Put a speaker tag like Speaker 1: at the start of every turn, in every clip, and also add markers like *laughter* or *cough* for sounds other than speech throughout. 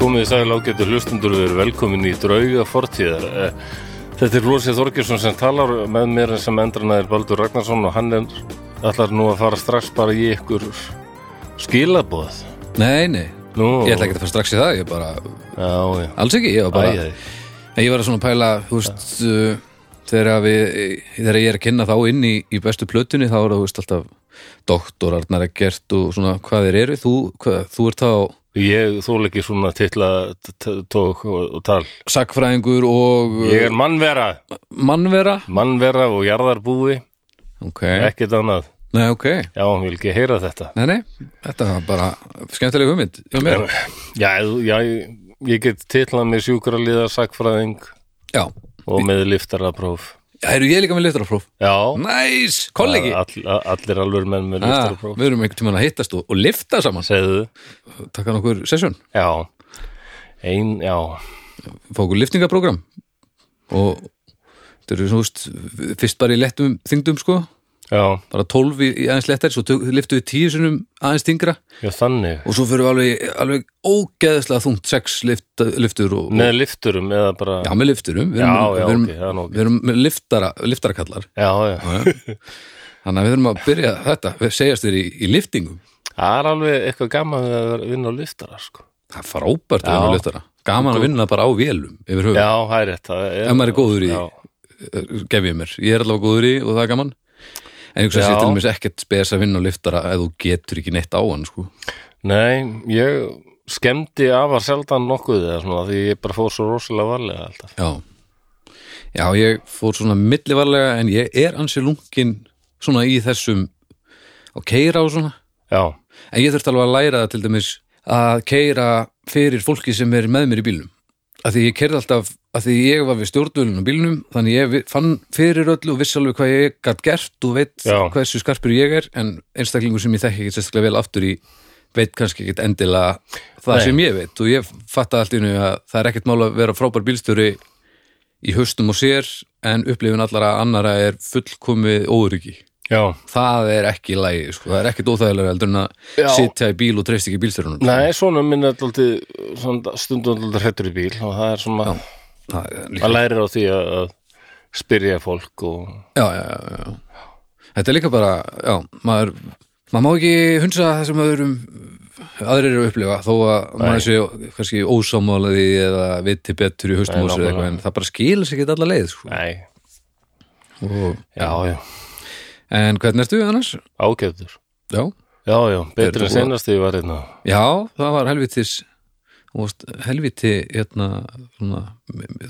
Speaker 1: Komið sæl ágættu hlustundur við erum velkomin í drauga fortíðar Eh, Þetta er Lósið Þorgjörsson sem talar með mér sem endranaðir Baldur Ragnarsson og hann er allar nú að fara strax bara í ykkur skilaboð
Speaker 2: Nei, nei,
Speaker 1: Nú,
Speaker 2: ég ætla ekki að fara strax í það Ég bara,
Speaker 1: Já, já
Speaker 2: alls ekki Ég var bara,
Speaker 1: Æ, æ.
Speaker 2: Æ, ég var að svona pæla Þú veist, uh, þegar, að við, þegar ég er að kynna þá inn í, í bestu plötunni Þá er það, þú veist, alltaf doktorarnar er gert og svona hvað þeir eru Þú, hvað, þú ert þá
Speaker 1: Ég þól ekki svona titla t- t- tók og, og tal
Speaker 2: sakfræðingur og
Speaker 1: Ég er mannvera
Speaker 2: mannvera
Speaker 1: Mannvera og jarðarbúi
Speaker 2: Ok,
Speaker 1: Ekkert annað
Speaker 2: nei, ok
Speaker 1: Já, hann vil ekki heyra þetta
Speaker 2: Nei, nei, þetta var bara skemmtileg hugmynd hjá mér.
Speaker 1: Já, þú- já ég, ég get titlað með sjúkraliða sakfræðing
Speaker 2: Já,
Speaker 1: og með liftarapróf
Speaker 2: það eru ég er líka með liftarapróf
Speaker 1: Já,
Speaker 2: Næs, kollegi
Speaker 1: all, all- allir alveg menn með
Speaker 2: Ah,
Speaker 1: Ah, liftarapróf
Speaker 2: Við erum einhvern tímann að hittast og, og lifta saman
Speaker 1: Segðu,
Speaker 2: Takka nokkur sessjón
Speaker 1: já Ein, já,
Speaker 2: fá okkur liftingaprógram og þetta eru svona úst fyrst bara í lettum þingdum sko
Speaker 1: já,
Speaker 2: bara 12 í, í aðeins lettar svo tök, liftum við 10 sinum aðeins þingra
Speaker 1: já þannig
Speaker 2: og svo fyrir við alveg, alveg ógeðslega þungt 6 lift, liftur og,
Speaker 1: Með lifturum eða bara
Speaker 2: og já með lifturum við erum,
Speaker 1: Já, já,
Speaker 2: við erum,
Speaker 1: ok, það er nú ok.
Speaker 2: við erum með liftara, liftarakallar
Speaker 1: Já, já,
Speaker 2: þannig að við þurfum að byrja þetta við segjast þér í, í liftingum
Speaker 1: það er alveg eitthvað gaman við að vinna á liftara sko.
Speaker 2: það er frábært að
Speaker 1: Já.
Speaker 2: vinna á liftara gaman að vinna bara á vélum yfir höfum
Speaker 1: Já, það er rétt það er,
Speaker 2: Ef maður er góður í því.
Speaker 1: já,
Speaker 2: eh, gef ég mér, ég er allavega góður í og það er gaman en ég
Speaker 1: Já.
Speaker 2: sé til mér ekkert spes að vinna og liftara ef þú getur ekki neitt á hann sko.
Speaker 1: Nei, ég skemmdi afar sjaldan nokkuð eða svona því ég bara fór svo rosalega varlega alltaf
Speaker 2: já. já, ég fór svona millivarlega en ég er ansi lunkin svona í þessum að keira og svona
Speaker 1: Já,
Speaker 2: en ég þurfti alveg að læra það til dæmis að keira fyrir fólki sem er með mér í bílnum að því ég keirði alltaf að því ég var við stjórnvölinu á bílnum þannig ég vi- fann fyrir öllu og vissi alveg hvað ég gætt gert og veit
Speaker 1: Já.
Speaker 2: hversu skarpur ég er en einstaklingur sem ég þekki ekki sérstaklega vel aftur í veit kannski ekkit endilega það
Speaker 1: Nei.
Speaker 2: sem ég veit og ég fatta allt í nú að það er ekkert mál að vera frábær bílstjóri í haustum og sér en upplifin allara annara er fullkomið óöryggi
Speaker 1: já
Speaker 2: það er ekki lægi, sko, það er ekkit óþægilega heldur en að
Speaker 1: Já.
Speaker 2: sitja í bíl og treyst ekki bílstyrunum
Speaker 1: Nei, svona minn er alltaf stundum alltaf hrettur í bíl og það er svona
Speaker 2: það er líka,
Speaker 1: maður lærir á því að að spyrja fólk og
Speaker 2: já, já, já, já. þetta er líka bara, já, maður maður má ekki hunsa það sem öðrum aðrir eru að upplifa þó að maður sé kannski ósámálaði eða viti betur í
Speaker 1: Nei,
Speaker 2: haustum og sér
Speaker 1: nákvæmlega.
Speaker 2: eitthvað en það bara skilur sér ekki allar leið sko.
Speaker 1: nei,
Speaker 2: og,
Speaker 1: já, já,
Speaker 2: en hvernig ertu annars?
Speaker 1: ágæftur
Speaker 2: Já,
Speaker 1: já, já,
Speaker 2: Þetta
Speaker 1: betur
Speaker 2: er
Speaker 1: en
Speaker 2: búið.
Speaker 1: senast þegar ég var hérna
Speaker 2: já það var helvitis þú varst helviti hérna, svona,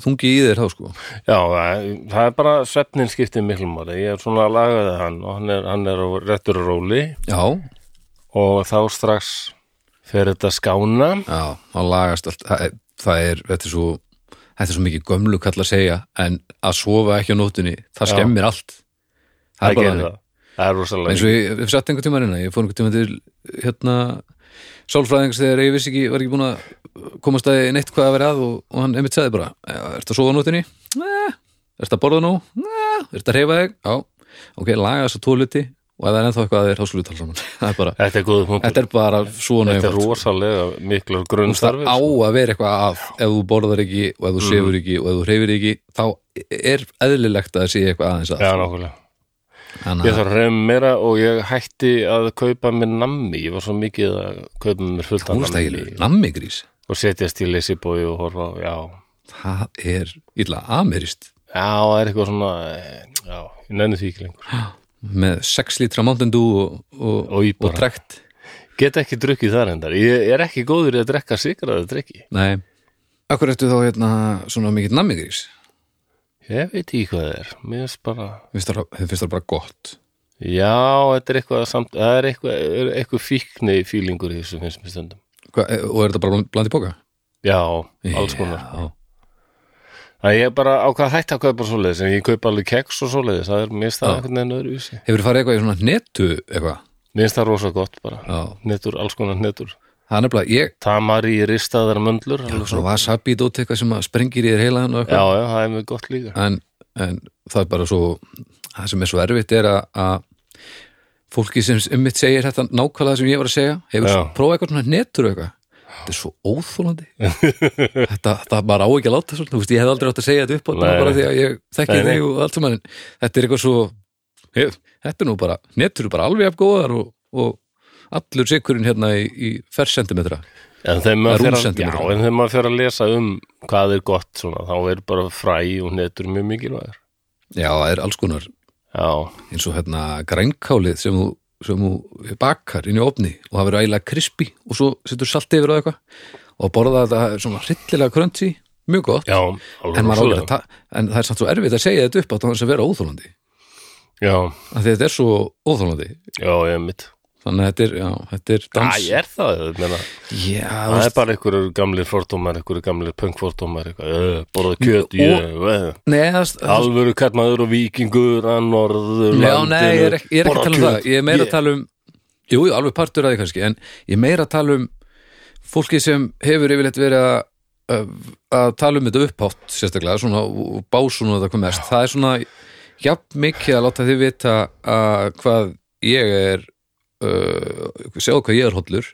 Speaker 2: þungi í þér þá sko
Speaker 1: já, það- það er bara svefnin skiptið miklu máli, ég er svona að laga það hann og hann er, hann er á réttur og róli
Speaker 2: Já,
Speaker 1: og þá strax fer þetta skána
Speaker 2: Já, það lagast allt það er, það er, þetta er svo þetta er svo mikið gömlu kall að segja en að sofa ekki á nótunni, það
Speaker 1: Já.
Speaker 2: skemmir allt það er
Speaker 1: það
Speaker 2: bara
Speaker 1: gerir
Speaker 2: þannig
Speaker 1: það, það er
Speaker 2: eins
Speaker 1: rosalega
Speaker 2: og ég hef satt einhver tíma hérna, ég fór einhver tíma til hérna sálfræðings þegar ég vissi ekki, var ekki búin að komast að neitt hvað að vera að og, og hann einmitt sagði bara, "Já, ertu að sofa á nótunni? Nei, ertu að borða nóg? Nei, ertu að reyfa þig? Já, ok, laga þess að tóluti og ef það er ennþá eitthvað að þér, þá skulum við tala saman *laughs* það er bara,
Speaker 1: þetta er góð punktur,
Speaker 2: þetta er bara svona
Speaker 1: þetta
Speaker 2: einfalt.
Speaker 1: er rosalega miklu
Speaker 2: Það
Speaker 1: grunnstarfi
Speaker 2: á að vera eitthvað að ef þú borðar ekki og ef þú sefur ekki og ef þú hreyfir ekki þá er eðlilegt að það sé eitthvað aðeins að
Speaker 1: já, nákvæmlega
Speaker 2: Þannig
Speaker 1: Ég
Speaker 2: að
Speaker 1: þarf að reyna meira og ég hætti að kaupa mér nammi, ég var svo mikið að kaupa mér fullt af nammi
Speaker 2: hústækilegur, nammigrís
Speaker 1: og setjast í leysibói og horfa á, já,
Speaker 2: það er illa amerist
Speaker 1: já, það er eitthvað svona eh, já, ég nenni því ekki lengur
Speaker 2: með 6 lítra Mountain Dew og, og,
Speaker 1: Og í bara.
Speaker 2: trekt
Speaker 1: get ekki drukkið þar endar, ég er ekki góður í að drekka sigraðið drekki,
Speaker 2: Nei, akkur eftir þá hérna svona mikill nammigrís
Speaker 1: ég veit ekki hvað það er mér finnst bara,
Speaker 2: finnst það finnst það bara gott
Speaker 1: já, þetta er eitthvað samt, það er eitthvað, er eitthvað fíkni fílingur í þessu finnst mér stundum
Speaker 2: Hva, eh, og er þetta bara bland í póka?
Speaker 1: já, alls konar
Speaker 2: Já,
Speaker 1: Það ég er bara ákvað hætt að kaupa svoleiðis en ég kaupa alveg keks og svoleiðis, það er mér stað einhvern veginn öðru vísi
Speaker 2: hefur farið eitthvað í svona netu eitthvað?
Speaker 1: Mér finnst það rosa gott bara
Speaker 2: Já,
Speaker 1: Netur, alls konar netur
Speaker 2: það er nefnilega, ég
Speaker 1: Tamari í ristaðar möndlur alveg
Speaker 2: svona
Speaker 1: svona.
Speaker 2: wasabi dót eitthvað sem að sprengir í þér heilaðan og eitthvað
Speaker 1: Já, já, það er mjög gott líka
Speaker 2: en, en það er bara svo það sem er svo erfitt er að, að fólki sem um mitt segir þetta nákvæmlega sem ég var að segja hefur
Speaker 1: Já.
Speaker 2: prófað eitthvað svona netur og eitthvað þetta er svo *laughs* óþólandi þetta, þetta bara á ekki að láta svona, þú veist, ég hef aldrei átt að segja þetta upp
Speaker 1: Nei.
Speaker 2: bara því að ég þekki
Speaker 1: Nei, nei.
Speaker 2: þig og allt saman en þetta er eitthvað svo hef, þetta er nú bara, nettur eru bara alveg afgóðar og, og allur sikurinn hérna í, í fersentimetra
Speaker 1: En þegar maður,
Speaker 2: Það er
Speaker 1: fer að, já,
Speaker 2: rúmsentimetra.
Speaker 1: en þegar maður fer að lesa um hvað er gott svona, þá er bara fræ og netur mjög mikilvægur.
Speaker 2: já, það er alls konar
Speaker 1: Já,
Speaker 2: eins og hérna grænkálið sem þú, sem þú bakar inn í ofni og það verður ægilega krispi og svo setur salt yfir og eitthvað og borða þetta svona hryllilega krönti mjög gott
Speaker 1: já, alveg
Speaker 2: en, maður á ekki að
Speaker 1: rosalega.
Speaker 2: ta- en það er samt svo erfitt að segja þetta upp átt á þess að vera óþólandi
Speaker 1: Já,
Speaker 2: að þetta er svo óþólandi
Speaker 1: já, ég mitt.
Speaker 2: þannig að þetta er, já, þetta er
Speaker 1: Æ,
Speaker 2: dans
Speaker 1: er það, ég meina,
Speaker 2: já, þú
Speaker 1: það
Speaker 2: veist,
Speaker 1: er bara einhverjur gamlir fordómar, einhverjur gamlir pöngfordómar, eitthvað, "Ö, borða kjöt, ég, eh,
Speaker 2: neða, það
Speaker 1: alvöru kallmaður og vikingur, annorður,
Speaker 2: Já, nei, ég er ekki, ég er ekki að tala um það Ég er meira að tala um Jú, jú, alveg partur að því kannski En ég er meira að tala um fólki sem hefur yfirleitt verið að að tala um þetta upphátt sérstaklega svona, og básun og það kom mest það er svona jafn mikið að láta þið vita að hvað ég er uh, sjáðu hvað ég er hollur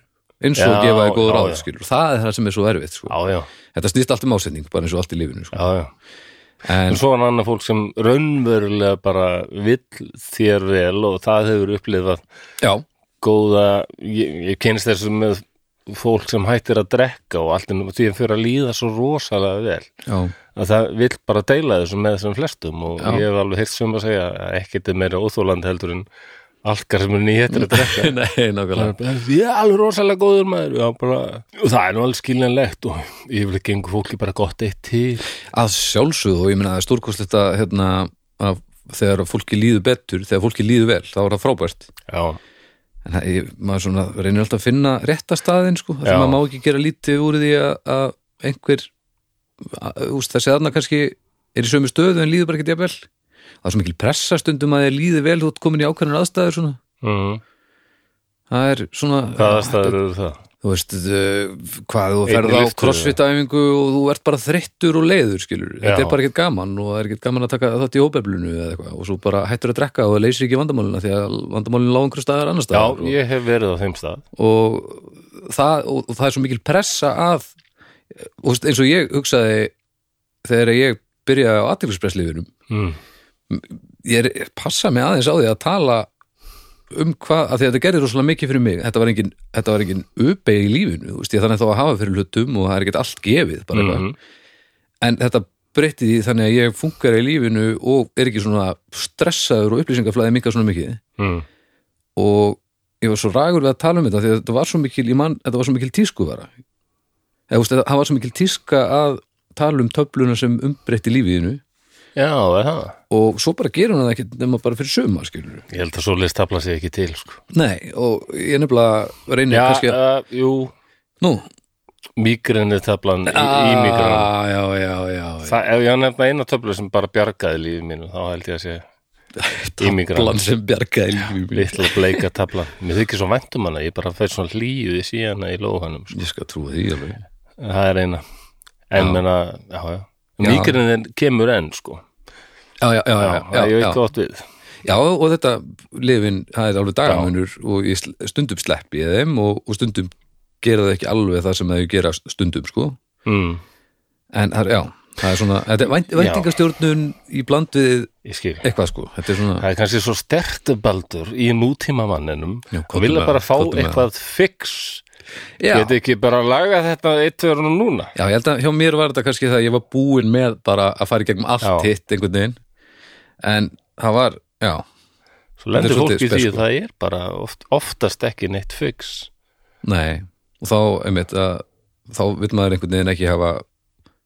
Speaker 2: eins og
Speaker 1: Já,
Speaker 2: gefa þið góður
Speaker 1: já, já.
Speaker 2: áður það er það sem er svo erfitt sko.
Speaker 1: Já, já,
Speaker 2: þetta snýst allt um ásetning, bara eins og allt í lífinu sko.
Speaker 1: já, já. En
Speaker 2: en
Speaker 1: svo er annað fólk sem raunverulega bara vill þér vel og það hefur upplifað
Speaker 2: já,
Speaker 1: góða, ég, ég kynst þessu með fólk sem hættir að drekka og allt ennum því að fyrir að líða svo rosalega vel
Speaker 2: já,
Speaker 1: að það vill bara deila þessu með þessum flestum og
Speaker 2: Já.
Speaker 1: ég hef alveg hirt sem að segja að ekkert er meira óþólandi heldur en algar sem er nýhettir að drekka
Speaker 2: nei, nákvæmlega
Speaker 1: *laughs* Það er bara, ég er alveg rosalega góður maður já, bara, og það er nú alveg skiljanlegt og yfirlega gengur fólki bara gott eitt til
Speaker 2: að sjálfsögðu og ég meina það er stórkostlegt að hérna, að þegar fólki líður betur, þegar fólki líður vel þá er það frábært
Speaker 1: já,
Speaker 2: en það, ég, maður svona, reynir alltaf að finna rétta staðin sko, þar
Speaker 1: Já.
Speaker 2: sem maður má ekki gera lítið úr því að, að einhver að, úst, þessi aðna kannski er í sömu stöðu en líður bara ekki jafnvel það er svo mikil pressa stundum að þið líður vel þú ert komin í ákveðnar aðstæður svona
Speaker 1: mm.
Speaker 2: það er svona
Speaker 1: hvaða staður eru það
Speaker 2: þú veist, uh, hvað þú
Speaker 1: Einn í
Speaker 2: ferð á
Speaker 1: lyftu,
Speaker 2: crossfit-æfingu og þú ert bara þreyttur og leiður, skilur, þetta
Speaker 1: Já.
Speaker 2: er bara ekkert gaman og það er ekkert gaman að taka þátt í hópeflinu eða eitthvað og svo bara hættur að drekka og það leysir ekki vandamálina því að vandamálinu lág einhver staðar annar
Speaker 1: já,
Speaker 2: staðar
Speaker 1: ég hef verið á þeim stað
Speaker 2: og, og, það, og, og það er svo mikil pressa að og þú veist, eins og ég hugsaði þegar ég byrjaði á aðtilspresslífinum
Speaker 1: mm.
Speaker 2: ég er, ég passa mig aðeins á því að tala um hvað, að því að þetta gerði rosalega mikið fyrir mig þetta var engin, þetta var engin uppeig í lífinu þú veist, ég þannig þá að hafa fyrir hlutum og það er ekkert allt gefið bara eitthvað,
Speaker 1: Mhm.
Speaker 2: en þetta breytti því þannig að ég funkar í lífinu og er ekki svona stressaður og upplýsingaflæði minga svona mikið
Speaker 1: Mm.
Speaker 2: og ég var svo rægur við að tala um þetta því að þetta var svo mikil, ég mann, þetta var svo mikil tískuvara eða þú veist, það var svo mikil tíska að tala um töfluna sem umbreytti lífiðinu
Speaker 1: já, er það
Speaker 2: og svo bara gerum það ekki nema bara fyrir söma, skilur
Speaker 1: Ég held að svo leist tafla sig ekki til sko.
Speaker 2: Nei, og ég nefnilega reynir kannski að...
Speaker 1: uh, jú
Speaker 2: Nú,
Speaker 1: Mígrinni taflan í, í mígrinni
Speaker 2: Ah, já, já, já, já.
Speaker 1: Ef ég nefna eina töflu sem bara bjargaði lífið mínu þá held ég að sé í
Speaker 2: Plan
Speaker 1: mígrinni
Speaker 2: sem bjargaði lífið mínu.
Speaker 1: Litla bleika taflan Mér þykir svo væntum hana, ég bara fætt svona hlýði síðana í lóðanum sko.
Speaker 2: Ég skal trúa því alveg
Speaker 1: Það er eina En
Speaker 2: Já.
Speaker 1: menna, já, já
Speaker 2: Já.
Speaker 1: Mígrinni kemur enn sko
Speaker 2: Já, já, já, já, já,
Speaker 1: Það er
Speaker 2: já,
Speaker 1: ekki gott við
Speaker 2: já og þetta lifin, það er alveg dagamunur og ég sl- stundum sleppi ég þeim og, og stundum gera það ekki alveg það sem það ég gera stundum, sko
Speaker 1: mm,
Speaker 2: en það er, já, það er svona þetta er vænt,
Speaker 1: Já.
Speaker 2: væntingastjórnun í bland við
Speaker 1: Ég skil
Speaker 2: eitthvað, sko, þetta er svona
Speaker 1: Það er kannski svo stertubaldur í nútíma manninum
Speaker 2: Já, hvað
Speaker 1: og vilja
Speaker 2: með-
Speaker 1: bara fá
Speaker 2: hvað með-
Speaker 1: eitthvað fix
Speaker 2: Já.
Speaker 1: Geti ekki bara að laga þetta eitt verður nú núna
Speaker 2: Já, ég held að hjá mér var þetta kannski það að ég var búinn með bara að fara í gegnum allt
Speaker 1: Já.
Speaker 2: hitt einhvern veginn en það var, já,
Speaker 1: Svo lendur
Speaker 2: Þetta er
Speaker 1: fólk í
Speaker 2: svolítið
Speaker 1: því
Speaker 2: spes, sko.
Speaker 1: að það er bara oft, oftast ekki neitt fix
Speaker 2: nei og þá, einmitt, að, þá vil maður einhvern veginn ekki hafa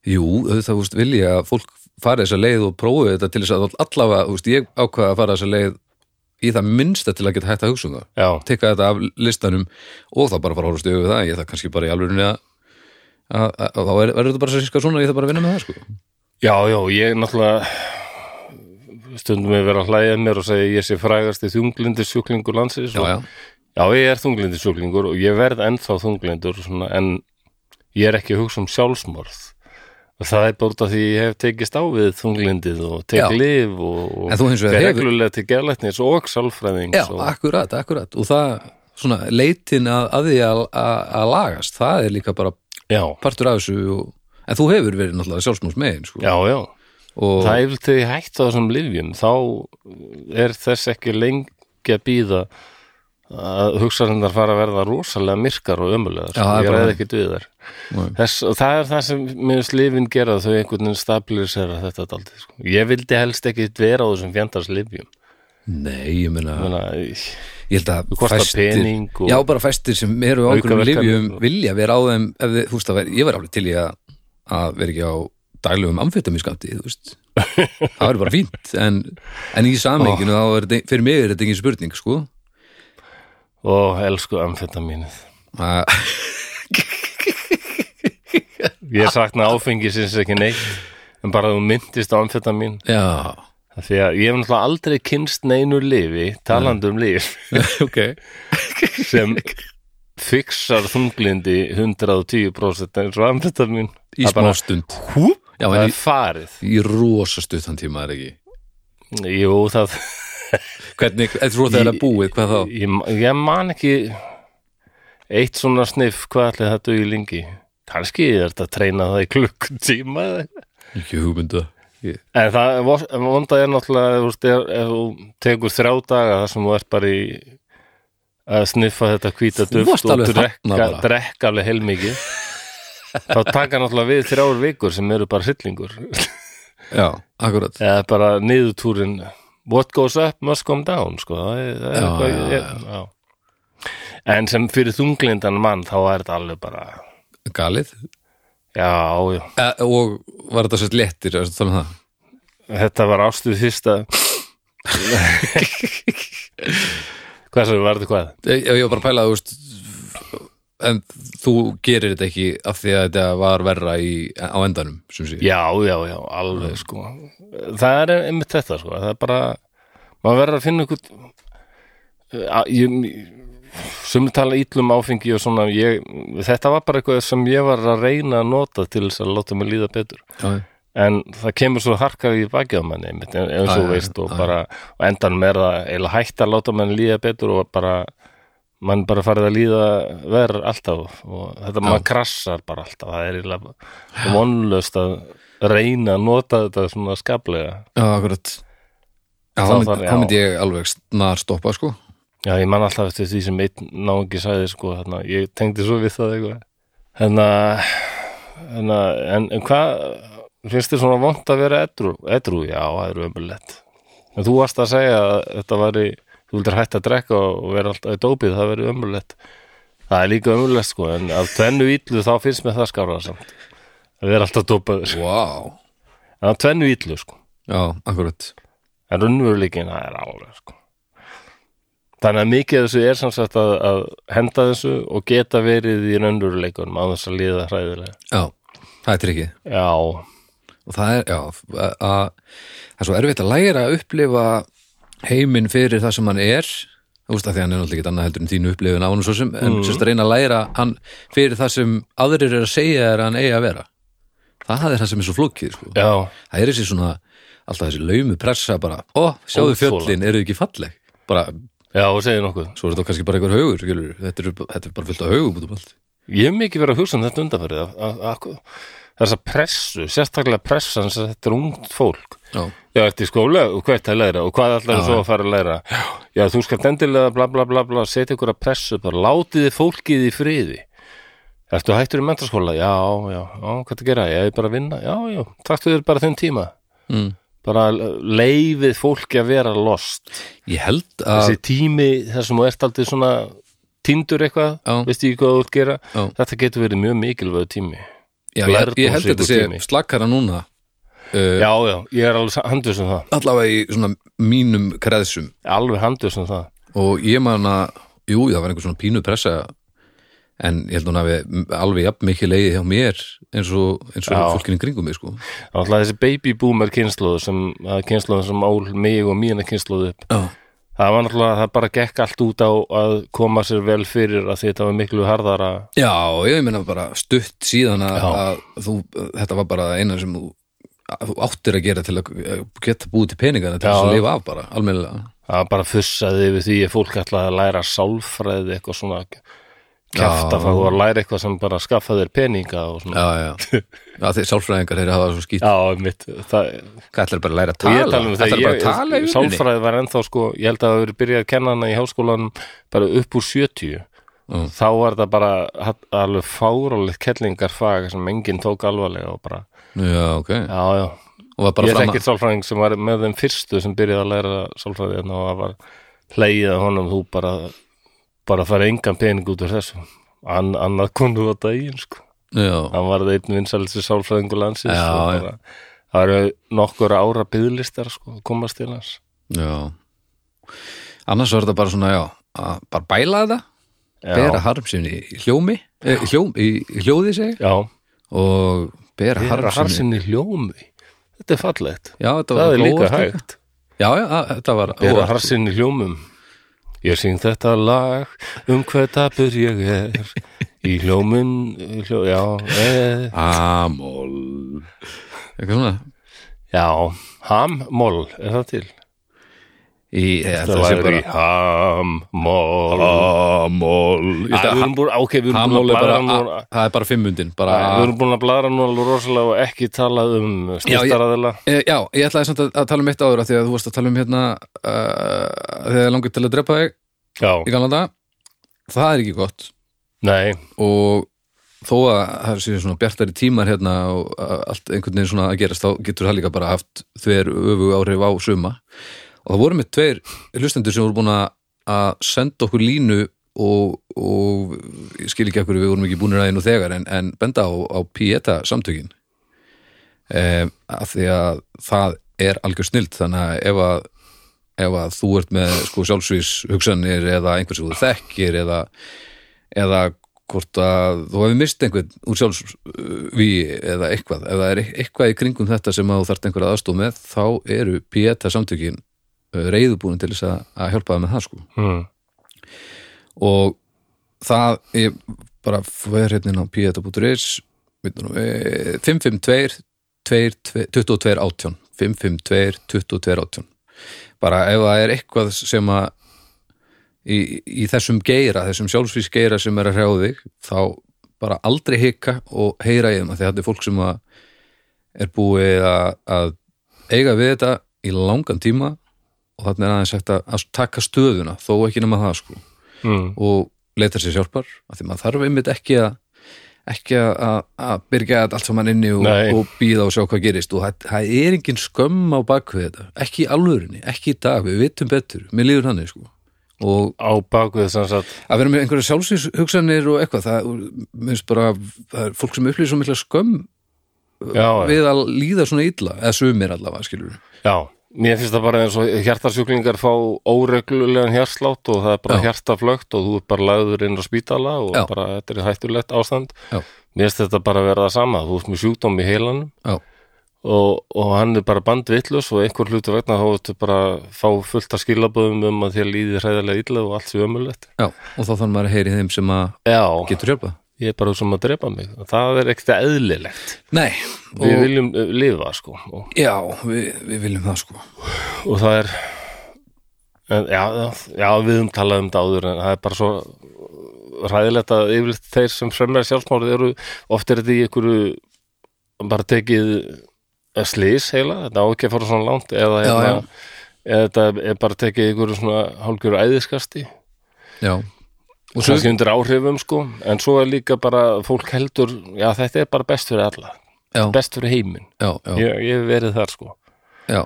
Speaker 2: jú, auðvitað, þú veist, vilja að fólk fari þessa leið og prófi þetta til þess að allavega, þú veist, ég ákvaða að fara þessa leið í það minnsta til að geta hægt að hugsa um það
Speaker 1: Já,
Speaker 2: teka þetta af listanum og þá bara fara að horfast í auðvitað það, ég það kannski bara í alvörunni að að- að- að- þá er- verður þetta bara sér sérska svona, ég það bara að vinna með það, sko
Speaker 1: já, já, ég náttúrulega stundum við vera að hlæja að mér og segja ég sé frægasti þunglindisjúklingur landsins
Speaker 2: Já,
Speaker 1: og,
Speaker 2: já,
Speaker 1: já, ég er þunglindisjúklingur og ég verð ennþá þunglindur svona, en ég er ekki að hugsa um sjálfsmorð og það er bara út af því ég hef tekist á við þunglindið og
Speaker 2: Já.
Speaker 1: tek lif og,
Speaker 2: En
Speaker 1: og
Speaker 2: þú hins vegar
Speaker 1: fer
Speaker 2: hefur-
Speaker 1: reglulega til geðlæknis og sálfræðings
Speaker 2: Já,
Speaker 1: og,
Speaker 2: akkurat, akkurat og það svona leitin að, að því að, að, að lagast það er líka bara
Speaker 1: já,
Speaker 2: partur af þessu og, en þú hefur verið náttúrulega sjálfsmús megin sko.
Speaker 1: já, já.
Speaker 2: og
Speaker 1: Það er vel til hægt á þessum lyfjum þá er þess ekki lengi að býða að hugsanindar fara að verða rosalega myrkar og ömulegar
Speaker 2: Já, það er
Speaker 1: ég ræði
Speaker 2: bara þannig.
Speaker 1: ekki við þær
Speaker 2: Nei.
Speaker 1: þess, og það er það sem minnst lyfin gera þau einhvern veginn stabilisera þetta daldið sko. ég vildi helst ekki vera á þessum fjandars lyfjum
Speaker 2: nei, ég meina
Speaker 1: Þannig að það
Speaker 2: ég held að
Speaker 1: kostar pening og-
Speaker 2: já bara fæstir sem eru á okkur
Speaker 1: Aukaverkanir
Speaker 2: lífjum
Speaker 1: og-
Speaker 2: vilja vera á þeim ef þið, þú veist að vera, ég var alveg til í að, að vera ekki á daglegum amfetaminskandi þú
Speaker 1: *laughs*
Speaker 2: veist það verður bara fínt en, en í samenginu þá er þetta fyrir mig er þetta engin spurning sko
Speaker 1: *laughs* og elsku amfetamínið
Speaker 2: að
Speaker 1: ég sakna áfengisins ekki neitt en bara þú myndist á amfetamín
Speaker 2: já,
Speaker 1: Af því að ég hef náttúrulega aldrei kynst neinu lifi, talandi um lif
Speaker 2: ok
Speaker 1: sem fixar þunglindi 110% eins og amfetamin
Speaker 2: í
Speaker 1: Það er
Speaker 2: smá
Speaker 1: bara-
Speaker 2: stund
Speaker 1: hú,
Speaker 2: já,
Speaker 1: það
Speaker 2: en
Speaker 1: er farið
Speaker 2: í, í rosa stuttan tíma er ekki
Speaker 1: jú, það,
Speaker 2: hvernig, eða þú það er að búið, hvað þá
Speaker 1: ég, ég man ekki eitt svona sniff, hvað ætli það dugi lengi kannski er þetta að treyna það í klukkutíma eða eitthvað.
Speaker 2: ekki hugmynda Ég-
Speaker 1: en það vor- en vonda er náttúrulega ef þú veist, ef, ef þú tekur þrjá daga þar sem þú ert bara í að sniffa þetta hvíta
Speaker 2: Þú varst
Speaker 1: duft og
Speaker 2: alveg þarna
Speaker 1: drekka,
Speaker 2: bara.
Speaker 1: drekka alveg heilmikið þá taka náttúrulega við þrjár vikur sem eru bara hryllingur
Speaker 2: já, akkurat
Speaker 1: eða bara niðurtúrin what goes up must come down sko. það er, það er
Speaker 2: Já,
Speaker 1: eitthvað,
Speaker 2: já,
Speaker 1: ég, já. en sem fyrir þunglindan mann þá er þetta alveg bara
Speaker 2: galið
Speaker 1: já, já,
Speaker 2: Eh, og var þetta sérst léttir ertu að tala um það?
Speaker 1: þetta var ástuð fyrsta hvað sem var þetta hvað
Speaker 2: Ég, ég var bara að pæla þú veist, en þú gerir þetta ekki af því að þetta var verra í, á endanum sem sé
Speaker 1: já, já, já, alveg sko það er einmitt þetta sko það er bara, maður verður að finna einhvern Að- ég, sem tala ítlum áfengi og svona ég, þetta var bara eitthvað sem ég var að reyna að nota til þess að láta mig líða betur
Speaker 2: Já,
Speaker 1: en það kemur svo harkað í bakið á manni einmitt, en- eins
Speaker 2: Já,
Speaker 1: og
Speaker 2: já,
Speaker 1: þú veist og
Speaker 2: já.
Speaker 1: bara, og endanum er það eiginlega hægt að láta mann líða betur og bara mann bara farið að líða verð alltaf og þetta maður krassar bara alltaf það er eiginlega vonlöst að reyna að nota þetta svona skaplega
Speaker 2: já akkurat Já,
Speaker 1: Þá
Speaker 2: þá mynd,
Speaker 1: þarf-
Speaker 2: þá
Speaker 1: já.
Speaker 2: myndi ég alveg snar stoppa sko
Speaker 1: já ég man alltaf eftir því sem einn náungi sagði sko þarna, ég tengdi svo við það eitthvað hérna hérna, en, en hvað finnst þér svona vont að vera edru, edru? já það er ömulett en þú varst að segja að þetta væri þú vildir hætt að drekka og og vera alltaf í dópið það veri ömulett það er líka ömulett sko en af tvennu íllu þá finnst mér það skára samt að vera alltaf dópaður
Speaker 2: Vá,
Speaker 1: en af tvennu íllu sko
Speaker 2: já, akkurat
Speaker 1: en raunveruleikin það er alveg sko. þannig að mikið af þessu er samsagt að, að henda þessu og geta verið í raunveruleikunum á þess að líða hræðilega
Speaker 2: Já, það er trikkið
Speaker 1: já,
Speaker 2: og það er, já, að, að það er svo erfitt að læra að upplifa heiminn fyrir það sem hann er þú veist að því að hann er náttúrulega ekki annað heldur en þínu upplifun á hann svo sem, en mm. sérst að reyna að læra hann fyrir það sem aðrir er að segja er að hann eigi að vera það er það sem er svo flókið, sko
Speaker 1: já,
Speaker 2: það er þessi svona, alltaf þessi laumu pressa bara, ó, sjáðu
Speaker 1: Óþolandi.
Speaker 2: fjöllin, eru ekki falleg bara,
Speaker 1: já, og segir nokkuð
Speaker 2: svo er þetta kannski bara einhver haugur, skilur þetta er, þetta er bara fullt af haugum út um allt
Speaker 1: ég hef mikið verið að hugsa um þetta undanfærið að, að, að, þess að pressu, sérstaklega pressan sem þetta er ungt fólk
Speaker 2: já,
Speaker 1: já, eftir skóla og hvað ertu að læra og hvað ætlar þú að fara að læra já, þú skalt endilega bla bla bla bla setja ykkur að pressu, bara látið þið fólkið í friði ertu hættur í mentaskóla, já, já, já hvað það gera, ég er bara að vinna, já, já taktu þér bara þinn tíma
Speaker 2: mm.
Speaker 1: bara leifið fólki að vera lost
Speaker 2: ég held að
Speaker 1: þessi tími þar sem þú ert aldrei svona tindur eitthvað,
Speaker 2: Já.
Speaker 1: veist ég hvað þú ert gera
Speaker 2: Já.
Speaker 1: þetta getur verið mjög mikilvæg tími
Speaker 2: já, ég, ég held að
Speaker 1: lærdómsríkur
Speaker 2: þetta sé
Speaker 1: tími.
Speaker 2: slakkara núna uh,
Speaker 1: já, já, ég er alveg handvis um það
Speaker 2: allavega í svona mínum kreðsum
Speaker 1: alveg handvis um það
Speaker 2: og ég man að, jú, það var einhver svona pínu pressa en ég held hún hafi m- alveg jafn mikið leiði hjá mér eins og, eins og
Speaker 1: Já.
Speaker 2: fólkinu í kringum mig sko.
Speaker 1: Alltaf þessi baby boomer kynnslóðu sem kynnslóðu sem ól mig og mína kynnslóðu upp
Speaker 2: Já,
Speaker 1: það var náttúrulega, það bara gekk allt út á að koma sér vel fyrir að því þetta var miklu harðara
Speaker 2: já ég meina bara stutt síðan að,
Speaker 1: Já.
Speaker 2: að þú, þetta var bara eina sem þú að þú áttir að gera til að geta búið til peninga til þess
Speaker 1: Já.
Speaker 2: að lifa af bara, almennilega
Speaker 1: Það bara fussaði yfir því að fólk ætlaði að læra sálfræði eitthvað svona kjafta
Speaker 2: Já.
Speaker 1: frá að læra eitthvað sem bara skaffa þér peninga og svona.
Speaker 2: Já, já, já þeir sálfræðingar þeir hafa svo skýt,
Speaker 1: Já, mitt. Það,
Speaker 2: hvað ætlar bara að læra að
Speaker 1: og
Speaker 2: tala
Speaker 1: ég tala um það,
Speaker 2: ætlar bara að tala
Speaker 1: ég,
Speaker 2: í vinnunni
Speaker 1: sálfræði var ennþá sko, ég held að það hafi verið byrjað að kenna hana í háskólanum bara upp úr 70.
Speaker 2: Mm.
Speaker 1: Þá var það bara hatt- alveg fárálegt kellingarfag sem enginn tók alvarlega og bara,
Speaker 2: Já, ok,
Speaker 1: já, já.
Speaker 2: og var bara
Speaker 1: ég
Speaker 2: fram að
Speaker 1: þekkið sálfræðing sem var með þeim fyrstu sem byrjaði að læra sálfræði þarna og það var hleyið að honum þú bara, bara fara engan pening út úr þessu. An, annað konu á daginn, sko.
Speaker 2: Já,
Speaker 1: Hann var einn vinsælstu sálfræðingur landsins.
Speaker 2: Já,
Speaker 1: og
Speaker 2: já.
Speaker 1: bara, Það eru nokkur ára byggðlistar, sko, að komast til hans.
Speaker 2: já Annars var þetta bara svona, já að bara bæla þetta, bera harm sinni í hljómi, eh, í hljóm, í hljóði segi,
Speaker 1: Já,
Speaker 2: og bera
Speaker 1: herra
Speaker 2: harm sinni
Speaker 1: harsinni hljómi. Þetta er fallegt.
Speaker 2: Já, þetta
Speaker 1: Það
Speaker 2: var
Speaker 1: er líka
Speaker 2: óvart.
Speaker 1: hægt.
Speaker 2: Já, já, að- þetta var
Speaker 1: Bera
Speaker 2: óvart.
Speaker 1: harsinni hljómum. Ég syng þetta lag um hvað tapur ég er. Í hljómun, hljó, já, eh,
Speaker 2: Amol Eitthvað svona
Speaker 1: já, hammol, er það til?
Speaker 2: Í,
Speaker 1: Það
Speaker 2: ég, það sé
Speaker 1: var í
Speaker 2: bara
Speaker 1: hammol.
Speaker 2: Amol Ég
Speaker 1: Æ,
Speaker 2: ætla
Speaker 1: Við
Speaker 2: að-
Speaker 1: erum búin, ok, við erum
Speaker 2: Amol
Speaker 1: búin
Speaker 2: er
Speaker 1: að
Speaker 2: bara,
Speaker 1: blara núna.
Speaker 2: a- það er bara fimmundin bara,
Speaker 1: Æ, um Við erum búin að blara núna alveg rosalega og ekki tala um
Speaker 2: Já, ég-
Speaker 1: styrstaraðila.
Speaker 2: Eh, Já, ég ætlaði samt að, að tala um eitt áður af því að þú varst að tala um hérna uh, þegar langar til að drepa þig
Speaker 1: Já,
Speaker 2: í gamla dag það er ekki gott
Speaker 1: nei,
Speaker 2: og þó að það séu svona bjartari tímar hérna og að allt einhvern veginn svona að gerast þá getur það líka bara haft þver öfu áhrif á suma og það voru með tveir hlustendur sem voru búin að að senda okkur línu og, og ég skil ekki okkur við vorum ekki búinir aðeins og þegar en, en benda á, á Pieta samtökin um, af því að það er algjör snilt þannig að ef að ef að þú ert með sko, sjálfsvís hugsanir eða einhver sem þú þekkir eða, eða hvort að þú hefur mist einhvern úr sjálfsvíi eða eitthvað ef það er eit- eitthvað í kringum þetta sem að þú þarft einhver aðstof með þá eru Pieta samtökin reyðubúin til þess að, að hjálpa það með það sko
Speaker 1: hm,
Speaker 2: og það ég bara fer hérna inn á pieta.is veit nú, eh, 552 2218 552 2218 bara ef það er eitthvað sem að í, í þessum geira, þessum sjálfsvís geira sem er að hrjáðu þig, þá bara aldrei hika og heyra í þeim af því að þetta er fólk sem að er búið að, að eiga við þetta í langan tíma og þarna er aðeins sagt að, að taka stöðuna þó ekki nema það sko
Speaker 1: hm,
Speaker 2: og leita sér sjálfar af því maður þarf einmitt ekki að ekki að- að að byrja þetta allt saman inni og,
Speaker 1: Nei.
Speaker 2: og býða og sjá hvað gerist og það, það er engin skömm á bakvið þetta ekki í alvörinni, ekki í dag, við vitum betur mér líður hannig sko og
Speaker 1: á bakvið sem sagt,
Speaker 2: að vera með einhverja sjálfsins hugsanir og eitthvað, það minnst bara það er fólk sem upplýður svo mikla skömm
Speaker 1: já,
Speaker 2: við að líða svona illa eða sumir allavega skilur
Speaker 1: Já, mér finnst það bara eins og hjartasjúklingar fá óreglulegan hjartslátt og það er bara
Speaker 2: Já.
Speaker 1: hjartaflögt og þú er bara lagður inn á spítala og
Speaker 2: Já.
Speaker 1: bara þetta er hættulegt ástand.
Speaker 2: Já.
Speaker 1: Mér finnst þetta bara að vera það sama, þú ert með sjúkdóm í heilanum
Speaker 2: já,
Speaker 1: og, og hann er bara bandvillus og einhver hlutu vegna þá ertu bara að fá fullt af skilaböðum um að þér líði hræðilega illa og allt sér ömulegt.
Speaker 2: já, og þá þannig maður að heyri þeim sem að
Speaker 1: Já,
Speaker 2: getur hjálpa
Speaker 1: ég er bara sem að drepa mig. Það er ekkert eðlilegt.
Speaker 2: Nei,
Speaker 1: Við
Speaker 2: og,
Speaker 1: viljum eh, lifa, sko. Og,
Speaker 2: já, við, við viljum það sko
Speaker 1: og það er en, já, já, já, við höfum talað um þetta áður en það er bara svo ræðilegt að yfirleitt þeir sem fremja sjálfsmálið eru oft er þetta í einhverju bara tekið slís heila, þetta á ekki að fara svona langt eða,
Speaker 2: Já,
Speaker 1: hérna,
Speaker 2: já.
Speaker 1: eða þetta er bara tekið í einhverju svona hálfgjöru æðiskasti
Speaker 2: Já,
Speaker 1: og
Speaker 2: svo-
Speaker 1: svo undir áhrifum sko en svo er líka bara fólk heldur já þetta er bara best fyrir alla
Speaker 2: já,
Speaker 1: best fyrir heiminn,
Speaker 2: já, já,
Speaker 1: ég, ég hef verið þar sko
Speaker 2: já,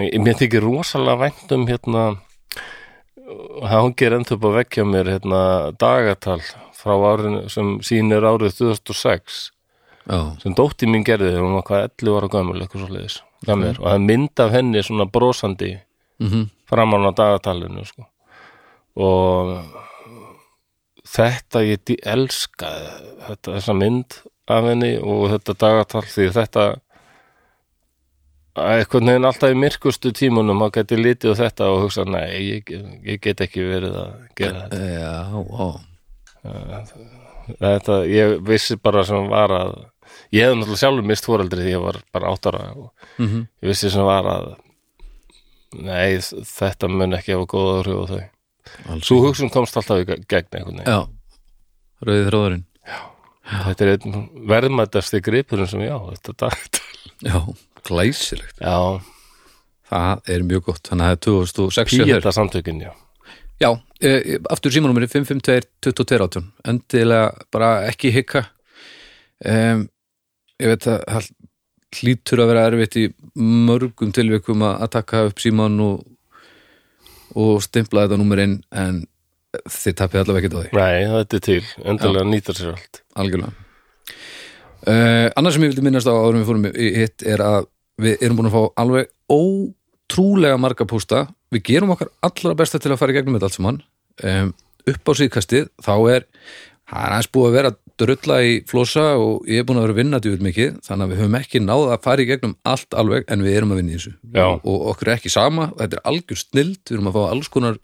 Speaker 1: Ég- Mér þykir rosalega vænt um hérna hangir ennþá upp að vekja mér hérna dagatal frá árinu sem sýnir árið 2006
Speaker 2: já,
Speaker 1: sem dótti mín gerði þegar hún var hvað 11 ára gömul eitthvað svo leiðis gamlir og það er mynd af henni svona brosandi
Speaker 2: mhm,
Speaker 1: framan á dagatalinu sko. og þetta ég dý- elska þetta, þessa mynd af henni og þetta dagatal því þetta að einhvern veginn alltaf í myrkustu tímunum að geti litið á þetta og hugsa nei, ég, ég get ekki verið að gera þetta,
Speaker 2: já, já,
Speaker 1: þetta ég vissi bara sem var að ég hefði náttúrulega sjálfur mist fóreldri því ég var bara áttara og ég vissi sem var að nei, þetta mun ekki hafa góða áhrif á þau
Speaker 2: Alls
Speaker 1: svo hugsun komst alltaf í ge- gegn einhvern veginn
Speaker 2: Já, rauðið þráðurinn
Speaker 1: þetta er einn verðmættasti gripurinn sem ég á þetta dagt
Speaker 2: Já, glæsilegt
Speaker 1: já,
Speaker 2: Það er mjög gott, þannig að það er 2006 hjá þér.
Speaker 1: píeta samtökin já.
Speaker 2: Já, e, e, aftur símanúmeri 552-2218 Endilega bara ekki hikka um, Ég veit að það hlýtur að vera erfitt í mörgum tilvikum að að taka upp síman og, og stimpla þetta númer inn en þið tapið allavega ekki á því
Speaker 1: nei, þetta er til, endilega nýtar sér allt
Speaker 2: algjörlega uh, annars sem ég vildi minnast á árum við fórum í í hitt er að við erum búin að fá alveg ótrúlega marga pústa við gerum okkar allra besta til að fara í gegnum þetta allt saman um, upp á síðkastið þá er það er aðeins búið að vera að drulla í flosa og ég er búin að vera að vinna djúið mikið þannig að við höfum ekki náð að fara í gegnum allt alveg en við erum að vinna í þessu
Speaker 1: Já.
Speaker 2: og okkur er ekki sama, þetta er algjör snild við erum að fá alls konar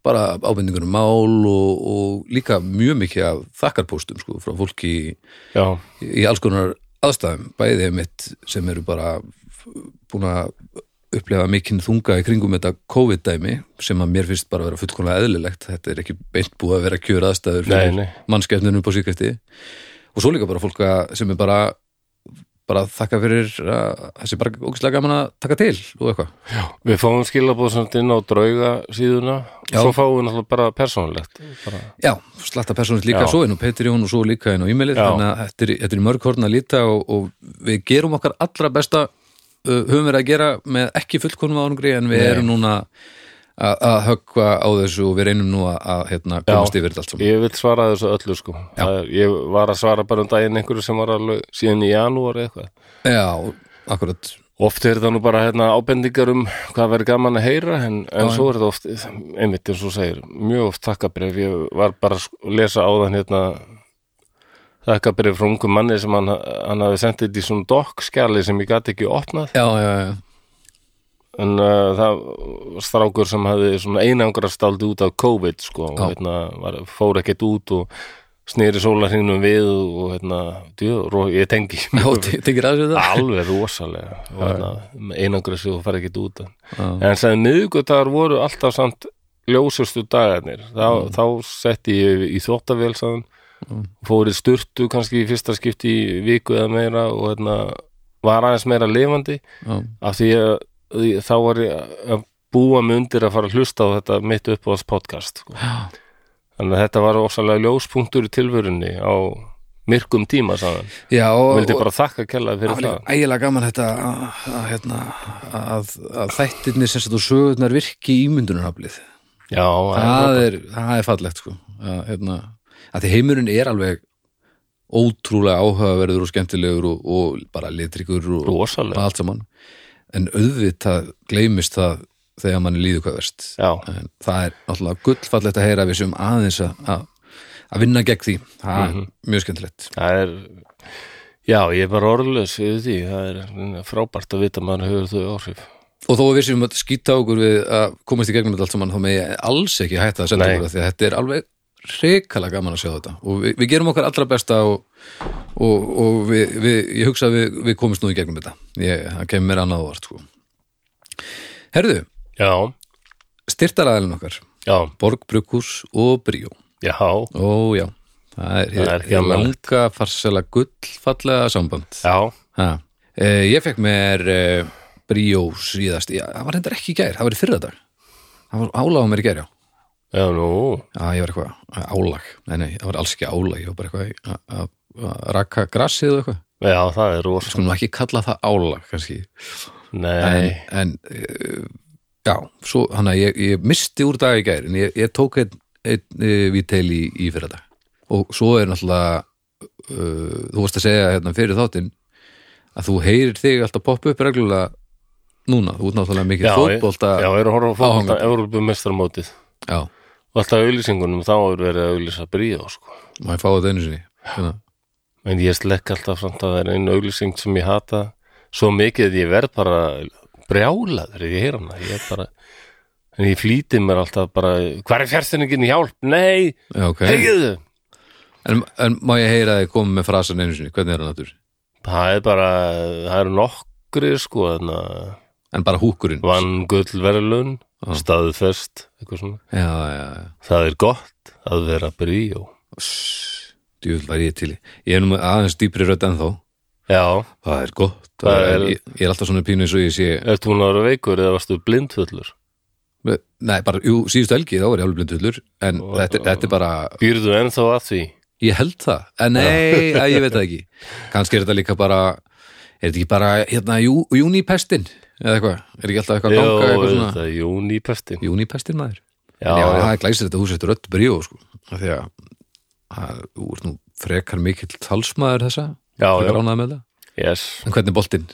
Speaker 2: bara ábendingur um mál og, og líka mjög mikið af þakkarpóstum sko, frá fólki í,
Speaker 1: já,
Speaker 2: í alls konar aðstæðum bæðið mitt sem eru bara búin að upplefa mikinn þunga í kringum þetta COVID-dæmi sem að mér finnst bara að vera fullkomlega eðlilegt þetta er ekki beint búið að vera kjör aðstæður
Speaker 1: Nei, nei.
Speaker 2: fyrir mannskefninu upp á síkvæsti og svo líka bara fólk að- sem er bara bara þakka fyrir að þessi bara ógislega gaman að taka til og eitthvað
Speaker 1: Við fáum skilabóð samt inn á drauga síðuna
Speaker 2: Já.
Speaker 1: Svo fáum við náttúrulega bara persónulegt bara.
Speaker 2: Já, slatta persónist líka
Speaker 1: Já.
Speaker 2: svo inn og Petri Jón og svo líka inn á e-mailið
Speaker 1: Já.
Speaker 2: þannig að þetta er, þetta er í mörg horn að líta og, og við gerum okkar allra besta uh, höfum við að gera með ekki fullkonum árangri en við
Speaker 1: Nei.
Speaker 2: erum núna að að höggva á þessu og við reynum nú að, að hérna, komast yfir þetta allt saman
Speaker 1: Ég vil svara þessu öllu sko Það er- Ég var að svara bara um daginn einhverju sem var alveg síðan í janúar eitthvað
Speaker 2: Já, akkurat
Speaker 1: Oft er það nú bara hérna, ábendingar um hvað verður gaman að heyra en, en svo er þetta oft, einmitt eins og þú segir mjög oft þakkabrif, ég var bara að sk- lesa á þann hérna þakkabrif frá ungu manni sem hann, hann hafi sendið þetta í svona dokkskjali sem ég gat ekki opnað
Speaker 2: Já, já, já,
Speaker 1: en uh, það var strákur sem hafði svona einangrast aldrei út af COVID sko, og
Speaker 2: Já.
Speaker 1: hérna, var, fór ekkert út og snýri sólarhingnum við og hérna, djú, ró, ég tengi *laughs*
Speaker 2: já, te- tekir aðeins við það
Speaker 1: alveg rosalega og hérna, einangrast og fara ekkert út
Speaker 2: Já,
Speaker 1: en sem miðgudagar voru alltaf samt ljósustu dagarnir þá,
Speaker 2: Mm.
Speaker 1: þá setti ég í þvóttavél sagðan, fórið sturtu kannski í fyrsta skipti í viku eða meira og hérna, var aðeins meira lifandi
Speaker 2: já,
Speaker 1: af því að því þá var ég að búa mig undir að fara að hlusta á þetta mitt upp á þess podcast sko.
Speaker 2: Já.
Speaker 1: þannig að þetta var ósalega ljóspunktur í tilvörunni á myrkum tíma sagðan,
Speaker 2: já
Speaker 1: og
Speaker 2: og,
Speaker 1: vildi bara þakka kellaði
Speaker 2: Það var
Speaker 1: fyrir það
Speaker 2: líka ægilega gaman þetta að, að, hérna, að, að þættirnir sem sett og sögurnar virki ímyndunaraflið
Speaker 1: já,
Speaker 2: það er, það er fallegt sko. að, hérna, að því heimurinn er alveg ótrúlega áhugaverður og skemmtilegur og, og bara litrikur og, og
Speaker 1: rosalega
Speaker 2: allt saman en auðvitað gleymist það þegar mann líður hvað verst
Speaker 1: já,
Speaker 2: en það er alltaf gullfallegt að heyra að við sem aðeins að, að, að vinna gegn því það er mjög skemmtilegt
Speaker 1: það er já, ég er bara orðlaus yfir því það er frábært að vita að maður hefur þau áhrif
Speaker 2: og þó að við séum að skýta okkur við að komast í gegnum þetta allt saman þá megi alls ekki hætta að senda
Speaker 1: Nei.
Speaker 2: okkur af því að þetta er alveg hrikalega gaman að sjá þetta og við, við gerum okkar allra besta og, og, og við, við, ég hugsa að við, við komist nú í gegnum þetta ég, það kemur mér annað á vart sko. Herðu,
Speaker 1: já,
Speaker 2: styrtaraðalinn okkar
Speaker 1: já,
Speaker 2: Borg, Brukkús og Bríó
Speaker 1: já,
Speaker 2: ó já, það er,
Speaker 1: Það er ekki annað.
Speaker 2: langa farsela gullfallega samband
Speaker 1: já
Speaker 2: ha. Eh, ég fekk mér eh, Bríó síðast, já, það var hendur ekki í gær það var í fyrradag það var álag á mér í gær já
Speaker 1: já, nú,
Speaker 2: Já, ég var eitthvað eh, álag Nei, nei, það var alls ekki álag Ég var bara eitthvað að- að að raka grassið og eitthvað
Speaker 1: já, það er rosalega
Speaker 2: Skulum ekki kalla það álag, kannski
Speaker 1: nei,
Speaker 2: En, en eh, já, svo hann að ég, ég misti úr dag í gær En ég, ég tók einn ein, vítel í, í fyrir dag Og svo er náttúrulega uh, Þú varst að segja hérna fyrir þáttinn Að þú heyrir þig alltaf poppa upp reglulega Núna, þú ert náttúrulega mikið
Speaker 1: já, ég-
Speaker 2: fótbolta
Speaker 1: já, ég er að horfa á fótbolta
Speaker 2: áhugandi.
Speaker 1: Európumestarmótið
Speaker 2: já,
Speaker 1: og alltaf auðlýsingunum þá er verið að auðlýsa bríða sko.
Speaker 2: má ég fá þetta einu sinni Hérna.
Speaker 1: en ég slekk alltaf samt að það er einu auðlýsing sem ég hata svo mikið að ég verð bara brjálaður ef ég heyr hana ég er bara en ég flýti mér alltaf bara hvar er fjárstænningin hjálp? Nei,
Speaker 2: Já, ok
Speaker 1: hegðu
Speaker 2: En, en má ég heyra að þið komið með frasan einu sinni, hvernig er hann aftur?
Speaker 1: það er bara, það eru nokkri sko, þannig að
Speaker 2: en bara húkurinn
Speaker 1: vann gullverðlun, staðfest, eitthvað svona.
Speaker 2: já, já, já
Speaker 1: Það er gott að vera bríó.
Speaker 2: djúvel var ég til í ég er nú með aðeins dýpri rödd en þó
Speaker 1: Já,
Speaker 2: það er gott,
Speaker 1: Það
Speaker 2: það er,
Speaker 1: er-
Speaker 2: ég, ég er alltaf svona pínu eins og ég sé
Speaker 1: ertu hún að vera veikur eða varstu blindfullur?
Speaker 2: nei, bara, jú, síðustu helgi þá var ég alveg blindhullur en þetta, þetta er bara,
Speaker 1: Býrðu ennþá að því?
Speaker 2: ég held það en nei, að, ég veit það ekki kannski er þetta líka bara er þetta ekki bara, hérna, jú, júnipestin eða eitthvað, er ekki alltaf eitthvað að
Speaker 1: Jó,
Speaker 2: ganga eitthvað svona,
Speaker 1: þetta er júnipestin.
Speaker 2: júnipestin maður
Speaker 1: Já,
Speaker 2: en já,
Speaker 1: já,
Speaker 2: það er glæsir þetta hús eftir rödd bríó sko. af því að að þú ert nú frekar mikill talsmaður þessa
Speaker 1: já,
Speaker 2: frekar
Speaker 1: já,
Speaker 2: ánægður með það.
Speaker 1: yes.
Speaker 2: en hvernig er boltinn?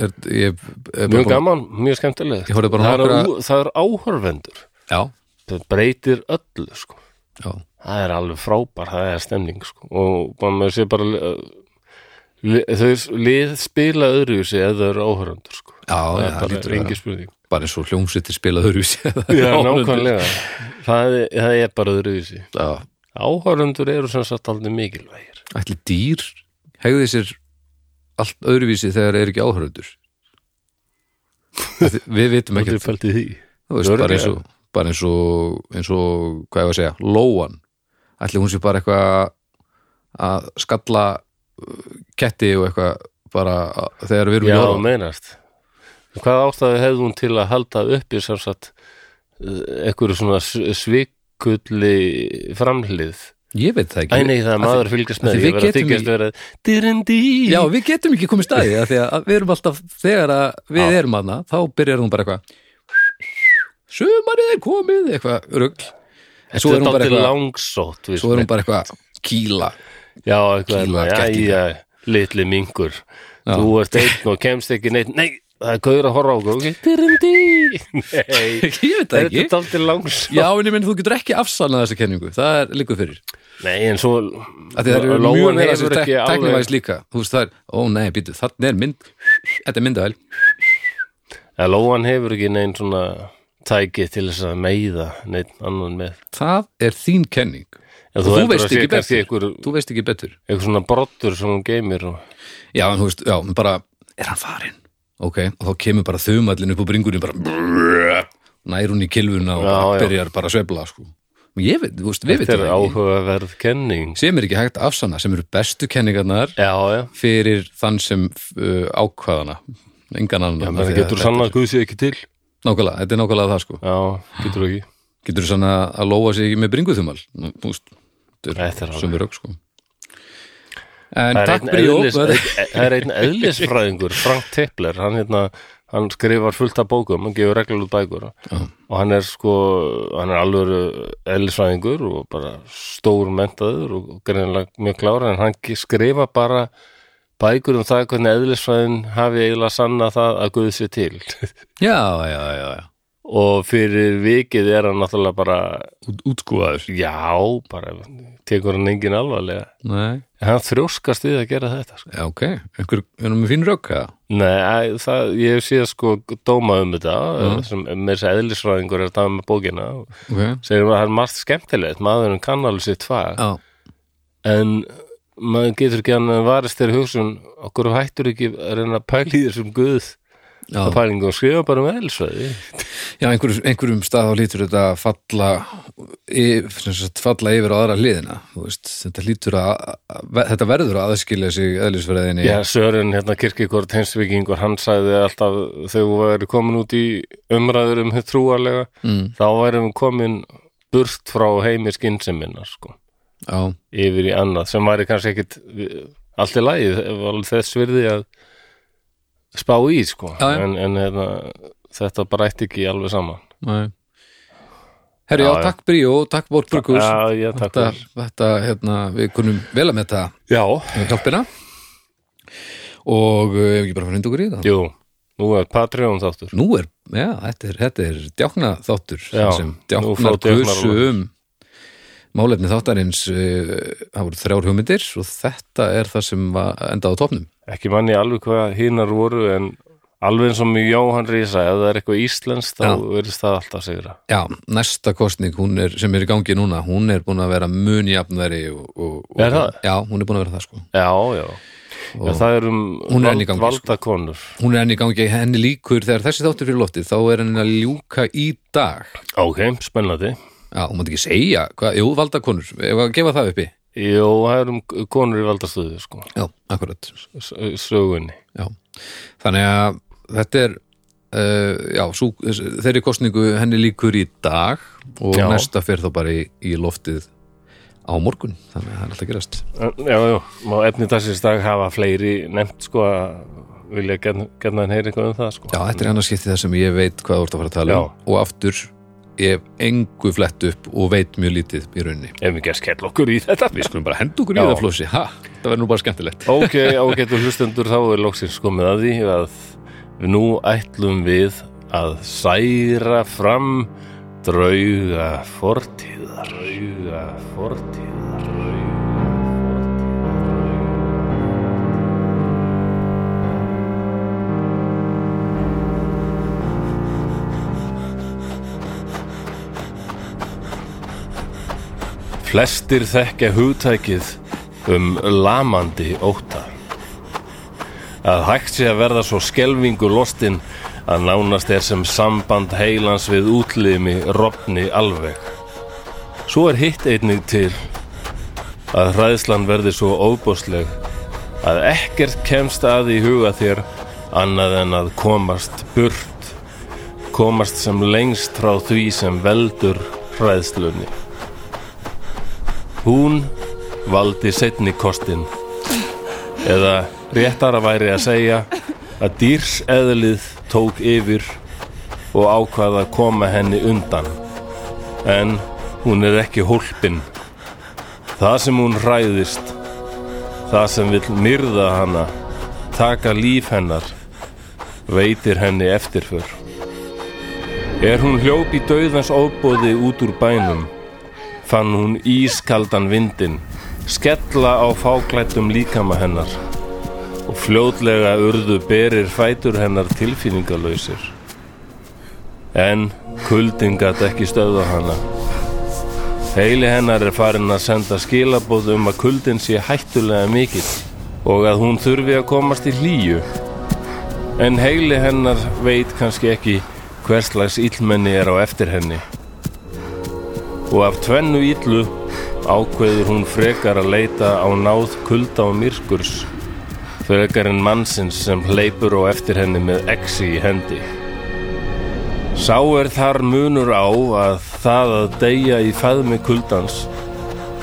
Speaker 2: Er, ég, er
Speaker 1: Mjög gaman, mjög skemmtilegt.
Speaker 2: Ég horfði bara á
Speaker 1: það,
Speaker 2: nokkra-
Speaker 1: er, á- það er áhörvendur.
Speaker 2: já,
Speaker 1: Það breytir öllu, sko.
Speaker 2: já,
Speaker 1: það er alveg frábær, það er stemning sko. og bara maður sé bara uh, li- þau lið spila öðruvísi ef þau eru áhörundur sko.
Speaker 2: já,
Speaker 1: það
Speaker 2: já
Speaker 1: er
Speaker 2: það lítur
Speaker 1: bara
Speaker 2: að
Speaker 1: engi
Speaker 2: vera. *laughs*
Speaker 1: spurning
Speaker 2: bara eins og hljómsveitir spila öðruvísi *laughs*
Speaker 1: Já, nákvæmlega það, er- það er bara öðruvísi
Speaker 2: já,
Speaker 1: áhörundur eru sem sagt aldrei mikilvægir
Speaker 2: ætli dýr hegði sér allt öðruvísi þegar er ekki áhörður við vitum
Speaker 1: Þú
Speaker 2: ekki
Speaker 1: er pælt í því
Speaker 2: þú veist, bara eins og bara eins og, eins og hvað ég var að segja, lóan ætli hún sé bara eitthvað að skalla uh, ketti og eitthvað bara að, þegar við erum
Speaker 1: Já,
Speaker 2: í orðan
Speaker 1: meinast Hvað ástæðu hefði hún til að halda uppi sem sagt uh, einhverju svona s- svikulli framhlið
Speaker 2: ég veit
Speaker 1: Æ,
Speaker 2: það ekki
Speaker 1: nei, það er
Speaker 2: Af því-
Speaker 1: maður að fylgjast
Speaker 2: af
Speaker 1: með
Speaker 2: því
Speaker 1: því, ég verð
Speaker 2: við
Speaker 1: að
Speaker 2: getum
Speaker 1: þykjast vera dyrindi
Speaker 2: Já, við getum ekki komið staði af því að við erum alltaf, þegar að við
Speaker 1: Já.
Speaker 2: erum aðna, þá byrjar hún bara eitthvað sumarið er komið eitthvað rugl en svo er hún
Speaker 1: Þetta
Speaker 2: bara
Speaker 1: er
Speaker 2: eitthvað
Speaker 1: langsótt við
Speaker 2: svo er
Speaker 1: sem-
Speaker 2: hún bara eitthvað kýla
Speaker 1: Já, eitthvað
Speaker 2: Kíla
Speaker 1: hérna,
Speaker 2: kettinga.
Speaker 1: jæja, litli mingur Þú ert einn og kemst ekki neitt Nei, það er gauður að horfa á okkur
Speaker 2: *laughs*
Speaker 1: okay? Dyrindi Nei,
Speaker 2: ég veit það
Speaker 1: þetta
Speaker 2: ekki
Speaker 1: er daldið langsótt
Speaker 2: Já, en ég minn þú getur ekki afsalnað þessa kenningu það er líka fyrir
Speaker 1: Nei, en svo
Speaker 2: að því það eru
Speaker 1: Lóan
Speaker 2: mjög meira
Speaker 1: hefur
Speaker 2: sér
Speaker 1: ekki alveg-
Speaker 2: teknivæðis líka þú veist það er, ó nei, býtu, þannig er mynd þetta er myndavæl
Speaker 1: Ja, Lóan hefur ekki neinn svona tæki til þess að meiða neitt annan með
Speaker 2: það er þín kenning
Speaker 1: En
Speaker 2: Og þú
Speaker 1: heldur
Speaker 2: veist
Speaker 1: að sé
Speaker 2: ekki
Speaker 1: kannski
Speaker 2: betur.
Speaker 1: einhver,
Speaker 2: þú veist ekki betur
Speaker 1: einhver svona brottur sem hún geymir og...
Speaker 2: já, en þú veist, já, en bara, er hann farinn? ok, og þá kemur bara þumallin upp á bringunni bara brrrr, nær hún í kilvuna og
Speaker 1: Já,
Speaker 2: bara
Speaker 1: já.
Speaker 2: byrjar bara að svefla sko. Men ég veit, þú veist, við
Speaker 1: Þetta er
Speaker 2: veitum það ekki
Speaker 1: áhugaverð kenning
Speaker 2: sem er ekki hægt að afsanna, sem eru bestu kenningarnar
Speaker 1: Já, já,
Speaker 2: fyrir þann sem uh, ákvaðana engan annan
Speaker 1: já
Speaker 2: Af
Speaker 1: menn
Speaker 2: því að
Speaker 1: getur
Speaker 2: þetta-
Speaker 1: sann að guð sé ekki til
Speaker 2: nákvæmlega, þetta er nákvæmlega það sko
Speaker 1: Já, getur ekki
Speaker 2: getur þú sann að að lóa sig ekki með bringuþumal Nú, þú veist,
Speaker 1: Þetta er alveg-
Speaker 2: sem við rögg sko en
Speaker 1: Það er
Speaker 2: takk
Speaker 1: einn
Speaker 2: fyrir
Speaker 1: eðlis-
Speaker 2: jók
Speaker 1: einn- e- það er einn eðlisfræðingur Frank Tipler, hann, hérna, hann skrifar fullt af bókum, hann gefur reglulut bækur og hann er sko hann er alveg eðlisfræðingur og bara stór mentaður og greinilega mjög klára en hann ge- skrifa bara bækur um það hvernig eðlisfræðin hafi eiginlega sanna það að guð sér til *laughs*
Speaker 2: já, já, já, já.
Speaker 1: og fyrir vikið er hann náttúrulega bara
Speaker 2: Út, útskúfaður
Speaker 1: já, bara tekur hann engin alvarlega
Speaker 2: Nei.
Speaker 1: en hann þrjóskast við að gera þetta sko.
Speaker 2: já, ok, einhver, erum við fín rögg eða?
Speaker 1: Nei, æ, það, ég hef síðan sko dóma um þetta, mm. sem með þess að eðlisfræðingur er að dæma með bókina og
Speaker 2: ok,
Speaker 1: segir maður að það er margt skemmtilegt, maðurinn kann alveg sitt fag,
Speaker 2: já,
Speaker 1: en maður getur ekki hann að varist þeirri hugsun okkur hættur ekki að reyna að pæla í þessum guð
Speaker 2: já.
Speaker 1: að pælingu og skrifa bara um eðlisfræði
Speaker 2: já einhverjum, einhverjum stað á lítur þetta að falla yfir, sem sagt, falla yfir á aðra hliðina þú veist, þetta lítur að, að þetta verður að aðskilja sig eðlisfræðinni
Speaker 1: Já, Sören, hérna kirkikort heimsvíkingur, hann sagði alltaf þegar við væri komin út í umræður um hið trúarlega,
Speaker 2: mm,
Speaker 1: þá værum við komin burt frá heimi skynseminar, sko.
Speaker 2: já,
Speaker 1: yfir í annað sem væri kannski ekkit við- allt í lagi ef alveg þess virði að spá í sko
Speaker 2: Já, já.
Speaker 1: en, en hérna, þetta bara ætti ekki alveg saman
Speaker 2: nei Herri,
Speaker 1: Já,
Speaker 2: já,
Speaker 1: já.
Speaker 2: takk Bríó, takk Bórt Brukus
Speaker 1: Já, já, takk
Speaker 2: þetta,
Speaker 1: fyrir.
Speaker 2: þetta, hérna, við kunum vel að metta
Speaker 1: Já,
Speaker 2: hjálpina og eh, ef ekki bara fyrir undir okkur í það
Speaker 1: jú, nú er Patreon þáttur
Speaker 2: nú er, já, þetta er, þetta er djákna þáttur
Speaker 1: Já,
Speaker 2: sem
Speaker 1: nú fá
Speaker 2: djáknar
Speaker 1: djáknar
Speaker 2: guðsu
Speaker 1: alveg.
Speaker 2: um málefni þáttarins eh, það voru þrjár hugmyndir og þetta er það sem var endað á topnum
Speaker 1: ekki manni alveg hvað hinar voru en alveg eins og mjög Jóhann Rísa ef það er eitthvað íslenskt þá
Speaker 2: Já.
Speaker 1: verðist það alltaf sigra
Speaker 2: já, næsta kostning hún er, sem er í gangi núna, hún er búin að vera munjafnari og, og, og
Speaker 1: Er það?
Speaker 2: já, hún er búin að vera það sko
Speaker 1: Já, já, Já, það er um
Speaker 2: Hún er enn í
Speaker 1: vald,
Speaker 2: gangi, sko.
Speaker 1: valdakonur
Speaker 2: hún er enn í gangi henni líkur þegar þessi þáttur fyrir loftið þá er henni að ljúka í dag
Speaker 1: Ok, spennandi
Speaker 2: já, hún mátt ekki segja, hvað, jú, valdakonur ef að gefa það uppi
Speaker 1: Jó, það er um konur í valdastöðu sko,
Speaker 2: já, akkurat,
Speaker 1: s- sögunni
Speaker 2: já þannig að þetta er uh, já, sú, þeirri kostningu henni líkur í dag og
Speaker 1: Já.
Speaker 2: næsta fer þá bara í, í loftið á morgun, þannig að það er alltaf að gerast
Speaker 1: En, Já, já, má efni dagsins dag hafa fleiri nefnt sko að vilja gerna henn heyri eitthvað um það sko
Speaker 2: já, þetta er annars skiptið það sem ég veit hvað þú ert að fara að tala um og aftur, ég hef engu flett upp og veit mjög lítið í rauninni
Speaker 1: Ef við gerst skell okkur í þetta
Speaker 2: við skulum bara henda okkur í
Speaker 1: Já.
Speaker 2: það flósi, ha, það verður nú bara skemmtilegt
Speaker 1: Ok, ágættu hlustendur, þá er loksins komið að því að nú ætlum við að særa fram drauga fortíðar drauga fortíðar drauga fortíðar Flestir þekkja hugtækið um lamandi óta. Að hægt sé að verða svo skelvingu lostinn að nánast er sem samband heilans við útlimi rofni alveg. Svo er hitt einnig til að hræðslan verði svo óbúsleg að ekkert kemst að í huga þér annað en að komast burt, komast sem lengst frá því sem veldur hræðslunni. Hún valdi setni kostin eða réttara væri að segja að dýrs eðlið tók yfir og ákvað að koma henni undan en hún er ekki hólpin það sem hún hræðist það sem vill myrða hana taka líf hennar veitir henni eftirför er hún hljóp í dauðans óbóði út úr bænum fann hún ískaldan vindin skella á fáklættum líkama hennar og fljótlega urðu berir fætur hennar tilfinningalausir. En kuldin gat ekki stöða hana. Heili hennar er farin að senda skilabóð um að kuldin sé hættulega mikill og að hún þurfi að komast í hlýju. En heili hennar veit kannski ekki hvers slags illmenni er á eftir henni og af tvennu íllu ákveður hún frekar að leita á náð kulda og myrkurs frekar en mannsins sem hleypur og eftir henni með exi í hendi. Sá er þar munur á að það að deyja í faðmi kuldans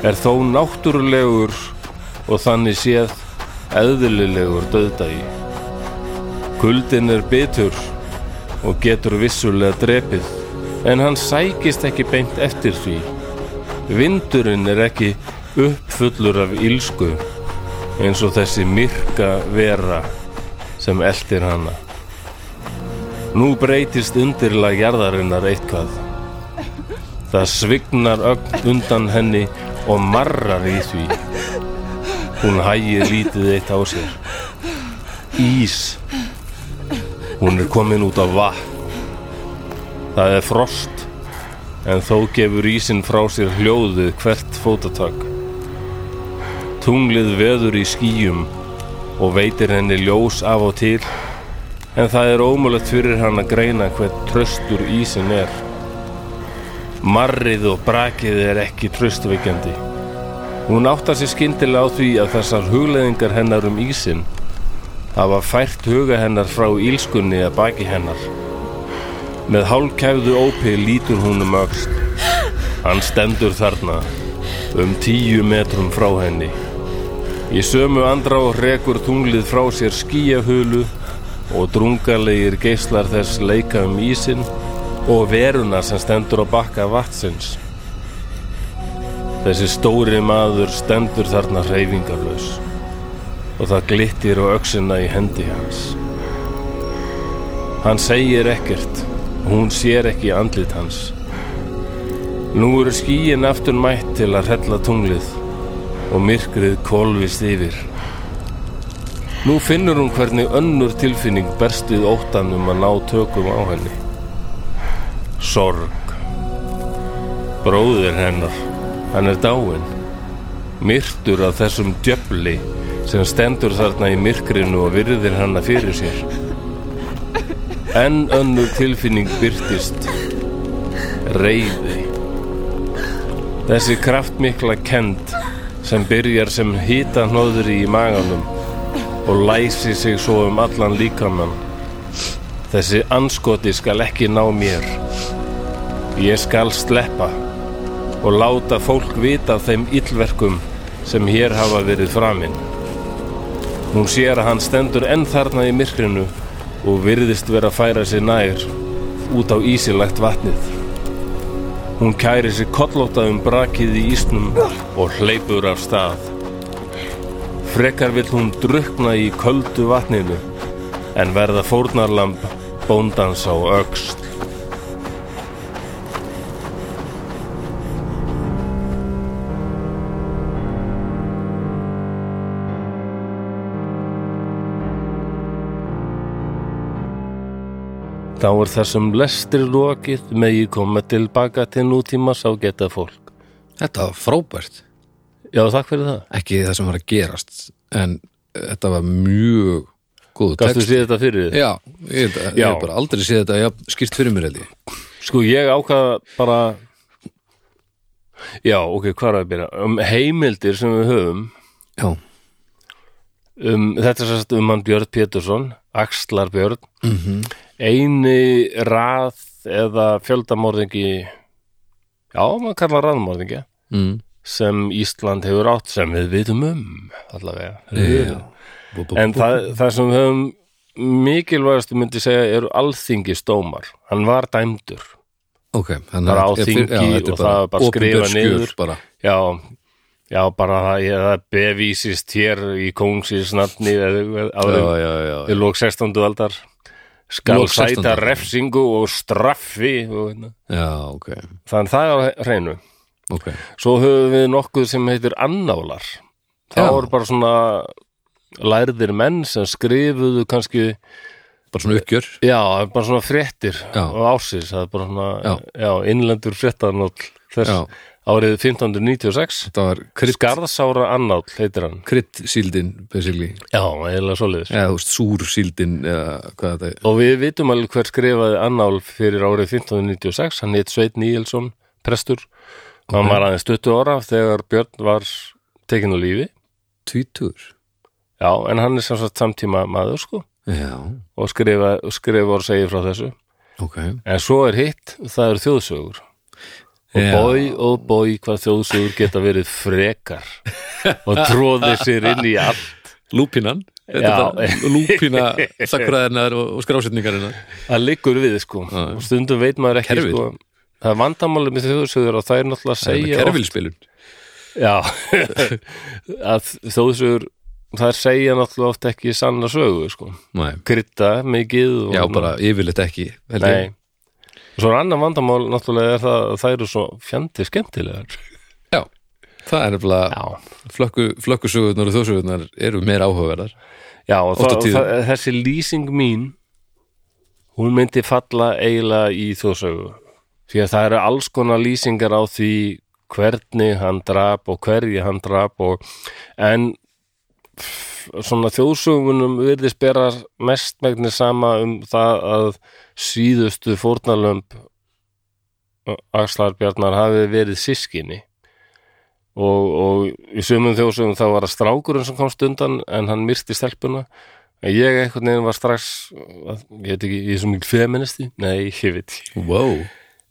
Speaker 1: er þó náttúrulegur og þannig séð eðlilegur döðdagi. Kuldin er bitur og getur vissulega drepið en hann sækist ekki beint eftir því. Vindurinn er ekki uppfullur af ílsku eins og þessi myrka vera sem eldir hana. Nú breytist undirlag jarðarinnar eitthvað. Það svignar ögn undan henni og marrar í því. Hún hægir lítið eitt á sér. Ís. Hún er komin út á vatn. Það er frost, en þó gefur ísinn frá sér hljóðu hvert fótatak. Tunglið veður í skýjum og veitir henni ljós af og til, en það er ómulegt fyrir hann að greina hvert tröstur ísinn er. Marrið og brakið er ekki tröstveikjandi. Hún áttar sér skyndilega á því að þessar hugleðingar hennar um ísinn hafa fært huga hennar frá ílskunni að baki hennar. Með hálkæfðu ópi lítur hún um öxt. Hann stendur þarna, um tíu metrum frá henni. Í sömu andrá rekur tunglið frá sér skíjahulu og drungalegir geislar þess leika um ísin og veruna sem stendur á bakka vatsins. Þessi stóri maður stendur þarna reyfingarlaus og það glittir á öxina í hendi hans. Hann segir ekkert og hún sér ekki andlit hans. Nú eru skíin aftur mætt til að hrella tunglið og myrkrið kólvist yfir. Nú finnur hún hvernig önnur tilfinning berst við óttan um að ná tökum á henni. Sorg. Bróðir hennar. Hann er dáinn. Myrtur af þessum djöfli sem stendur þarna í myrkrinu og virðir hana fyrir sér. Enn önnur tilfinning byrtist. Reyði. Þessi kraftmikla kend sem byrjar sem hýta í maganum og læsi sig svo um allan líkamann. Þessi anskoti skal ekki ná mér. Ég skal sleppa og láta fólk vita af þeim illverkum sem hér hafa verið framinn. Hún sér að hann stendur enn þarna í myrkrinu og virðist vera að færa sér nær út á ísilegt vatnið. Hún kæri sér kollóta um brakið í ísnum og hleypur af stað. Frekar vill hún drukna í köldu vatninu en verða fórnarlamb bóndans á öxt. Þá er þessum lestir lokið megi koma tilbaka til nútímas á geta fólk.
Speaker 2: Þetta var frábært
Speaker 1: Já, takk fyrir það.
Speaker 2: ekki það sem var að gerast en eh, þetta var mjög góðu
Speaker 1: Gastu
Speaker 2: text
Speaker 1: séð þetta fyrir þér?
Speaker 2: Já, ég, held að- ég
Speaker 1: Já.
Speaker 2: hef bara aldrei séð þetta ja, skýrt fyrir mér held ég
Speaker 1: Sko, ég ákvaða bara... Já, ok, hvað er að byrja? Um heimildir sem við höfum,
Speaker 2: Já,
Speaker 1: um, þetta er sérst um hann Björn Pétursson, Axlar Björn, mm
Speaker 2: Mhm.
Speaker 1: eini rað eða fjöldamorðingi, já, maður kallar raðmorðingi,
Speaker 2: mm.
Speaker 1: sem Ísland hefur átt sem við vitum um, allavega.
Speaker 2: Já. Bú, bú,
Speaker 1: En
Speaker 2: bú.
Speaker 1: það, það sem við höfum mikilvægastu myndi segja eru alþingisdómar. Hann var dæmdur.
Speaker 2: ok, þannig
Speaker 1: bara á
Speaker 2: að- ég-
Speaker 1: þingi
Speaker 2: já, þetta er
Speaker 1: og það er bara
Speaker 2: opinber
Speaker 1: skrifað
Speaker 2: skjöl
Speaker 1: niður.
Speaker 2: bara.
Speaker 1: Já, já bara það, ég, það bevísist hér í kóngsins nafni eða-
Speaker 2: Já,
Speaker 1: árið
Speaker 2: já, já,
Speaker 1: í lók 16. aldar skal
Speaker 2: Lok 16.
Speaker 1: sæta refsingu og straffi og, hérna.
Speaker 2: já, ok,
Speaker 1: þannig það er á hreinu
Speaker 2: ok
Speaker 1: svo höfum við nokkuð sem heitir annálar það
Speaker 2: Já.
Speaker 1: voru bara svona lærðir menn sem skrifuðu kannski
Speaker 2: bara svona uppgjör
Speaker 1: Já, það er bara svona fréttir
Speaker 2: Já.
Speaker 1: og ásins, það er bara svona
Speaker 2: Já.
Speaker 1: já. innlendur fréttanóll þess
Speaker 2: Já.
Speaker 1: árið 1596
Speaker 2: þetta var krydd,
Speaker 1: Skarðsára annáll heitir hann
Speaker 2: krydd síldin basically,
Speaker 1: Já, eiginlega svoleiðis
Speaker 2: eða þú veist, súr síldin eða hvað þetta er
Speaker 1: Og við vitum alveg hver skrifaði annál fyrir árið 1596 hann heit Sveit Níelsson, prestur hann var aðeins 20 ára þegar Björn var tekinn á lífi
Speaker 2: tvítur,
Speaker 1: Já, en hann er sem sagt samtíma maður sko
Speaker 2: já,
Speaker 1: og skrifa, skrifa og segja frá þessu
Speaker 2: ok
Speaker 1: En svo er hitt, það eru þjóðsögur Og
Speaker 2: Já.
Speaker 1: bói og bói hvað þjóðsögur geta verið frekar og tróði sér inn í allt
Speaker 2: lúpinan, þetta
Speaker 1: Já.
Speaker 2: er bara lúpina sakkuræðinar og, og *laughs* skrásetningarinnar
Speaker 1: Það liggur við sko og stundum veit maður ekki
Speaker 2: Kerfið.
Speaker 1: sko Það er vandamáli með þjóðsögur og það er náttúrulega að segja oft-
Speaker 2: kerfilspilun
Speaker 1: Já, *laughs* að þjóðsögur það segja náttúrulega oft ekki sanna sögu sko
Speaker 2: Nei.
Speaker 1: Krydda mikið og
Speaker 2: já, bara yfirleitt ekki held ég.
Speaker 1: Nei Svo er annar vandamál náttúrulega er það að það eru svo fjandi skemmtilegar
Speaker 2: já, það er nefnilega
Speaker 1: Já
Speaker 2: flökku, flökkusögurnar og þjóðsögurnar eru meira áhugaverðar
Speaker 1: Já, og
Speaker 2: Oft
Speaker 1: það,
Speaker 2: og tíðum.
Speaker 1: það, þessi lýsing mín hún myndi falla eiginlega í þjóðsögu því að það eru alls konar lýsingar á því hvernig hann drap og hverji hann drap og, en f- svona þjóðsögunum virðist bera mestmægni sama um það að síðustu fórnarlömb Axlar Bjarnar hafi verið sískinni og, og í sumum þjóðsögum þá var það strákurinn sem komst undan en hann myrti stelpuna en ég einhvern veginn var strax ég veit ekki, ég er svo mjög feministi nei, ég veit ekki
Speaker 2: wow,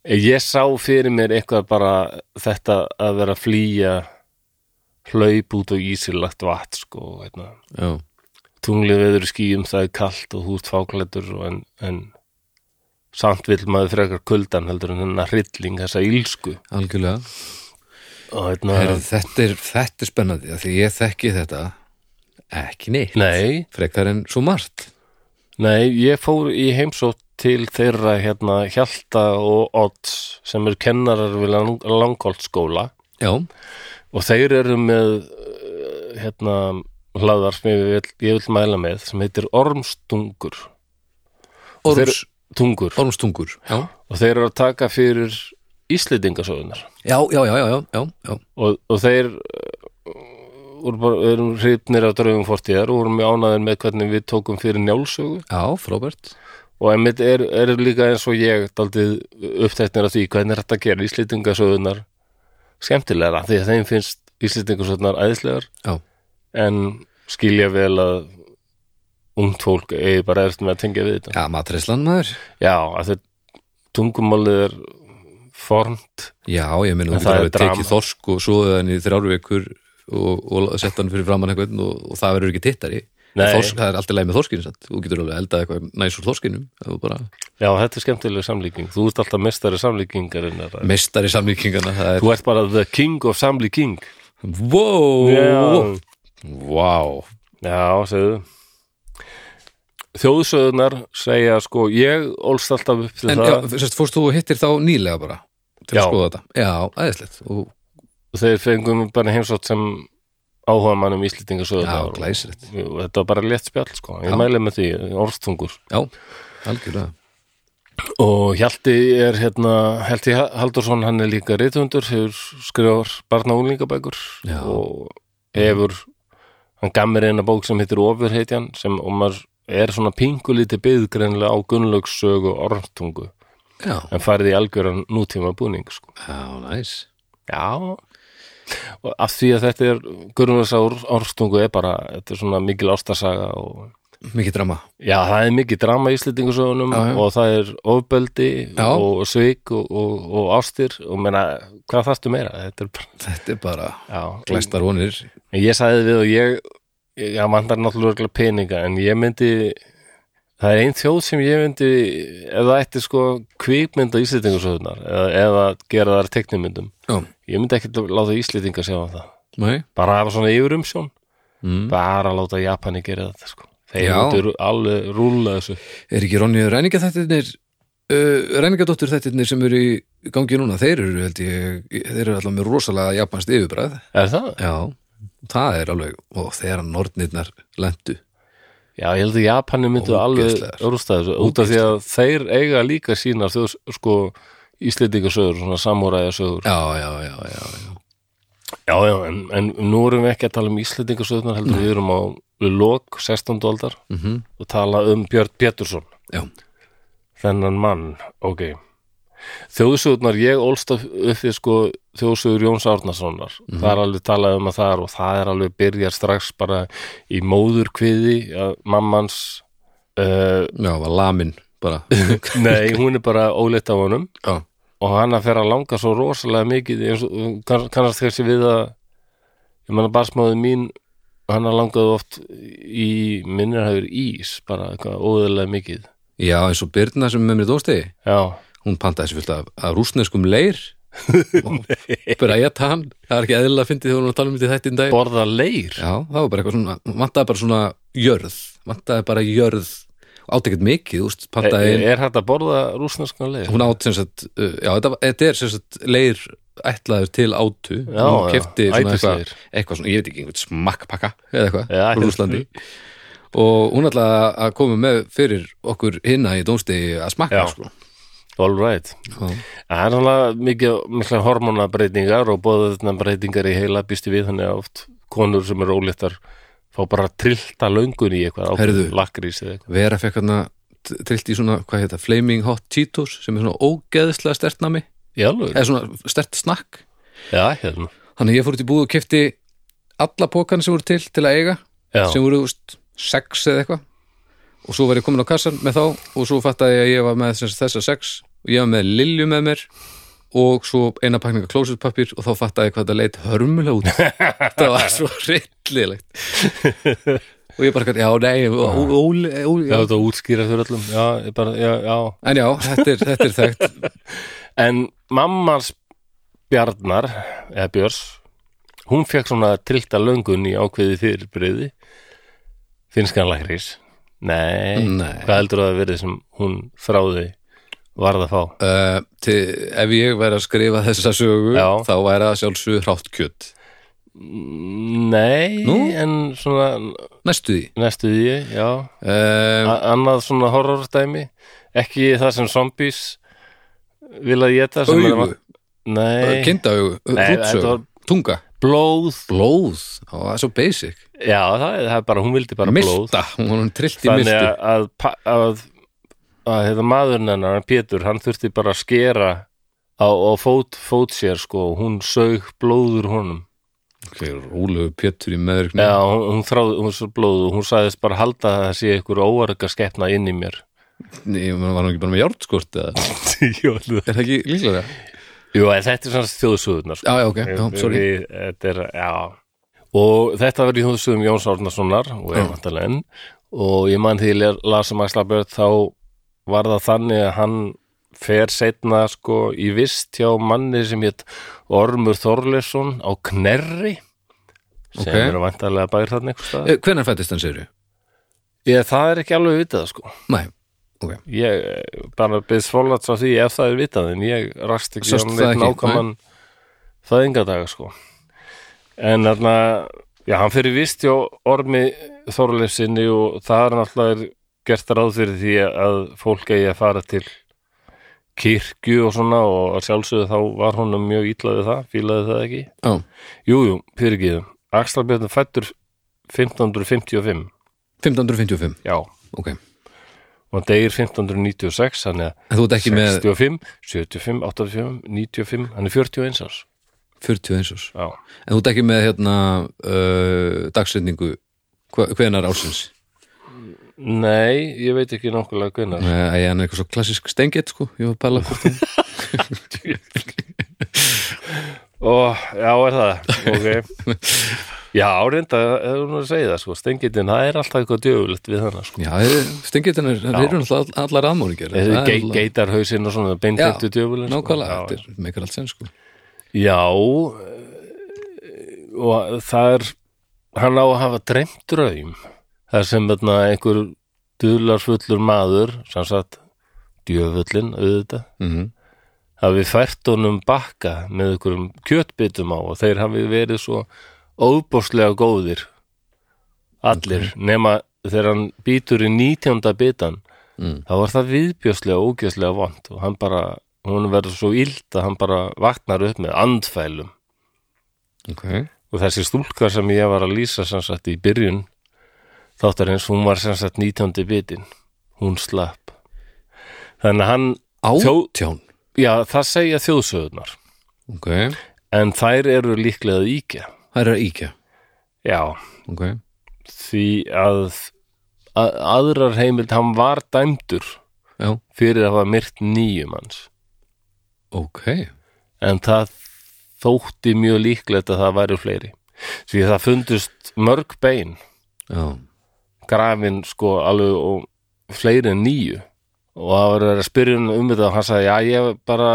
Speaker 1: En ég sá fyrir mér eitthvað bara þetta að vera að flýja hlaup út og ísilagt vatn sko, veitna
Speaker 2: já,
Speaker 1: tunglið veður í skýjum, það er kalt og húrt fáklættur og en, en samt vill maður frekar kuldan heldur en þennan hrylling þessa ílsku
Speaker 2: algjörlega
Speaker 1: og hérna- veitna,
Speaker 2: Heru, þetta, er, þetta er spennandi af því ég þekki þetta ekki neitt
Speaker 1: nei
Speaker 2: frekar en svo margt
Speaker 1: Nei, ég fór í heimsótt til þeirra hérna Hjalta og Odds sem eru kennarar við lang langholtskóla
Speaker 2: já,
Speaker 1: og þeir eru með eh, hérna hlaðar sem ég vil, ég vil mæla með sem heitir Ormstungur
Speaker 2: orms,
Speaker 1: tungur
Speaker 2: ormstungur já,
Speaker 1: og þeir eru að taka fyrir Íslendingasögunar
Speaker 2: já, já, já, já, já, já, já.
Speaker 1: og, og þeir eh, vorum bara, við erum hrifnir af draugum fortíðar og vorum ánaðir með hvernig við tókum fyrir njálsögu
Speaker 2: Já, frábært
Speaker 1: og einmitt er, er líka eins og ég daldið uppteknir af því hvernig er þetta að gera íslýtingasögunar skemmtilega því að þeim finnst íslýtingasögunar æðislegar
Speaker 2: Já.
Speaker 1: en skilja vel að ungt fólk eigi bara eftir með að tengja við þetta
Speaker 2: Já, matreislan maður
Speaker 1: Já, að þetta tungumálið er formt
Speaker 2: Já, ég meina
Speaker 1: En
Speaker 2: þú
Speaker 1: það er
Speaker 2: getur alveg
Speaker 1: drama.
Speaker 2: tekið þorsk og svoðið hann í þrjár vikur og, og sett hann fyrir framann einhvern og, og það verður ekki tittari En
Speaker 1: Nei.
Speaker 2: þorsk, það er alltaf leið með þorskinu samt. þú getur alveg eldað eitthvað næs úr þorskinum ef þú bara
Speaker 1: Já, þetta er skemmtileg samlíking Þú ert alltaf mestari samlíkingarinnar
Speaker 2: meistari samlíkingana það er,
Speaker 1: Þú ert bara the king of samlíking
Speaker 2: wow
Speaker 1: Já,
Speaker 2: wow,
Speaker 1: já segðu Þjóðsöðunar segja sko, ég ólst alltaf upp til
Speaker 2: en já,
Speaker 1: það
Speaker 2: sérst, fórst þú og hittir þá nýlega bara til
Speaker 1: Já.
Speaker 2: að skoða þetta já, aðeinslegt, og
Speaker 1: og þeir fengum bara heimsótt sem áhuga mannum
Speaker 2: já,
Speaker 1: íslendingasöðunar og
Speaker 2: glæsilegt
Speaker 1: þetta var bara létt spjall sko, ég
Speaker 2: Já.
Speaker 1: mæli með því, orðstungur
Speaker 2: já, algjörlega
Speaker 1: Og Hjalti er hérna, Hjalti Haldursson hann er líka rithundur, hefur skrifar barna og unglingabækur
Speaker 2: Já.
Speaker 1: og hefur, hann gaf mér eina bók sem heitir Ofurheitjan sem og maður er svona pingulítið bygggreinlega á Gunnlaugsögu og orftungu
Speaker 2: já,
Speaker 1: en farið í algjöran nútíma búning sko.
Speaker 2: já, næs
Speaker 1: Já og af því að þetta er Gunnlaugsa orftungu er bara, þetta er svona mikil ástarsaga og
Speaker 2: mikið drama
Speaker 1: Já, það er mikið drama í Íslendingasögunum
Speaker 2: Já, já.
Speaker 1: og það er ofbeldi
Speaker 2: Já.
Speaker 1: og svik og, og, og ástir og meina, hvað þarftu meira? Þetta er bara,
Speaker 2: þetta er bara
Speaker 1: já,
Speaker 2: glæstar vonir
Speaker 1: en ég sagði við og ég, já, mandar náttúrulega peninga en ég myndi, það er ein þjóð sem ég myndi, eða ætti sko kvikmynda Íslendingasögunar eða, eða gera þar teknimyndum.
Speaker 2: já,
Speaker 1: Ég myndi ekki láta Íslendinga sjá um það.
Speaker 2: nei
Speaker 1: Bara hafa svona yfirumsjón,
Speaker 2: mm.
Speaker 1: bara láta Japani gera þetta sko. Þeir
Speaker 2: Já.
Speaker 1: myndu ru- alveg rúla þessu.
Speaker 2: er ekki Ronja ræningaþættirnir uh, ræningadóttur þættirnir sem eru í gangi núna, þeir eru held ég þeir eru alltaf með rosalega japanst yfirbræð
Speaker 1: Er það?
Speaker 2: já, það er alveg og þegar nornirnar lendu
Speaker 1: Já, ég held að Japani myndu alveg
Speaker 2: Ógeðslegar.
Speaker 1: rústa þessu út af því að þeir eiga líka sínar þau sko íslendingasögur, svona samúræðasögur.
Speaker 2: já, já, já, já, já.
Speaker 1: Já, já, en, en nú erum við ekki að tala um íslendingasögurnar heldur við erum á lok 16. aldar
Speaker 2: Mm
Speaker 1: og tala um Björn Pétursson,
Speaker 2: já.
Speaker 1: þennan mann, ok. Þjóðsögurnar, ég ólst upp við sko þjóðsögur Jóns Árnasonar. Það er alveg talað um að það er og það er alveg byrjar strax bara í móðurkviði að mammans uh,
Speaker 2: já, var lamin bara
Speaker 1: Nei, hún er bara óleitt á honum
Speaker 2: *laughs* já,
Speaker 1: og hann að fer að langa svo rosalega mikið eins og kann- kannast kannski við að ég menna barsmáði mín hann að langaði oft í minnir hafur ís, bara eitthvað óðurlega mikið
Speaker 2: já, eins og Birna sem er með mér dóstegi
Speaker 1: Já,
Speaker 2: hún pantaði sér fullt af, af rúsneskum
Speaker 1: *laughs*
Speaker 2: leir og bara ég tann það er ekki eðlilega að fyndi þegar hún var að tala um þetta í þættin dag
Speaker 1: borða leir
Speaker 2: Já, það var bara eitthvað svona, vantaði bara svona jörð, vantaði bara jörð átt ekkert mikið, þú veist,
Speaker 1: er,
Speaker 2: pantaði ein,
Speaker 1: er hægt að borða rúsneskan leir?
Speaker 2: hún átt sem sagt, uh, já, þetta, var- þetta er sem sagt leir ætlaður til átu
Speaker 1: Já,
Speaker 2: hún
Speaker 1: já,
Speaker 2: kefti svona
Speaker 1: ætisleir.
Speaker 2: eitthvað, eitthvað svona, ég veit ekki, einhvern smakkpakka eða eitthvað,
Speaker 1: Já,
Speaker 2: frá Rúslandi og hún ætlaði að koma með fyrir okkur hinna í dómstegi að smakka,
Speaker 1: Já.
Speaker 2: sko
Speaker 1: All right
Speaker 2: Já,
Speaker 1: Það er alveg mikið, mikla hormonabreitingar og bóðaðnabreitingar í heila býstu við þannig að oft konur sem eru óleittar fá bara trillta löngun í eitthvað
Speaker 2: Heyrðu.
Speaker 1: lakrís eða eitthvað
Speaker 2: Vera fekk hann að trillt í svona, hvað heita, Flaming Hot Cheetos sem er svona ógeðslega stert nami
Speaker 1: Í alveg?
Speaker 2: eða svona stert snakk
Speaker 1: Já, hérna.
Speaker 2: Þannig að ég fór út í búð og kefti alla pókan sem voru til til að eiga
Speaker 1: Já,
Speaker 2: sem voru úst, sex eða eitthvað og svo var ég komin á kassan með þá og svo fattaði ég að ég var með þess, þessa sex og ég var með lilju með mér og svo eina pakninga klósetpapir og þá fattaði ég hvað þetta leit hörmulega út þetta var svo rillilegt og ég bara, gat, já, nei ó, ó, ó, ó,
Speaker 1: já
Speaker 2: já.
Speaker 1: þetta útskýra fyrir öllum. Já, ég bara, já, já.
Speaker 2: en já, þetta er, þetta er þekkt *laughs*
Speaker 1: En mammans Bjarnar, eða Björs, hún fekk svona trillta löngun í ákveði fyrirbriði. Finskan lakrís. Nei,
Speaker 2: Nei.
Speaker 1: hvað heldur það að verið sem hún þráði varð að fá?
Speaker 2: uh, til, ef ég væri að skrifa þessa sögu
Speaker 1: Já.
Speaker 2: þá væri það sjálfsög hrátt kjött
Speaker 1: Nei,
Speaker 2: Nú?
Speaker 1: en svona
Speaker 2: næstu því
Speaker 1: næstu því, já.
Speaker 2: Um,
Speaker 1: A annað svona horrordæmi. Ekki það sem zombies vil að geta. sem er-
Speaker 2: augu,
Speaker 1: Nei.
Speaker 2: kindaaugu,
Speaker 1: Nei, þetta
Speaker 2: rútsaugu,
Speaker 1: var-
Speaker 2: tunga
Speaker 1: blóð
Speaker 2: blóð, Ó, það er svo basic
Speaker 1: já, það, það er bara, hún vildi bara blóð
Speaker 2: milta, hún var hún trillt í
Speaker 1: þannig
Speaker 2: miltu
Speaker 1: að, að, pa- að, að hefða maðurinn hennar, Pétur, hann þurfti bara að skera á, á fót, fót sér sko, og hún sög blóður honum
Speaker 2: okay, rúlegu pétur í meðurkni
Speaker 1: Já, hún, hún þráði, hún svo blóð og hún sagðist bara halda að það sé einhver óarga skeppna inn í mér
Speaker 2: ég meina, var hún ekki bara með járnskort eða?
Speaker 1: Jú,
Speaker 2: er það ekki líklega?
Speaker 1: en þetta er svona þjóðsöðunar sko.
Speaker 2: já, já, ok, já, sorry
Speaker 1: Við- Þetta er, já Og þetta verður í þjóðsöðum Jóns Árnasonar og
Speaker 2: Já.
Speaker 1: er vantarlega enn og ég man því ég lasa Maxlabjörn þá var það þannig að hann fer setna sko í vist hjá manni sem hétt Ormur Þorlesson á Knerri sem
Speaker 2: Ok.
Speaker 1: okay. eru vantarlega bæri þarna einhvers staðar.
Speaker 2: Eh, hvenær fættist hann segir
Speaker 1: Ég, það er ekki alveg vitað sko
Speaker 2: Nei, ok
Speaker 1: ég eh, bara byrðs fólats á því ef það er vitað en ég rast ekki
Speaker 2: Sást
Speaker 1: á
Speaker 2: það
Speaker 1: neitt
Speaker 2: ekki,
Speaker 1: nákvæman fæðingadaga sko en þarna já, hann fyrir vist hjá ormi Þorleifsinni og það er náttúrulega gert ráð fyrir því að fólk eigi að fara til kirkju og svona og að sjálfsögðu þá var honum mjög ítlaði það, fílaði það ekki
Speaker 2: Já,
Speaker 1: Jú, jú, fyrirgiðum, Axlarbjörn fættur 1555
Speaker 2: 1555,
Speaker 1: já,
Speaker 2: ok En
Speaker 1: og hann degir 1596 þannig að
Speaker 2: þú ert ekki með
Speaker 1: 65, 75, 85, 95 hann er 41 árs
Speaker 2: 41 árs
Speaker 1: já.
Speaker 2: En þú ert ekki með hérna uh, dagsetningu hva- hvenær ársins
Speaker 1: Nei, ég veit ekki nákvæmlega hvenær
Speaker 2: Nei, Æ, hann er eitthvað svo klassisk stengið sko Ég var að pæla hvort hann
Speaker 1: og já, er það ok
Speaker 2: *laughs*
Speaker 1: Já, reynda, ef hún er að segja það sko, stengitin, það er alltaf eitthvað djöfulegt við hana sko.
Speaker 2: Já, stengið hann er, það eru náttúrulega all- allar aðmóringar
Speaker 1: Þessi ge geitarhausin og svona,
Speaker 2: Já,
Speaker 1: beintindu djöfulegt
Speaker 2: Nákvæmlega,
Speaker 1: sko.
Speaker 2: þetta er meikar allt sen sko
Speaker 1: Já, já eh, og það er hann á að hafa dreymt draum þar sem þarna, einhver dularfullur maður sem sagt, djöfullin auðvitað
Speaker 2: mm
Speaker 1: hafi fært honum bakka með einhverjum kjötbitum á og þeir hafi verið svo óbóðslega góðir allir, nema þegar hann býtur í 19. bitan
Speaker 2: Mm.
Speaker 1: þá var það viðbjörslega og ógjörslega vond og hann bara, hún verður svo illt að hann bara vaknar upp með andfælum
Speaker 2: Ok,
Speaker 1: og þessi stúlka sem ég var að lýsa sem sagt í byrjun þáttarins, hún var sem sagt 19. bitin hún slapp þannig að hann,
Speaker 2: átján
Speaker 1: já það segja þjóðsöðunar
Speaker 2: Ok,
Speaker 1: en þær eru líklega að íkja
Speaker 2: það er að íkja
Speaker 1: já,
Speaker 2: Ok,
Speaker 1: því að að, aðrar heimild, hann var dæmdur
Speaker 2: já,
Speaker 1: fyrir að hafa myrt nýjum hans
Speaker 2: ok
Speaker 1: en það þótti mjög líklegt að það væri fleiri því að það fundust mörg bein
Speaker 2: Já,
Speaker 1: grafin sko alveg og fleiri en nýju og það var að vera að spyrja hann um þetta og hann sagði, já ég bara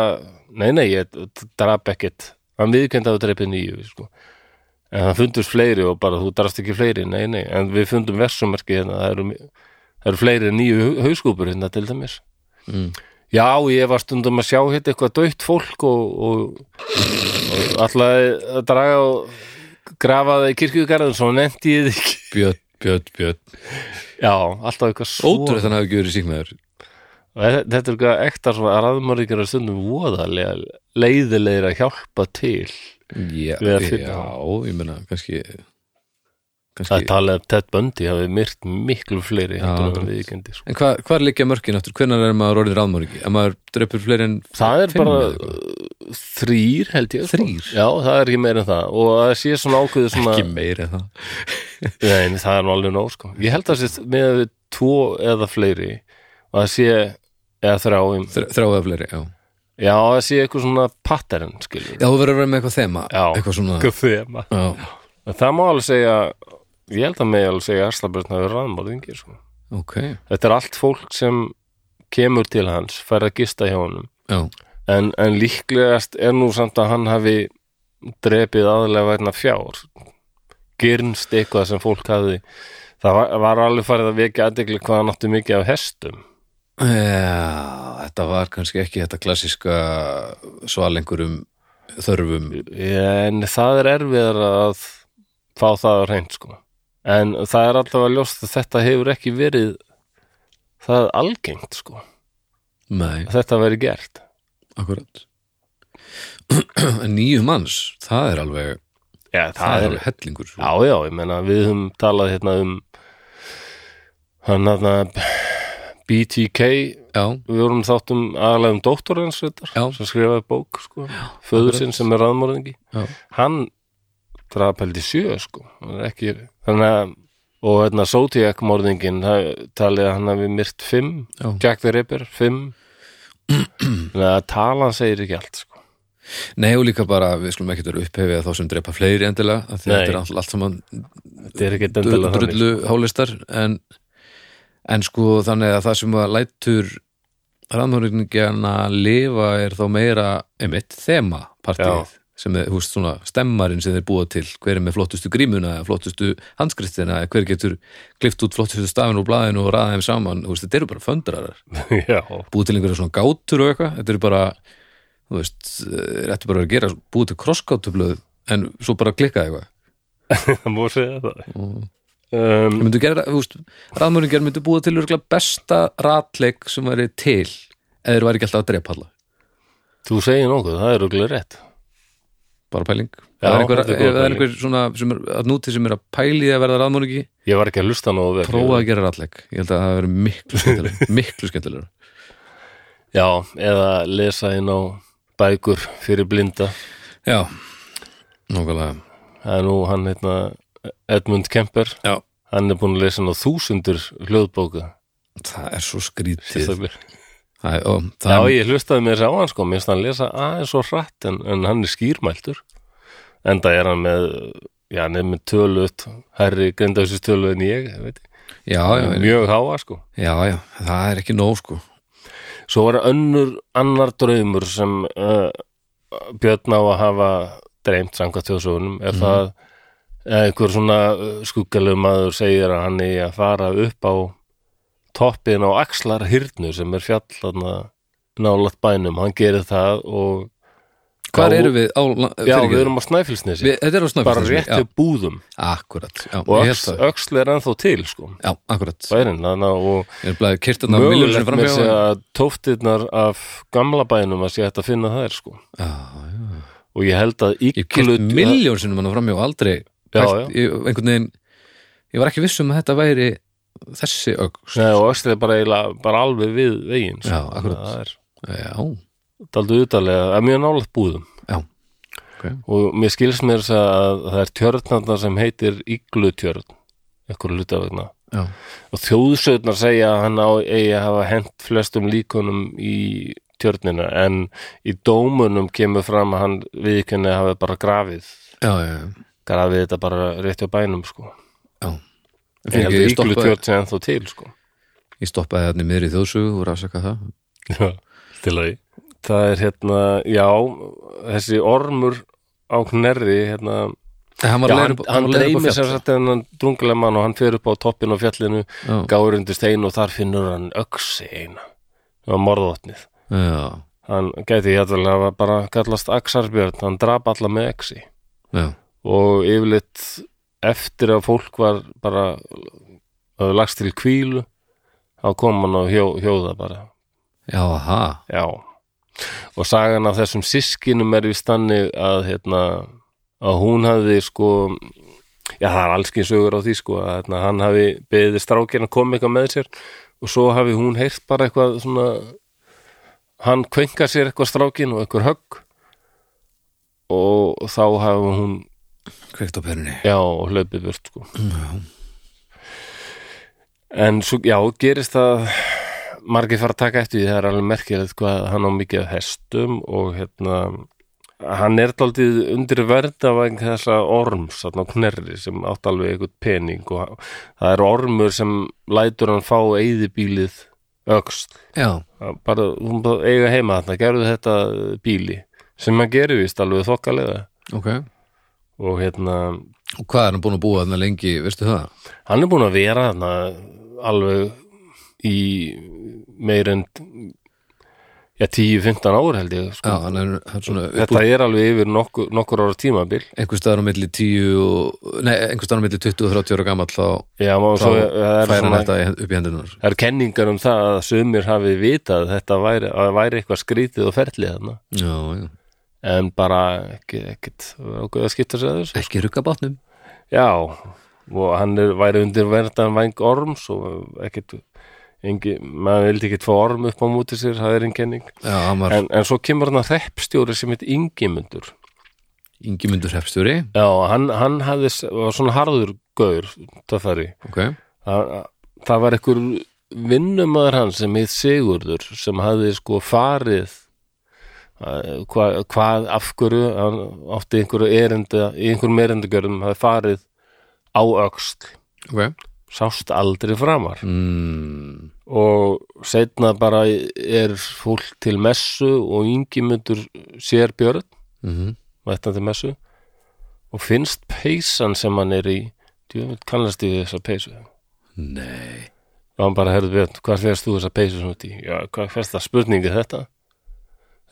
Speaker 1: nei nei, ég drap ekkert hann viðkend að þú dreipið nýju sko. en það fundust fleiri og bara þú drast ekki fleiri, nei nei, en við fundum versumarki hérna, það eru, það eru fleiri en nýju hau- hauskúpur hérna til dæmis
Speaker 2: Mm.
Speaker 1: já, ég var stundum að sjá hérna eitthvað döitt fólk og, og, og alltaf að draga og grafa það í kirkjugarðin svo nefndi ég þið ekki
Speaker 2: Björn, Björn, Björn
Speaker 1: já, alltaf eitthvað svo
Speaker 2: Ótrúð þannig að hafa ekki verið síknaður
Speaker 1: Og þe- Þetta er eitthvað ektar svona raðmörðingar að stundum voðalega leiðilegir að hjálpa til
Speaker 2: Já,
Speaker 1: Við að
Speaker 2: já,
Speaker 1: finna.
Speaker 2: ég meina kannski
Speaker 1: Það
Speaker 2: kannski,
Speaker 1: er talið að Ted Bundy hafi myrt miklu fleiri heldur en viðkendi sko.
Speaker 2: en hva, hvar liggja mörkin aftur, hvenær er maður orðin ráðmörki ef maður dreipur fleiri en
Speaker 1: Það er
Speaker 2: fimm
Speaker 1: bara
Speaker 2: eða eitthvað?
Speaker 1: uh, þrýr held ég sko.
Speaker 2: Þrír?
Speaker 1: Já, það er ekki meira en það og að það sé svona ákveðu svona
Speaker 2: ekki meira en það
Speaker 1: Nei, það er nú alveg nóg sko. Ég held að það sé með við tvo eða fleiri og það sé eða þrjáum
Speaker 2: Þr- þráða fleiri, já
Speaker 1: Já, það sé eitthvað svona pattern skilur
Speaker 2: já, þú verður að vera með eitthvað þema,
Speaker 1: Já.
Speaker 2: eitthvað svona
Speaker 1: Eitthvað þema
Speaker 2: já,
Speaker 1: Það má alveg segja ég held að mig alveg segja að Arslabjörn hafi raðmörðingir sko.
Speaker 2: ok,
Speaker 1: Þetta er allt fólk sem kemur til hans, fær að gista hjá honum.
Speaker 2: já,
Speaker 1: En, en líklegast er nú samt að hann hafi drepið aðlega verna fjár. Gyrnst eitthvað sem fólk hafði. Það var, var alveg farið að vekja aðdegli hvað hann átti mikið af hestum.
Speaker 2: já þetta var kannski ekki þetta klassiska svalengurum þörfum
Speaker 1: En það er erfiðar að fá það á reynd, sko. En það er alltaf að ljóst að þetta hefur ekki verið það algengt, sko.
Speaker 2: nei,
Speaker 1: að Þetta verið gert.
Speaker 2: akkurat en nýju manns, það er alveg
Speaker 1: Já, það,
Speaker 2: það
Speaker 1: er sko.
Speaker 2: er hellingur
Speaker 1: Já, já, ég meina við höfum talað hérna um hann hérna BTK
Speaker 2: já,
Speaker 1: við vorum þátt um aðalega um dóttorins þetta,
Speaker 2: Já.
Speaker 1: sem skrifaði bók sko, föður sinn sem er raðmörðingi
Speaker 2: já,
Speaker 1: hann draf held í sjö sko, hann er ekki þannig að og hérna Zodiac morðingin það talið að hann hafi myrt fimm
Speaker 2: já.
Speaker 1: Jack the Ripper *clears throat* fimm þannig að talan segir ekki allt sko.
Speaker 2: Nei og líka bara, við skulum ekki vera upphefið þá sem drepa fleiri endilega af því að
Speaker 1: Nei.
Speaker 2: þetta er all- allt saman
Speaker 1: þetta er ekki endilega þannig sko.
Speaker 2: drullu hálistar en, en sko þannig að það sem að lætur rannhóringjana lifa er þá meira einmitt þema
Speaker 1: Já.
Speaker 2: partíð sem er, húst, svona stemmarinn sem þeir búa til hver er með flottustu grímuna, eða flottustu handskristina, eða hver getur klift út flottustu stafin úr blaðinu og raða þeim saman húst, þetta eru bara föndrarar
Speaker 1: *laughs* já,
Speaker 2: búið til einhverja svona gátur og eitthvað þetta eru bara, þú veist eh, réttu bara að gera, búið til krossgátublöð en svo bara klikka eitthvað
Speaker 1: það má segja það
Speaker 2: og
Speaker 1: um,
Speaker 2: Það myndu gera, þú veist, raðmörningar myndu búa til örgulega besta ratleik sem væri til eða þeir væri ekki alltaf að drepa alla
Speaker 1: þú segir nokkuð, það er okkur rétt
Speaker 2: bara pæling
Speaker 1: Já,
Speaker 2: Ef það er einhver,
Speaker 1: þetta er
Speaker 2: ef
Speaker 1: góð
Speaker 2: það er
Speaker 1: pæling.
Speaker 2: einhver svona sem er, að núti sem er að pæli í að verða raðmörningi
Speaker 1: Ég var ekki að hlusta nógu vel
Speaker 2: prófa að gera ratleik, ég held að það verður miklu *laughs* skemmtilega miklu skemmtilega
Speaker 1: Já, eða lesa inn á bækur fyrir blinda
Speaker 2: Já, nógulega
Speaker 1: Það er nú hann heitna Edmund Kemper
Speaker 2: Já,
Speaker 1: Hann er búin að lesa inn á þúsundur hljóðbóka
Speaker 2: það er svo skrítið
Speaker 1: sérstaklega.
Speaker 2: Æ, ó,
Speaker 1: Já,
Speaker 2: það,
Speaker 1: ég hlustaði mér á hann sko Mér finnst hann lesa aðeins svo hratt en, en hann er skýrmæltur Enda er hann með Já, hann er með tölut Herri grindafsins tölu en ég ég veit,
Speaker 2: já, já, já,
Speaker 1: Mjög háa sko
Speaker 2: já, já, það er ekki nóg sko
Speaker 1: Svo var önnur annar draumur sem uh, Björn á að hafa dreymt samkvæmt þjóðsögunum
Speaker 2: Mhm.
Speaker 1: er það eða einhver svona skuggalegu maður segir að hann er að fara upp á toppin á axlar hyrnu sem er fjallarna nálaðt bænum, hann gerir það og
Speaker 2: Hvar
Speaker 1: Já,
Speaker 2: erum við? Á, la-
Speaker 1: já,
Speaker 2: fyrirgefðu.
Speaker 1: við erum á Snæfilsnesi
Speaker 2: Eh, Við- Þetta er á snöfnum
Speaker 1: bara rétt upp búðum
Speaker 2: Akkurat, já,
Speaker 1: og
Speaker 2: ég held
Speaker 1: öxl,
Speaker 2: það
Speaker 1: öxl er ennþá til sko,
Speaker 2: Já, akkurat
Speaker 1: bærin þannig að- og
Speaker 2: Ég er bara kyrt þarna miljónir
Speaker 1: mögulegt með
Speaker 2: framhjá
Speaker 1: sig að tóftirnar af gamla bænum að sé hægt að finna þær sko
Speaker 2: Já, já.
Speaker 1: og ég held að
Speaker 2: Ég kyrt
Speaker 1: íklut
Speaker 2: miljón sinnum hann framhjá og aldrei
Speaker 1: Já,
Speaker 2: pælt í einhvern veginn Ég var ekki viss um að þetta væri þessi sko. ögst
Speaker 1: Nei, og öxlið er bara, eiginlega- bara alveg við veginn sko.
Speaker 2: Já, akkurat.
Speaker 1: það er
Speaker 2: Já,
Speaker 1: daldið utalega, það er mjög nálægt búðum
Speaker 2: já okay.
Speaker 1: og mér skils mér þess að það er tjörnarnar sem heitir íglutjörn ekkur hluta vegna
Speaker 2: Já,
Speaker 1: og þjóðsöðnar segja að hann á eigi að hafa hent flestum líkunum í tjörnina en í dómunum kemur fram að hann viðkynni að hafa bara grafið
Speaker 2: já, já, já.
Speaker 1: grafið þetta bara rétt á bænum sko
Speaker 2: Ég,
Speaker 1: en ég held
Speaker 2: fyrir ekki,
Speaker 1: að
Speaker 2: ég, stoppaði,
Speaker 1: íglutjörn sé ennþá til sko
Speaker 2: ég stoppaði þarna í miðri þjóðsögu og rafsaka það
Speaker 1: Já, til að Það er hérna, já þessi ormur á knerri hérna,
Speaker 2: En Hann var
Speaker 1: já,
Speaker 2: að
Speaker 1: hann,
Speaker 2: leira upp
Speaker 1: hann
Speaker 2: var að leira upp á
Speaker 1: dreymir
Speaker 2: fjall.
Speaker 1: sem sagt hennan drungulega mann og hann fer upp á toppin á fjallinu
Speaker 2: Já,
Speaker 1: gáir undir stein og þar finnur hann öksi eina og morðotnið
Speaker 2: já,
Speaker 1: hann gæti hérna að hafa bara kallast Axarbjörn, hann drap alla með öksi
Speaker 2: já,
Speaker 1: og yfirleitt eftir að fólk var bara hafði lagst til kvílu þá kom hann á hjó, hjóða bara
Speaker 2: já, aha
Speaker 1: Já, og sagan af þessum sískinum er við stanni að, hérna, að hún hafði sko, já það er allskinn sögur á því sko, að hérna, hann hafi beðið strákinn að koma eitthvað með sér og svo hafi hún heyrt bara eitthvað svona, hann kvenka sér eitthvað strákinn og eitthvað högg og þá hafi hún,
Speaker 2: Kveikt á perunni
Speaker 1: já, og hlaupið burt sko. En svo, já, gerist það margir fara að taka eftir því það er alveg merkilegt hvað hann á mikið af hestum og hérna hann er daldið undir verndavang þessa orms, þarna á knerri sem átt alveg eitthvað pening og það er ormur sem lætur hann fá eyðibílið öxt
Speaker 2: Já,
Speaker 1: bara, hún bara eiga heima þarna, gerðu þetta bíli sem hann gerir vist alveg þokkalega
Speaker 2: ok Og
Speaker 1: og hérna,
Speaker 2: hvað er hann búin að búa þarna lengi, veistu það?
Speaker 1: hann er búin að vera þarna alveg í meir en já, 10-15 ár held ég
Speaker 2: Já,
Speaker 1: sko.
Speaker 2: hann er, hann er svona upp
Speaker 1: þetta er alveg yfir nokkur, nokkur ára tímabil
Speaker 2: einhver staðar á milli 10 og, nei, einhver staðar á milli 20 og 30 ára gamall þá,
Speaker 1: já, má,
Speaker 2: þá
Speaker 1: svo, það er
Speaker 2: fær hann
Speaker 1: svona
Speaker 2: þetta í- upp í hendunar
Speaker 1: Það er kenningar um það að sumir hafi vitað að þetta væri, að væri eitthvað skrítið og ferlið þarna
Speaker 2: já, já,
Speaker 1: en bara ekki, ekkit okkur að skipta sér að þessu
Speaker 2: ekki rugga bátnum
Speaker 1: já, og hann er, væri undir verðan væng orms og ekkit engi, maður vildi ekkit fá orm upp á múti sér, það er einkenning
Speaker 2: já, hann var
Speaker 1: en, en svo kemur hann að reppstjóri sem heit Ingimundur
Speaker 2: yngimundur hefstjóri
Speaker 1: já, hann, hann hafði, var svona harður gaur, töffari
Speaker 2: ok,
Speaker 1: það, það var einhver vinnumæður hans sem heit Sigurður sem hafði sko farið að- hvað, hvað af hverju hann átti einhverju erinda í einhverjum erindagjörðum hafði farið á öxl
Speaker 2: ok
Speaker 1: sást aldrei framar
Speaker 2: mm,
Speaker 1: og setna bara er fólk til messu og yngimundur sér björn
Speaker 2: mm
Speaker 1: mættandi messu og finnst peysan sem hann er í djöfull kannast ég við þessa peysu
Speaker 2: nei
Speaker 1: og hann bara herði björn, hvað fyrst þú þessa peysu svona út í? Já, hvað fyrst það spurningi þetta?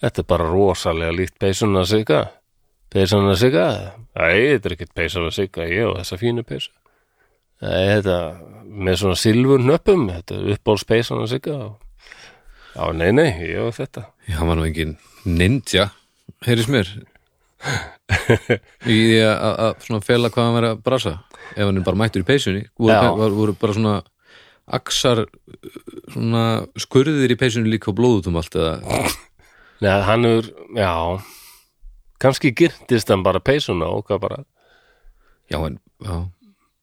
Speaker 1: Þetta er bara rosalega líkt peysunna að sigga peysunna að sigga? Æ, þetta er ekkert peysunna að sigga, ég og þessa fínu peysu Æ, þetta með svona silfur nöppum, þetta er uppbóls peysunna að sigga og Já, nei, nei, ég og þetta
Speaker 2: já, hann var nú engin ninja heyrðis mér í því að- að að svona fela hvað hann verið að brasa ef hann er bara mættur í peysunni voru,
Speaker 1: Já.
Speaker 2: var, voru bara svona aksar svona skurðir í peysunni líka og blóðutum allt eða
Speaker 1: Nei, hann er, já kannski gyrtist hann bara peysunna og hvað bara
Speaker 2: já, en já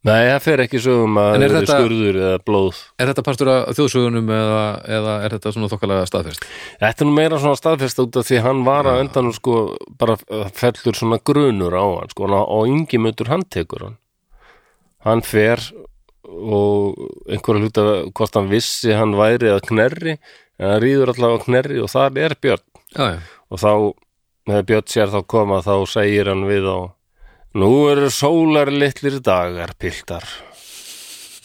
Speaker 1: Nei, það fer ekki sögum að
Speaker 2: En er
Speaker 1: það er
Speaker 2: þetta-
Speaker 1: skurður eða blóð
Speaker 2: Er þetta partur af þjóðsögunum eða, eða er þetta svona þokkalega staðfest?
Speaker 1: Þetta er nú meira svona staðfest út af því hann var að endanum sko bara uh, fellur svona grunur á hann sko og- og yngi mötur hann tekur hann hann fer og einhverja hluta hvort hann vissi hann væri að knerri en hann rýður allavega á knerri og þar er Björn
Speaker 2: Já, já,
Speaker 1: og þá, þegar Björn sér þá koma þá segir hann við á nú eru sólar litlir dagar piltar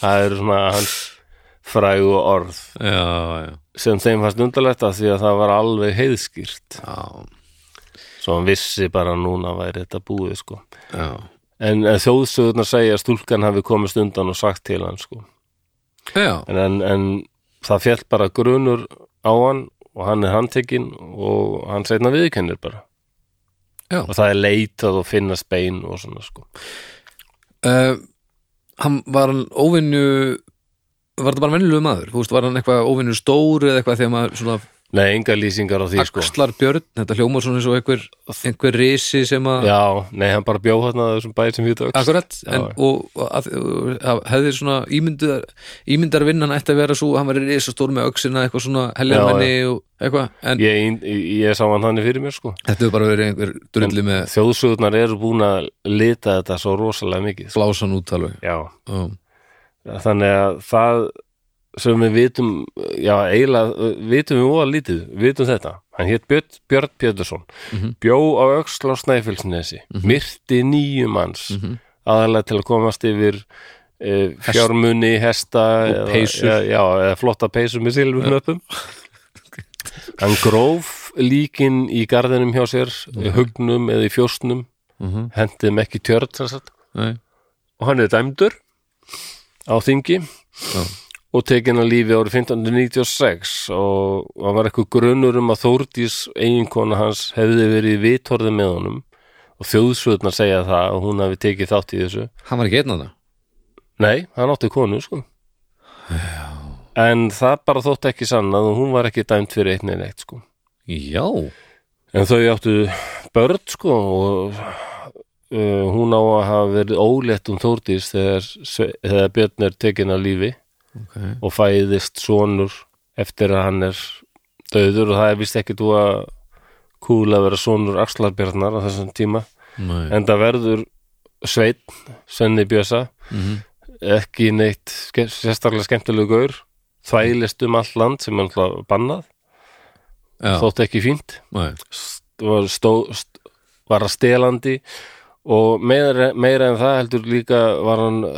Speaker 1: það eru svona hans frægu orð
Speaker 2: já, já,
Speaker 1: sem þeim fannst undarlegt að því að það var alveg heiðskýrt
Speaker 2: já,
Speaker 1: svo hann vissi bara núna væri þetta búið sko.
Speaker 2: já.
Speaker 1: en eh, þjóðsögurnar segja að stúlkan hafi komist undan og sagt til hann sko.
Speaker 2: Já,
Speaker 1: en, en, en það fjall bara grunur á hann og hann er handtekinn og hann segna viðkennir bara
Speaker 2: Já.
Speaker 1: og það er leitað og finnast bein og svona sko.
Speaker 2: uh, hann var hann óvinnu, var þetta bara venjulegu maður? Þú veist, var hann eitthvað óvinnu stór eða eitthvað þegar maður svona
Speaker 1: Nei, enga lýsingar á því sko.
Speaker 2: axlar björn, þetta hljómar svona eins og einhver, einhver risi sem að,
Speaker 1: Já, nei, hann bara bjó hann að þessum bæ sem við þetta
Speaker 2: akkurat,
Speaker 1: Já,
Speaker 2: en,
Speaker 1: já.
Speaker 2: og, og að, að, hefði svona ímyndar, ímyndarvinnan ætti að vera svo, hann var risa stór með öxina, eitthvað svona heljarmenni og eitthvað, en
Speaker 1: ég, ég, ég sá hann þannig fyrir mér sko.
Speaker 2: þetta hefur bara verið einhver drulli með
Speaker 1: þjóðsögurnar eru búin að lita þetta svo rosalega mikið sko.
Speaker 2: blásan út alveg.
Speaker 1: já,
Speaker 2: Já,
Speaker 1: þannig að það sem við vitum já, eiginlega, vitum við óa lítið við vitum þetta, hann hétt Björn, Björn Pétursson
Speaker 2: Mhm.
Speaker 1: bjó á öxl á Snæfellsnesi myrti níu manns
Speaker 2: Mhm.
Speaker 1: aðalega til að komast yfir e, fjármunni, hesta
Speaker 2: Og peysur.
Speaker 1: eða, já, eða flotta peysur með silfurnöpum
Speaker 2: *laughs*
Speaker 1: hann gróf líkin í garðinum hjá sér í hugnum eða í fjósnum
Speaker 2: Mhm.
Speaker 1: hendið með ekki í tjörn sem sagt
Speaker 2: nei,
Speaker 1: og hann er dæmdur á þingi og tekin að lífi árið 1596 og og hann var eitthvað grunur um að Þórdís eiginkona hans hefði verið vitorði með honum og þjóðsvöðnar segja það að hún hafi tekið þátt í þessu
Speaker 2: hann var ekki einn að það.
Speaker 1: Nei, hann átti konu sko en það bara þótt ekki sannað og hún var ekki dæmt fyrir einnig neitt sko
Speaker 2: Já,
Speaker 1: En þau áttu börn sko og uh, hún á að hafa verið ólétt um Þórdís þegar, Sve- þegar Björn er tekin að lífi
Speaker 2: ok.
Speaker 1: og fæðist sonur eftir að hann er döður og það er vist ekki þú að kúla að vera sonur Axlarbjarnar á þessum tíma
Speaker 2: Nei.
Speaker 1: en það verður Sveinn, Svenni Bjösa
Speaker 2: Mhm.
Speaker 1: ekki neitt ske- sérstaklega skemmtilegu gaur þvælist um allt land sem er alltaf bannað
Speaker 2: Já,
Speaker 1: þótt ekki fínt
Speaker 2: nei.
Speaker 1: st- var, stó, st, var að stelandi og meira, meira en það heldur líka var hann uh,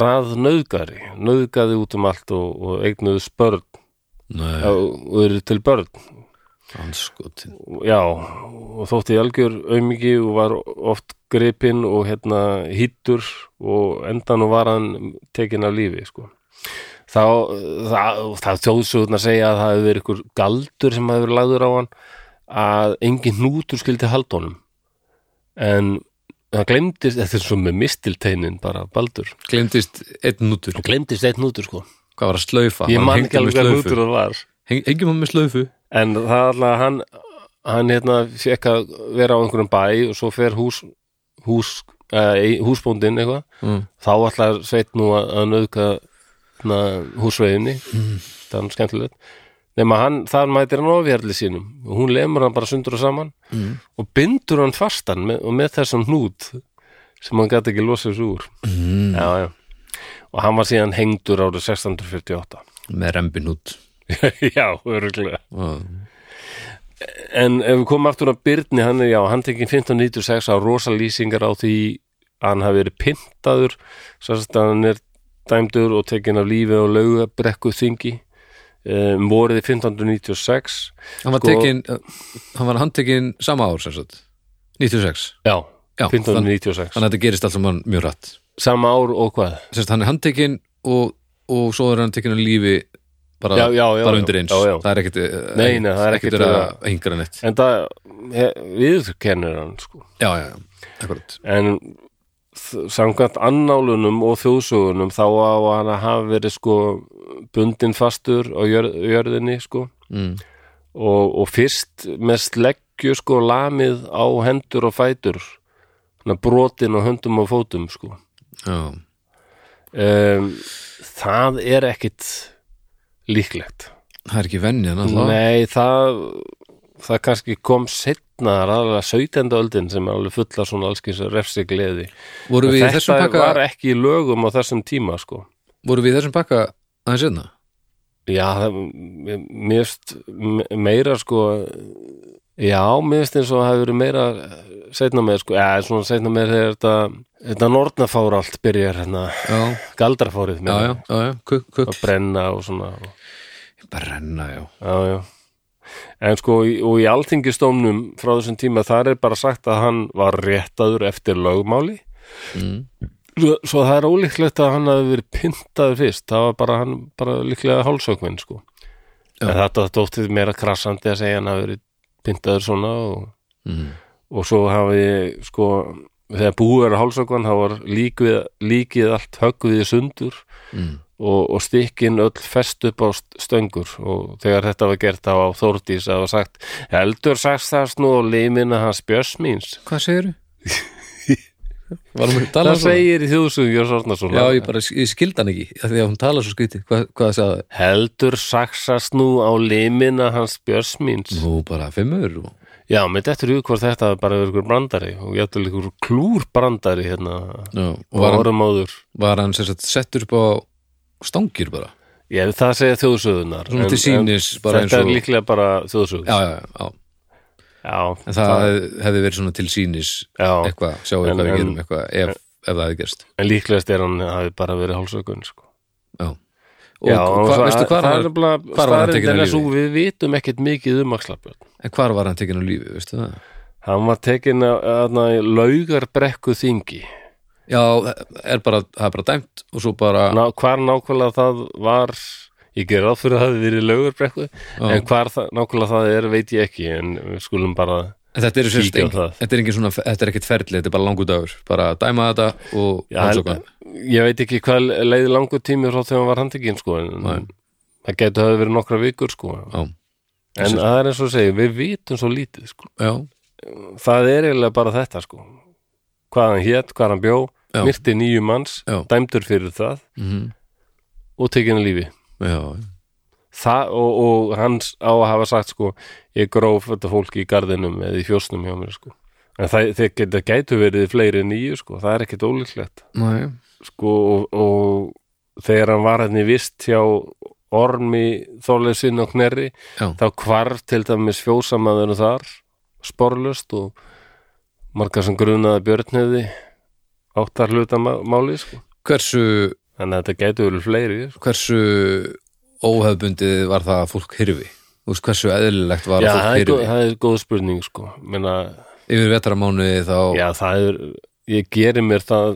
Speaker 1: rað nöðgari nöðgaði út um allt og, og eignuðu spörn
Speaker 2: Nei,
Speaker 1: Já, og eru til börn
Speaker 2: anskotin.
Speaker 1: já, og þótti algjör aumingi og var oft gripinn og hérna hýttur og endan og var hann tekinn af lífi sko. þá það, það þjóðsögurnar segja að það hefur verið ykkur galdur sem hefur verið lagður á hann að engin hnútur skildi halda honum en það glemdist, þetta er svo með mistilteinin bara baldur,
Speaker 2: glemdist einn nútur
Speaker 1: það glemdist eitt hnútur sko
Speaker 2: hvað var að slaufa,
Speaker 1: ég
Speaker 2: Var
Speaker 1: man
Speaker 2: hann
Speaker 1: ekki alveg
Speaker 2: hengdur með
Speaker 1: hvað
Speaker 2: slaufu?
Speaker 1: hnútur það var
Speaker 2: Heng- hengjum hann með slaufu
Speaker 1: en það er alltaf hann hann hérna fekk að vera á einhverjum bæ og svo fer hús, hús uh, húsbóndin eitthvað
Speaker 2: mm.
Speaker 1: þá ætlar sveit nú að, að nöðka na, húsveiðinni það er nú skemmtilegt nema hann, þar mætir hann ofjarli sínum og hún lemur hann bara sundur og saman
Speaker 2: Mm.
Speaker 1: og bindur hann fastan með, og með þessum hnút sem hann gæti ekki losið svo úr mm. já, já. og hann var síðan hengdur árið 1648
Speaker 2: með rembin út
Speaker 1: já, örgulega
Speaker 2: og
Speaker 1: en ef við komum aftur að Byrni hann er, já, hann tekið 1596 á rosa lýsingar á því að hann hafi verið pyntaður sérst að hann er dæmdur og tekin af lífi og laugabrekku þingi um, vorið 1596
Speaker 2: hann var
Speaker 1: Sko-
Speaker 2: tekin hann var handtekin sama ár sem sagt 96
Speaker 1: já,
Speaker 2: Já,
Speaker 1: 1596
Speaker 2: þannig að þetta gerist alltaf mann mjög rætt
Speaker 1: sama ár og hvað?
Speaker 2: sem sagt hann er handtekin og, og svo er hann tekin á lífi bara,
Speaker 1: Já, já, já,
Speaker 2: bara
Speaker 1: já,
Speaker 2: undir eins
Speaker 1: já, já.
Speaker 2: það er ekkit
Speaker 1: Nei, nei, það er uh, ekkit
Speaker 2: að
Speaker 1: verið
Speaker 2: hengra neitt
Speaker 1: en það viðkennir hann sko
Speaker 2: já, já, já, akkurat
Speaker 1: en þ- samkvæmt annálunum og þjóðsögunum þá á hann að hafa verið sko bundin fastur á jörð, jörðinni sko
Speaker 2: mm.
Speaker 1: og, og fyrst með sleggju sko lamið á hendur og fætur svona brotin á höndum og fótum sko
Speaker 2: já,
Speaker 1: um, það er ekkit líklegt
Speaker 2: það er ekki venjan alltaf
Speaker 1: Nei, það það kannski kom setna aðra 17. öldin sem er alveg fulla svona allskins refsigleði
Speaker 2: voru við í
Speaker 1: þetta
Speaker 2: þessum pakka
Speaker 1: var ekki í lögum á þessum tíma sko.
Speaker 2: voru við í þessum pakka aðeins hérna? einna
Speaker 1: já, það- mér mér finnst me- meira sko já, mér finnst eins og það hefur verið meira setna með sko, eða svona setna með þegar þetta, þetta nornafár allt byrjar hérna,
Speaker 2: já,
Speaker 1: galdrafárið
Speaker 2: já,
Speaker 1: meira.
Speaker 2: já, já, já, kukk,
Speaker 1: að
Speaker 2: kukk
Speaker 1: brenna og svona og,
Speaker 2: brenna, já,
Speaker 1: já, já en sko, í- og í alþingistómnum frá þessum tíma, þar er bara sagt að hann var réttaður eftir lögmáli
Speaker 2: mm.
Speaker 1: Svo svo það er ólíklegt að hann hafi verið pyntaður fyrst, það var bara hann bara líklega hálsökminn sko
Speaker 2: Já.
Speaker 1: en þetta dóttið meira krassandi að segja hann hafi verið pyntaður svona og,
Speaker 2: Mm.
Speaker 1: og svo hafi sko, þegar búið er að hálsökvann þá var líkið, líkið allt höggvið í sundur
Speaker 2: Mm.
Speaker 1: og, og stikkin öll fest upp á st- stöngur og þegar þetta var gert þá á Þórdís að var sagt, heldur sagst það snú og limina hans Björns míns
Speaker 2: hvað segirðu? *laughs* varum við að tala
Speaker 1: það
Speaker 2: svona?
Speaker 1: segir í þjóðsugum Björns Ornarsson
Speaker 2: já, ég bara, ég skildi hann ekki af því að hún tala svo skrítið, hvað, hvað sagði
Speaker 1: Heldur saksast nú á limina hans björsmíns.
Speaker 2: nú bara fimmur og
Speaker 1: Já, með dettur hug hvort þetta er bara verið ykkur brandari og ég ætla ykkur klúr brandari hérna
Speaker 2: Já, og var
Speaker 1: og
Speaker 2: hann,
Speaker 1: árum áður.
Speaker 2: var hann sem sagt, settur upp á stangir bara
Speaker 1: Ég, það segja þjóðsöðunar.
Speaker 2: Svona til sýnis bara eins
Speaker 1: Þetta er
Speaker 2: og já,
Speaker 1: líklega bara þjóðsöður.
Speaker 2: já, já, já.
Speaker 1: já
Speaker 2: en það hef, hefði verið svona til sýnis
Speaker 1: já,
Speaker 2: eitthvað, sjáum við
Speaker 1: En-
Speaker 2: hvað við
Speaker 1: en-
Speaker 2: gerum eitthvað ef, ef það hefði gerst
Speaker 1: en líklegast er hann hafi bara verið hálsökun, sko.
Speaker 2: og,
Speaker 1: já,
Speaker 2: og hva, veistu hvar
Speaker 1: það
Speaker 2: var,
Speaker 1: er bara
Speaker 2: hvar var hann tekinn
Speaker 1: staðrindin
Speaker 2: af
Speaker 1: að
Speaker 2: lífi?
Speaker 1: svo við vitum ekkert mikið um axlabjörn.
Speaker 2: en hvar var hann tekinn á lífi, veistu það
Speaker 1: Hann var tekinn að, að, að laugarbrekku þingi.
Speaker 2: já, er bara, það er bara dæmt og svo bara
Speaker 1: Ná, hvar nákvæmlega það var ég ger ráð fyrir að það hafi verið lögur brekku en hvar það, nákvæmlega það er veit ég ekki en við skulum bara
Speaker 2: en þetta er,
Speaker 1: kíkja á
Speaker 2: engin,
Speaker 1: það.
Speaker 2: þetta er engin svona þetta er ekkit ferli, þetta er bara langur dagur bara dæma þetta og
Speaker 1: Já,
Speaker 2: rannsókn.
Speaker 1: ég veit ekki hvað leiði langur tími frá þegar hann var handekinn sko en
Speaker 2: Nei.
Speaker 1: það getur hafi verið nokkra vikur sko
Speaker 2: Já.
Speaker 1: en það er eins og segja, við vitum svo lítið sko
Speaker 2: já,
Speaker 1: það er eiginlega bara þetta sko hvað hann hét, hvað hann bjó,
Speaker 2: Já.
Speaker 1: myrti nýju manns
Speaker 2: Já.
Speaker 1: dæmdur fyrir það
Speaker 2: mhm,
Speaker 1: og tekinn að lífi
Speaker 2: já,
Speaker 1: það, og, og hans á að hafa sagt sko, ég gróf þetta fólk í garðinum eða í fjósnum hjá mér sko. en það, þeir geta gætu verið fleiri en nýju, sko, það er ekkit ólíklegt
Speaker 2: næ
Speaker 1: sko, og, og þegar hann var hann í vist hjá ormi þorleysinn og knerri
Speaker 2: Já.
Speaker 1: þá hvarf til dæmis fjósamaður þar, sporlust og margar sem grunaði björn hefði áttar hluta ma- máli sko.
Speaker 2: hversu
Speaker 1: þannig að þetta gætu verið fleiri sko.
Speaker 2: hversu óhefbundið var það að fólk hyrfi Þú veist, hversu eðlilegt var
Speaker 1: Já,
Speaker 2: að
Speaker 1: það
Speaker 2: fólk
Speaker 1: er, góð,
Speaker 2: hyrfi
Speaker 1: það er góð spurning sko. Menna,
Speaker 2: yfir vetramánuði þá
Speaker 1: Já, það er, ég geri mér það,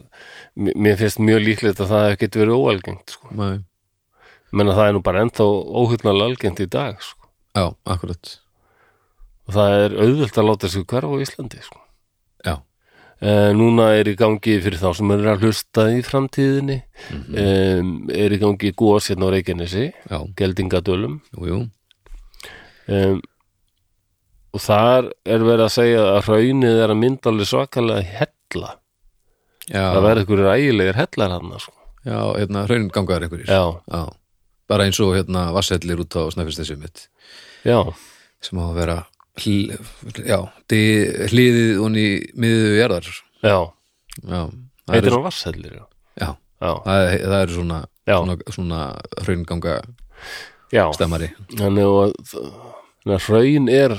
Speaker 1: mér- mér finnst mjög líklegt að það geti verið óalgengt, sko.
Speaker 2: Nei.
Speaker 1: Menna það er nú bara ennþá óhugnal algengt í dag, sko.
Speaker 2: já, akkurat
Speaker 1: Og og það er auðvöld að láta sig hverfa á Íslandi sko.
Speaker 2: já,
Speaker 1: Eh, núna er í gangi fyrir þá sem er að hlusta í framtíðinni eh, er í gangi góðs hérna á Reykjanesi
Speaker 2: já,
Speaker 1: geldingadölum
Speaker 2: jú, jú
Speaker 1: um, og þar er verið að segja að hraunið er að mynda alveg svakalega hella
Speaker 2: já,
Speaker 1: það verður einhverjir ægilegir hellar hann sko.
Speaker 2: já, hérna, hraunin gangaðar einhverjir
Speaker 1: já,
Speaker 2: já, bara eins og hérna vassellir út á snæfistessu mitt
Speaker 1: já,
Speaker 2: sem á að vera hl já, di, hliðið onni miðuðu jarðar
Speaker 1: já
Speaker 2: já, það
Speaker 1: heitir
Speaker 2: eru,
Speaker 1: hann vasshellir já,
Speaker 2: já,
Speaker 1: já,
Speaker 2: það, það eru svona,
Speaker 1: Já.
Speaker 2: svona, svona hraunganga
Speaker 1: já.
Speaker 2: stemmari
Speaker 1: þannig að þannig að hraun er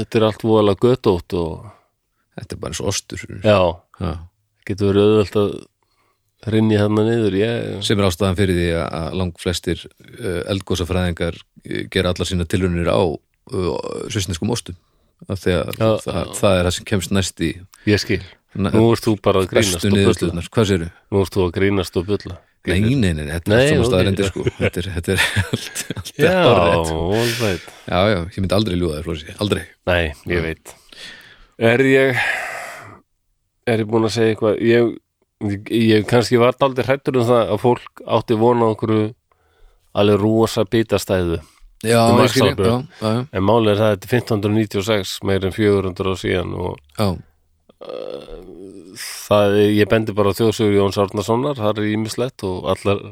Speaker 1: þetta er allt voðalega göttótt og
Speaker 2: þetta er bara eins og ostur
Speaker 1: já,
Speaker 2: já.
Speaker 1: getur verið auðvelt að rinni hann niður ég,
Speaker 2: sem er ástæðan fyrir því að- að lang flestir uh, eldgósafræðingar eh, gera allar sína tilrunir á uh, svisneskum ostum af því að
Speaker 1: Já,
Speaker 2: það, það er það sem kemst næst í
Speaker 1: ég skil
Speaker 2: na-
Speaker 1: nú ert þú bara að grínast
Speaker 2: bestu
Speaker 1: og bulla
Speaker 2: niðurstöðunar, hvað séru?
Speaker 1: nú ert þú að grínast og bulla
Speaker 2: Nei, nei, nei, þetta er
Speaker 1: Nei,
Speaker 2: allt saman
Speaker 1: ok.
Speaker 2: staðarendir sko þetta er, þetta er *laughs* allt, allt
Speaker 1: já,
Speaker 2: hárrétt.
Speaker 1: all right
Speaker 2: já, já, ég myndi aldrei ljúga þér, Flósi, aldrei
Speaker 1: Nei, ég veit Mm. Er ég Er ég búin að segja eitthvað Ég, ég, ég kannski var daldið hrættur um það að fólk átti vona einhverju alveg rosa bitastæðu
Speaker 2: Já,
Speaker 1: Þú
Speaker 2: ég
Speaker 1: magst
Speaker 2: skil,
Speaker 1: alveg.
Speaker 2: já, já, já,
Speaker 1: en málið er það að þetta er 1596 meir en 400 á síðan og
Speaker 2: já,
Speaker 1: það, er- ég bendi bara á þjóðsögur Jóns Árnasonar, það er ímislegt og allar,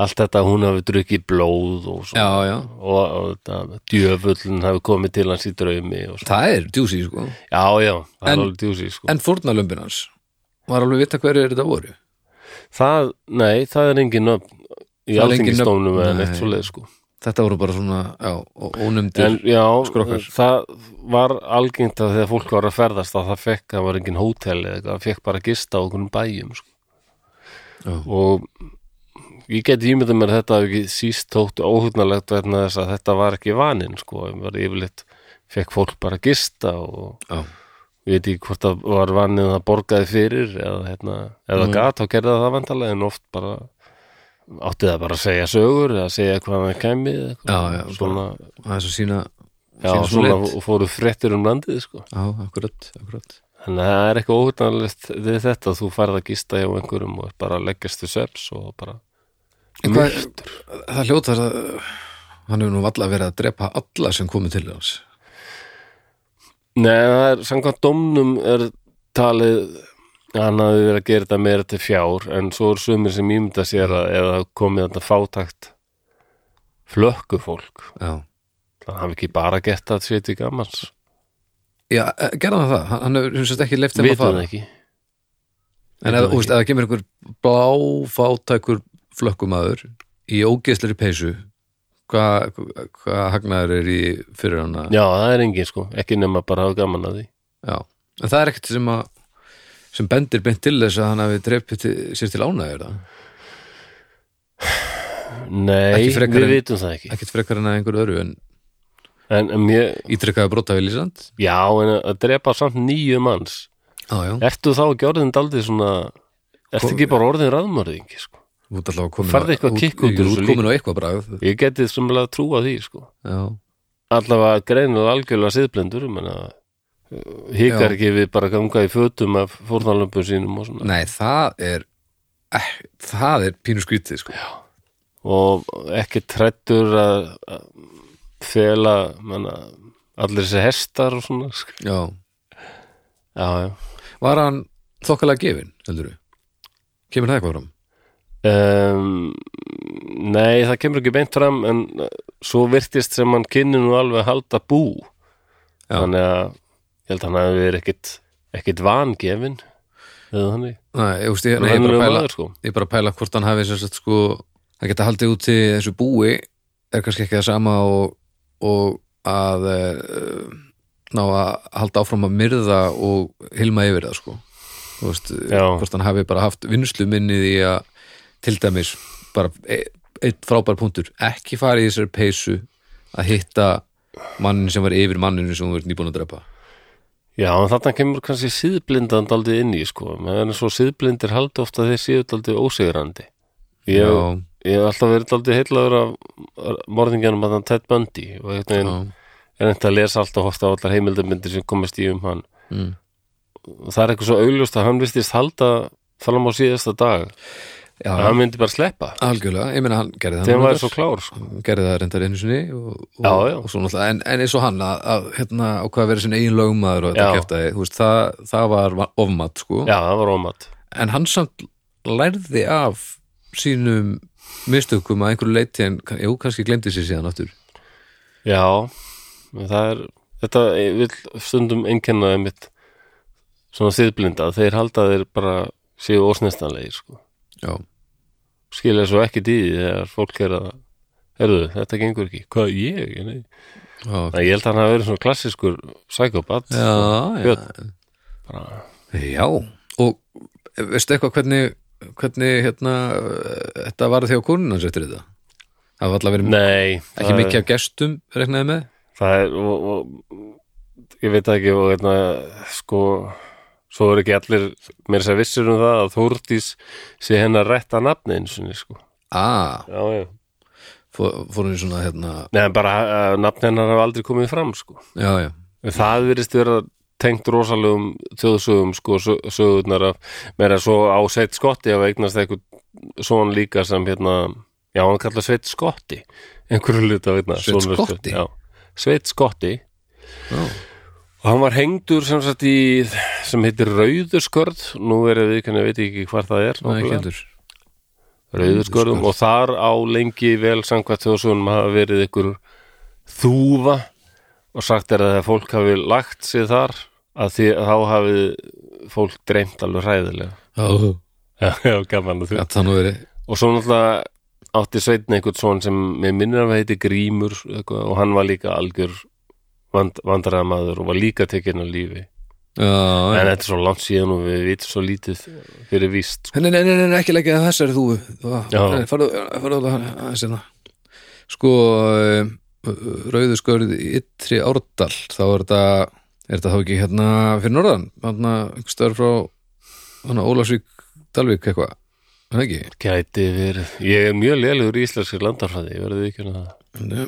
Speaker 1: allt þetta að hún hafi drukkið blóð og, svo,
Speaker 2: já, já.
Speaker 1: og, og þetta, djöfullin hafi komið til hans í draumi og, svo.
Speaker 2: það er djúsi sko
Speaker 1: já, já, það
Speaker 2: En-
Speaker 1: er alveg djúsi sko.
Speaker 2: en fórnalömbin hans var alveg vita hverju þetta voru
Speaker 1: Það, nei, það er engin nöfn í
Speaker 2: Það er engin
Speaker 1: alþingistónum
Speaker 2: nöfn-
Speaker 1: eða
Speaker 2: nei.
Speaker 1: neitt svo leið sko
Speaker 2: þetta voru bara svona, já, ó- ónefndir
Speaker 1: en já,
Speaker 2: Skrokkar.
Speaker 1: það var algengt að þegar fólk var að ferðast að það fekk, það var engin hótel eða eitthvað, það fekk bara að gista á okkur bæjum sko.
Speaker 2: Já.
Speaker 1: og ég geti ímyndað mér að þetta hafi ekki síst tótt óhugnalegt vegna þess að þetta var ekki vaninn sko, það var yfirleitt fekk fólk bara að gista og
Speaker 2: já,
Speaker 1: ég veit ekki hvort það var vaninn að það borgaði fyrir eða hérna, eða
Speaker 2: Mm.
Speaker 1: gat, þá gerði það það vandalega en oft bara átti það bara að segja sögur eða segja hvað hann kæmi eða eitthvað.
Speaker 2: Já, já,
Speaker 1: svona,
Speaker 2: það er svo sína
Speaker 1: já,
Speaker 2: sína
Speaker 1: svona
Speaker 2: lit.
Speaker 1: og fóru fréttir um landið sko.
Speaker 2: Já, akkurat, akkurat
Speaker 1: þannig að það er eitthvað óhugnarlegt við þetta, þú færð að gista hjá einhverjum og bara leggjast til sveps og bara
Speaker 2: En hvað- Það hljóta að hann hefur nú valla verið að drepa alla sem komið til hans
Speaker 1: Nei, það er, samkvæmt dómnum er talið að hann hafi verið að gera þetta meira til fjár en svo er sumir sem ímynda sér að eða komið þetta fátækt flökkufólk
Speaker 2: Já,
Speaker 1: það hafi ekki bara gett það sér til gamans
Speaker 2: já eh, gerði hann það, Hann- hann hefur sem sagt ekki leift þeim
Speaker 1: við
Speaker 2: að fara
Speaker 1: það ekki
Speaker 2: En
Speaker 1: Vitum
Speaker 2: ef
Speaker 1: það
Speaker 2: þú veist, ef það kemur einhver bláfátækur flökkumaður í ógeðsleri peysu hvað hva hagnaður er í fyrir hana
Speaker 1: já, það er engin sko, ekki nema bara hafa gaman að því
Speaker 2: Já. En það er ekkert sem að sem bendir beint til þess að hann hafi dreipið til, sér til ánægir það
Speaker 1: nei,
Speaker 2: Ekki frekar
Speaker 1: við
Speaker 2: en-
Speaker 1: vitum það ekki
Speaker 2: ekkert frekar en að einhver öru en
Speaker 1: en, en ég,
Speaker 2: ítrekkaði brotaði lýsand
Speaker 1: já, en að drepa samt nýju manns
Speaker 2: Já, já,
Speaker 1: ertu þá ekki orðin daldið svona ertu
Speaker 2: Sko-
Speaker 1: ekki bara orðin raðmörðingi sko
Speaker 2: út allavega komin
Speaker 1: Færðu eitthvað kikk út úr þessu
Speaker 2: út komin á eitthvað bragð
Speaker 1: ég getið sumlega trúa því sko
Speaker 2: Já,
Speaker 1: allavega greinlega algjörlega siðblendur menna,
Speaker 2: Já.
Speaker 1: eh, hikar ekki við bara að ganga í fötum af fórnarlömpum sínum og svona
Speaker 2: nei, það er eh, það er pínu skrítið sko Já,
Speaker 1: og ekki trættur að að fela menna, allir þessi hestar og svona sko. já, já
Speaker 2: var hann þokkalega gefin, heldur við Kemur það eitthvað fram?
Speaker 1: Um, nei, það kemur ekki beint fram en uh, svo virtist sem hann kynni nú alveg að halda bú
Speaker 2: Já.
Speaker 1: þannig að ég held að hann hafi verið ekkit, ekkit vangefin eða þannig
Speaker 2: Nei, ég, veist, ég, nei, ég,
Speaker 1: Venjulegur
Speaker 2: bara pæla,
Speaker 1: maður, sko.
Speaker 2: ég bara pæla hvort hann hafi sem sagt sko, að geta haldið út til þessu búi er kannski ekki það sama og, og að uh, ná að halda áfram að myrða og hilma yfir það sko Þú veist,
Speaker 1: Já.
Speaker 2: hvort hann hafi bara haft vinslu minnið í að til dæmis bara e- einn frábær punktur ekki fara í þessari peysu að hitta mannin sem var yfir manninu sem þú verður nýbúin að drepa
Speaker 1: Já, en þarna kemur kannski síðblindan daldið inn í, sko. En svo síðblindir haldi ofta þeir síðu daldið ósigrandi. Ég,
Speaker 2: Já.
Speaker 1: ég hef alltaf verið daldið heillaður af morðingjanum að hann Ted Bundy og einhvern veginn
Speaker 2: Já.
Speaker 1: er þetta að lesa allt og horta á allar heimildamyndir sem komast í um hann
Speaker 2: Mm.
Speaker 1: og það er eitthvað svo augljóst að hann vistist halda fram á síðasta dag
Speaker 2: Já,
Speaker 1: að hann myndi bara sleppa
Speaker 2: algjörlega, ég meina hann gerði það
Speaker 1: þegar hann
Speaker 2: nú
Speaker 1: var
Speaker 2: reyndar.
Speaker 1: svo klár sko.
Speaker 2: Hann gerði það reyndar einu sinni og, og,
Speaker 1: Já, já.
Speaker 2: og svo náttúrulega, en, en eins og hann að, að hérna ákvað að vera sinni eigin lögmaður og þetta
Speaker 1: Já.
Speaker 2: keftaði, þú veist, það, það var va- ofmat, sko,
Speaker 1: já, það var ómat
Speaker 2: en hann samt lærði af sínum mistökum að einhverju leiti en, jú, kannski glemdi sér síðan aftur
Speaker 1: já, það er þetta vil stundum einkenna einmitt svona siðblinda þeir halda að þeir bara séu ósnestanlegir sko.
Speaker 2: Já,
Speaker 1: skilja svo ekki dýði þegar fólk er að herðu, þetta gengur ekki, hvað ég? Nei.
Speaker 2: já,
Speaker 1: Þannig að ég held að hann hafa verið svona klassiskur psychopath
Speaker 2: já, já.
Speaker 1: Bara-
Speaker 2: Já, og veistu eitthvað hvernig, hvernig hérna, eh, þetta varð þjá konun hans eftir þetta? Það var alltaf verið
Speaker 1: Nei,
Speaker 2: ekki
Speaker 1: það er-
Speaker 2: mikið af gestum, reknaði með?
Speaker 1: það er og, og, ég veit það ekki og hérna, sko svo er ekki allir mér sér vissir um það að Þórdís sé hennar rétta nafni eins og sko.
Speaker 2: Ah,
Speaker 1: já, já.
Speaker 2: fór, fór hann í svona, hérna,
Speaker 1: Nei, en bara uh, nafni hennar hafa aldrei komið fram sko.
Speaker 2: já, já,
Speaker 1: En það virðist vera tengt rosalegum þjóðsögum sko, sö- sögurnar af meira svo á Sveit Skotti að eignast eitthvað svona líka sem hérna já, hann kallar Sveit Skotti einhverju luta veitna
Speaker 2: Sveinn Skotti?
Speaker 1: Sveit Skotti
Speaker 2: já,
Speaker 1: og hann var hengdur sem sagt í sem heitir Rauðurskörð nú er við, kannig, veit ég ekki hvar það er
Speaker 2: það er ekki
Speaker 1: nákvæmlega.
Speaker 2: heldur.
Speaker 1: Rauðurskörðum og þar á lengi vel samkvæmt þjóðsögunum hafa verið einhver þúfa og sagt er að það fólk hafi lagt sig þar að því að þá hafi fólk dreymt alveg hræðilega
Speaker 2: Já,
Speaker 1: Já, já, gaman að því
Speaker 2: gætt hann og verið,
Speaker 1: Og svo náttúrulega átti sveitn einhvern svon sem með minnir að heiti Grímur eitthvað, og hann var líka algjör vand, vandræðamaður og var líka tekinn á lífi
Speaker 2: já,
Speaker 1: en
Speaker 2: já.
Speaker 1: þetta er svo langt síðan og við vitum svo lítið fyrir víst sko.
Speaker 2: Nei, nei, nei, nei, ekki leggja það þessari þúfu. Það-
Speaker 1: Já.
Speaker 2: nei, Farðu, farðu að aðeins hérna. Sko, rauðu skörð í ytri árdal, þá er þetta, er þetta þá ekki hérna fyrir norðan? Hérna, einhver stöður frá, hérna, Ólafsvík, Dalvík, eitthvað. Er Það ekki?
Speaker 1: Gæti verið Ég er mjög lélugur í íslenskir landarfræði ég verði ekki að það
Speaker 2: Nei.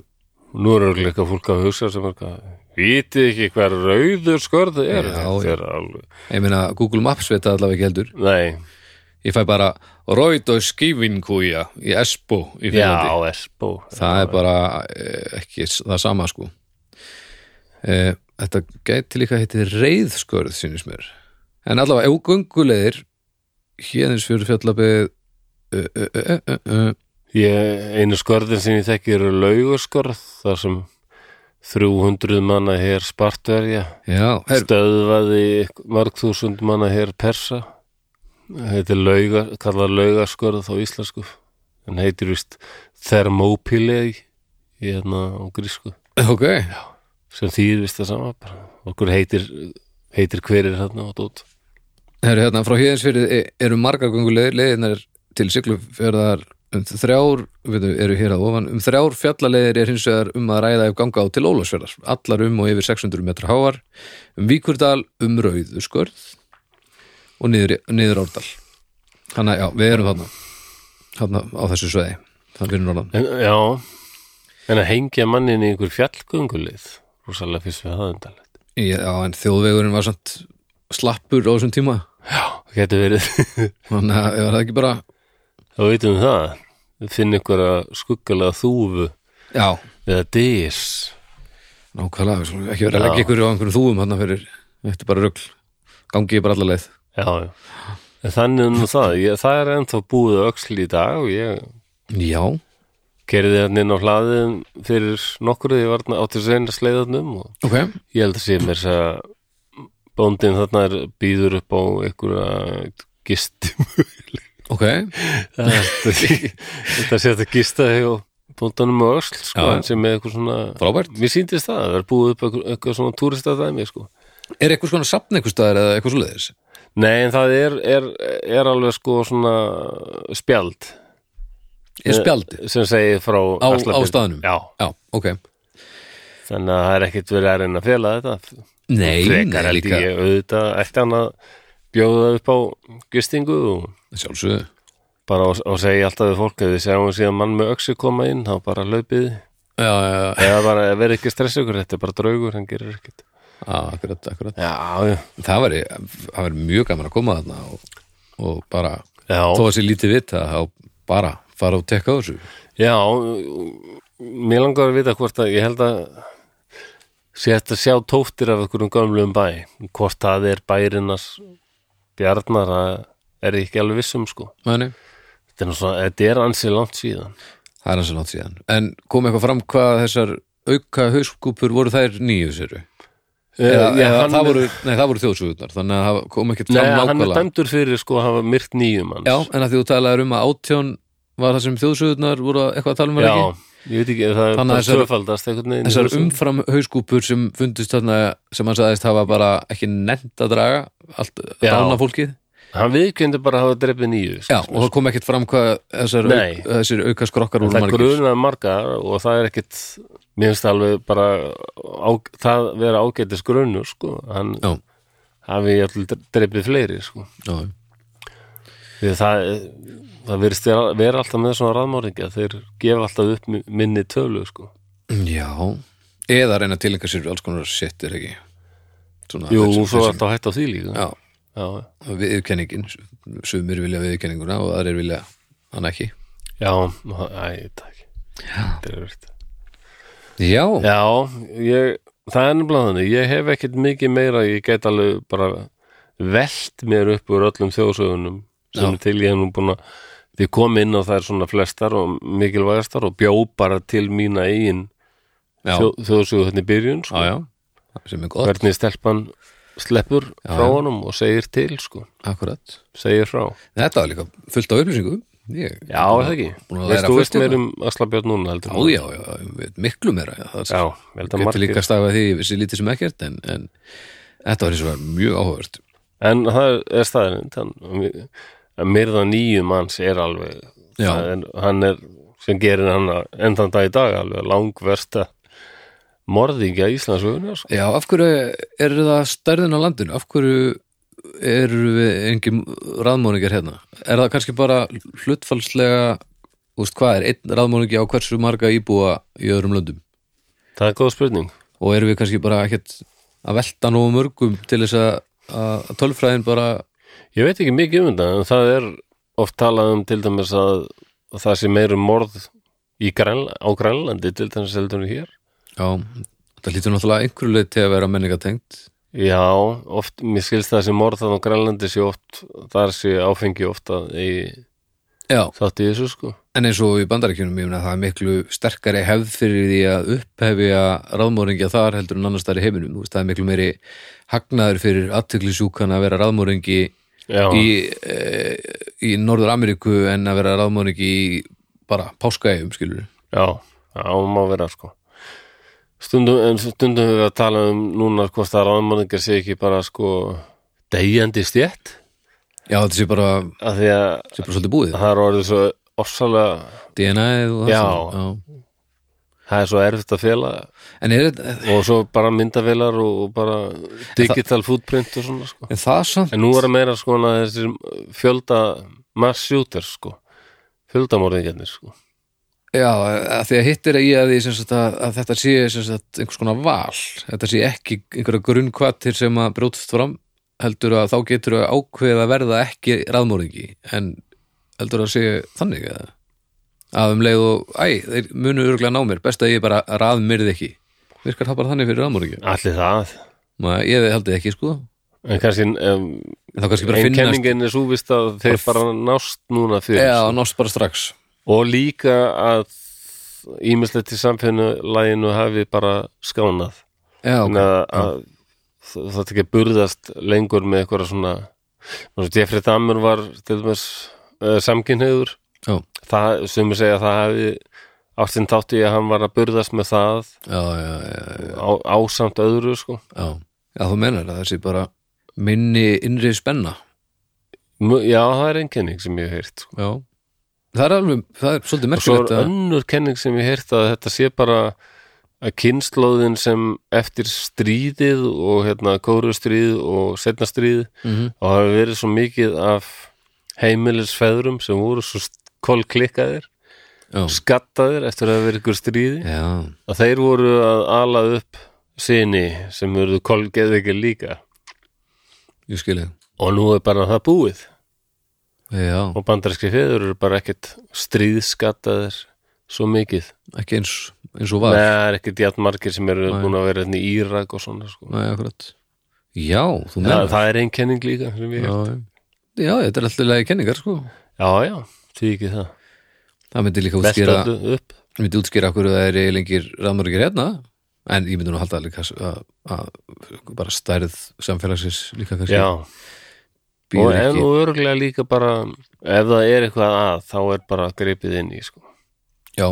Speaker 1: Nú er örugglega eitthvað fólk að hugsa sem er eitthvað Vitið ekki hver rauður skörð er
Speaker 2: Já,
Speaker 1: þetta
Speaker 2: já.
Speaker 1: er alveg
Speaker 2: Ég meina, Google Maps veit það allavega ekki heldur.
Speaker 1: Nei,
Speaker 2: Ég fæ bara rauðu skifinkúja í Esbo í Finnlandi.
Speaker 1: já, Espo
Speaker 2: það er bara eh, ekki s- það sama sko Eh, þetta gæti líka heiti reyðskörð sínist mér en allavega ef gungulegir hérnins fyrir fjallabið uh, uh, uh, uh, uh,
Speaker 1: ég, Einu skörðin sem ég þekki eru laugurskörð þar sem 300 manna her spartverja
Speaker 2: já, her,
Speaker 1: stöðvaði mörg þúsund manna her persa heitir lauga, kallað laugaskörð á íslensku en heitir vist thermopilei í hérna á grísku
Speaker 2: ok
Speaker 1: sem þýðir vist það sama bara. okkur heitir, heitir hverir hérna og dót
Speaker 2: her, hérna, frá hérnins fyrir eru margar gungulegir leiðinar til siglufjörðar um þrjár, við þau eru hér að ofan um þrjár fjallaleiðir er hins vegar um að ræða ef ganga á til Ólafsfjörðar allar um og yfir 600 metra háar um Víkurdal, um Rauðuskörð og niður, niður Árdal þannig að já, við erum þarna þarna á þessu sveiði þannig fyrir norðan
Speaker 1: en, já, en að hengja mannin í einhver fjallgöngulið rosalega fyrst við það undanlegt
Speaker 2: já, en þjóðvegurinn var samt slappur á þessum tíma
Speaker 1: já, það getur verið *laughs*
Speaker 2: þannig að ef það ekki bara
Speaker 1: þá veitum við það við finnum ykkur að skuggalega þúfu
Speaker 2: já,
Speaker 1: eða dís
Speaker 2: nákvæmlega, við skulum ekki verið að
Speaker 1: Já.
Speaker 2: leggja ykkur á einhverjum þúum þarna fyrir, þetta er bara rugl gangi bara alla leið
Speaker 1: já, já En Þannig er nú það, ég, það er ennþá búið öxl í dag og ég
Speaker 2: já,
Speaker 1: gerði hann inn á hlaðin fyrir nokkru því ég var á til sveina sleiðarnum um og
Speaker 2: ok
Speaker 1: Ég held að sé mér þess að bóndin þarna er býður upp á einhverja *laughs* gistum
Speaker 2: ok,
Speaker 1: þetta sé þetta gista hjá bóndanum og ösl sko,
Speaker 2: Já.
Speaker 1: hann sem er eitthvað svona
Speaker 2: frábært
Speaker 1: mér síndist það, það er búið upp eitthvað, eitthvað svona túrista dæmi sko.
Speaker 2: er eitthvað svona safn eitthvað staðar eða eitthvað svo leiðis
Speaker 1: nei en það er, er, er alveg sko svona spjald
Speaker 2: er spjaldið
Speaker 1: sem segir frá
Speaker 2: á, á
Speaker 1: Axlarfirði.
Speaker 2: staðnum
Speaker 1: já,
Speaker 2: já, ok
Speaker 1: þannig að það er ekkit verið að reyna að fela þetta
Speaker 2: Nei,
Speaker 1: frekar
Speaker 2: nei
Speaker 1: held
Speaker 2: líka
Speaker 1: ég auðvitað eftir hann að bjóða upp á gistingu og
Speaker 2: Sjálfsögðu
Speaker 1: bara og, og segja alltaf við fólk að þið sjáum síðan mann með öxu koma inn þá bara laupið
Speaker 2: já, já, já,
Speaker 1: eða bara verið ekki stressa ykkur þetta er bara draugur, hann gerir ekkert
Speaker 2: já, akkurat, akkurat
Speaker 1: já, já,
Speaker 2: það væri, það væri mjög gaman að koma þarna og, og bara þó
Speaker 1: já,
Speaker 2: að sé lítið vita þá bara fara og tekka á þessu
Speaker 1: já mér langar að vita hvort að ég held að sé þetta að sjá tóftir af einhverjum gömlum bæ hvort það er bærinas bjarnar það er ég ekki alveg viss um sko
Speaker 2: Mæni.
Speaker 1: þetta er, nú svona, þetta er ansi langt síðan
Speaker 2: það er hans að nátt síðan en kom eitthvað fram hvað þessar auka hauskúpur voru þær nýju séru eða,
Speaker 1: Eh, já,
Speaker 2: eða
Speaker 1: hann er-
Speaker 2: það, voru, nei, það voru þjóðsugurnar þannig að það kom ekkert
Speaker 1: Nei,
Speaker 2: fram
Speaker 1: hann er
Speaker 2: nákvæmlega
Speaker 1: dæmdur fyrir sko að hafa myrt nýjum hans
Speaker 2: já, en að því þú talaðir um að átján var það sem þjóðsugurnar voru eitthvað að tala um var
Speaker 1: Já,
Speaker 2: ekki
Speaker 1: ég veit ekki, það er
Speaker 2: Þannig að
Speaker 1: bara
Speaker 2: þessar-
Speaker 1: tvöfaldast einhvern veginn í
Speaker 2: þessar
Speaker 1: þessu.
Speaker 2: umfram hauskúpur sem fundust þarna sem hann sagðist hafa bara ekki nefnt að draga allt
Speaker 1: Já.
Speaker 2: dána fólkið
Speaker 1: Hann viðkjöndi bara að hafa sko. drefið nýju
Speaker 2: já, og það kom ekkert fram hvað þessar,
Speaker 1: Nei.
Speaker 2: auk, þessir auka skrokkar voru
Speaker 1: það
Speaker 2: margir
Speaker 1: grunaði margar og það er ekkit mér finnst það alveg bara á, það vera ágætis grunur sko. hann
Speaker 2: Já.
Speaker 1: hafi allir drefið fleiri sko.
Speaker 2: Já, já.
Speaker 1: Því það, það verist vera alltaf með svona ráðmáringa þeir gefa alltaf upp mi- minni tölu sko.
Speaker 2: Já, eða reyna að tilenga sér alls konar shit er ekki Svona,
Speaker 1: Jú, svo
Speaker 2: þessum-
Speaker 1: er
Speaker 2: þessum-
Speaker 1: alltaf hætt á því líka
Speaker 2: Já,
Speaker 1: Já,
Speaker 2: viðurkenningin Sumir vilja viðurkenninguna og aðrir vilja hann ekki
Speaker 1: já, æ, takk Þetta er verið
Speaker 2: Já,
Speaker 1: Já, ég, það er nefnilega þannig ég hef ekkert mikið meira ég get alveg bara velt mér upp úr öllum þjóðsögunum sem
Speaker 2: Já.
Speaker 1: er til ég hef nú búin að því kom inn á þær svona flestar og mikilvægastar og bjó bara til mína eigin
Speaker 2: já,
Speaker 1: þjó, þjóðsögu hérna í byrjun
Speaker 2: já,
Speaker 1: sko.
Speaker 2: já sem er gott,
Speaker 1: hvernig stelpan sleppur frá
Speaker 2: já.
Speaker 1: honum og segir til sko,
Speaker 2: akkurat
Speaker 1: segir frá
Speaker 2: Þetta var líka fullt af upplýsingu Ég,
Speaker 1: Já, er það ekki,
Speaker 2: Búin að
Speaker 1: veist
Speaker 2: læra
Speaker 1: þú
Speaker 2: fullt
Speaker 1: veist meir
Speaker 2: hérna.
Speaker 1: um Aslabjörn núna heldur
Speaker 2: Já,
Speaker 1: en-
Speaker 2: já, já, ég veit miklu meira já, Það
Speaker 1: já, ég held að
Speaker 2: getur
Speaker 1: margir
Speaker 2: líka að stafa því, ég vissi lítið sem ekkert en, en þetta var eins og var mjög áhugavert
Speaker 1: En það er staðarind að myrða nýju manns er alveg
Speaker 2: Já.
Speaker 1: það er, hann er sem gerir hann enn þann dag í dag alveg langversta morðingja Íslandsögunar sko.
Speaker 2: Já, af hverju er það stærðin á landinu? Af hverju eru við engin ráðmóningar hérna? Er það kannski bara hlutfalslega úst, hvað er einn ráðmóningi á hversu marga íbúa í öðrum löndum?
Speaker 1: það er góð spurning
Speaker 2: Og eru við kannski bara ekkert að velta nógu mörgum til þess að, að tölfræðin bara
Speaker 1: ég veit ekki mikið um þetta en það er oft talað um til dæmis að það sé meirum morð í Grænl á Grænlandi til dæmis heldur en hér
Speaker 2: já, það hlýtur náttúrulega einhverju leið til að vera menningatengt
Speaker 1: Já, oft, mér skilst það sem morð þannig á Grænlandi sé oft, þar sé áfengi ofta í
Speaker 2: Já,
Speaker 1: þátti þessu sko
Speaker 2: en eins og í bandarækjunum ég meina það er miklu sterkari hefð fyrir því að upphefja ráðmóringja þar heldur en annars þar í heiminum Þú veist, það er miklu meiri hagnaður fyrir aðtöklisjúkan að vera ráðmóringi
Speaker 1: Já,
Speaker 2: í, e, í Norður Ameríku en að vera ráðmóringi í bara páskaegum skilur
Speaker 1: Já, já, má vera sko stundum, en stundum við að tala um núna hvort það ráðmörðingar sé ekki bara sko deyjandi stjætt
Speaker 2: já þetta sé bara,
Speaker 1: af því að
Speaker 2: sé bara svolítið búið
Speaker 1: það er orðið svo ofsalega
Speaker 2: DNA og það
Speaker 1: Já.
Speaker 2: svona, já.
Speaker 1: það er svo erfitt að fela
Speaker 2: en er þetta
Speaker 1: og svo bara myndavelar og, og bara digital footprint og svona sko
Speaker 2: en það samt,
Speaker 1: en nú er að meira sko að þessir fjölda mass shooter sko fjöldamorðingarnir sko
Speaker 2: já, að því að hittir að ég að því sem sagt að, að þetta sé sem sagt einhvers konar val, þetta sé ekki einhverja grunnkvatir sem að brjótast fram heldur að þá getur að ákveða að verða ekki ráðmóringi en heldur að sé þannig að, að um leið og æ, þeir munu örgulega ná mér, best að ég bara ráðmyrði ekki, virkar það bara þannig fyrir ráðmóringi
Speaker 1: allir það
Speaker 2: maður, ég held ég ekki sko en
Speaker 1: en kannski um,
Speaker 2: þá kannski bara
Speaker 1: en
Speaker 2: finnast,
Speaker 1: kenningin er svo vist að þeir bara nást núna fyrir
Speaker 2: já, nást bara strax
Speaker 1: og líka að ímislegt í samfélaginu hafi bara skánað
Speaker 2: já, ok,
Speaker 1: þannig að, að það það er ekki að burðast lengur með eitthvað svona Nú, Jeffrey Dahmer var til dæmis uh, samkynhauður
Speaker 2: já,
Speaker 1: það sem ég segja að það hafi ástinn þátti að hann var að burðast með það
Speaker 2: já, já, já, já.
Speaker 1: á, ásamt öðru sko
Speaker 2: Já, já þú menar að það sé bara minni innri spenna
Speaker 1: Mö- já það er einn kenning sem ég hef heyrt sko.
Speaker 2: Já Það er alveg, það er svolítið
Speaker 1: og svo
Speaker 2: merkilegt
Speaker 1: er
Speaker 2: að
Speaker 1: önnur kenning sem ég heyrta að þetta sé bara að kynnslóðin sem eftir stríðið og hérna kórustríð og setna stríð
Speaker 2: mm
Speaker 1: og það hafi verið svo mikið af heimilisfeðrum sem voru svo kolklikkaðir
Speaker 2: Já.
Speaker 1: skattaðir eftir að hafa verið ykkur stríði
Speaker 2: Já,
Speaker 1: að þeir voru að ala upp sinni sem verður kolgeðveikir líka
Speaker 2: ég skilja
Speaker 1: og nú er bara það búið
Speaker 2: Já,
Speaker 1: og bandarski feður eru bara ekkert stríðskattaðir svo mikið
Speaker 2: ekki eins, eins og
Speaker 1: Nei,
Speaker 2: var
Speaker 1: það er ekkert jætt margir sem eru
Speaker 2: Nei.
Speaker 1: búin að vera hérna í Írak og svona sko.
Speaker 2: Nei, akkurat Já, þú
Speaker 1: það,
Speaker 2: menar
Speaker 1: það er ein kenning líka sem ég
Speaker 2: já,
Speaker 1: já.
Speaker 2: já. já, þetta er alltaf lagi kenningar sko
Speaker 1: já, já, því ekki það
Speaker 2: Það myndi líka
Speaker 1: Lest
Speaker 2: útskýra
Speaker 1: öllu upp
Speaker 2: Ég myndi útskýra okkur að það er eiginlega engir rafmörgir hérna en ég myndi nú halda líka að, að, að bara stærð samfélagsins líka kannski
Speaker 1: Já, og
Speaker 2: býður
Speaker 1: en
Speaker 2: ekki
Speaker 1: og örgulega líka bara ef það er eitthvað að þá er bara gripið inn í sko.
Speaker 2: Já.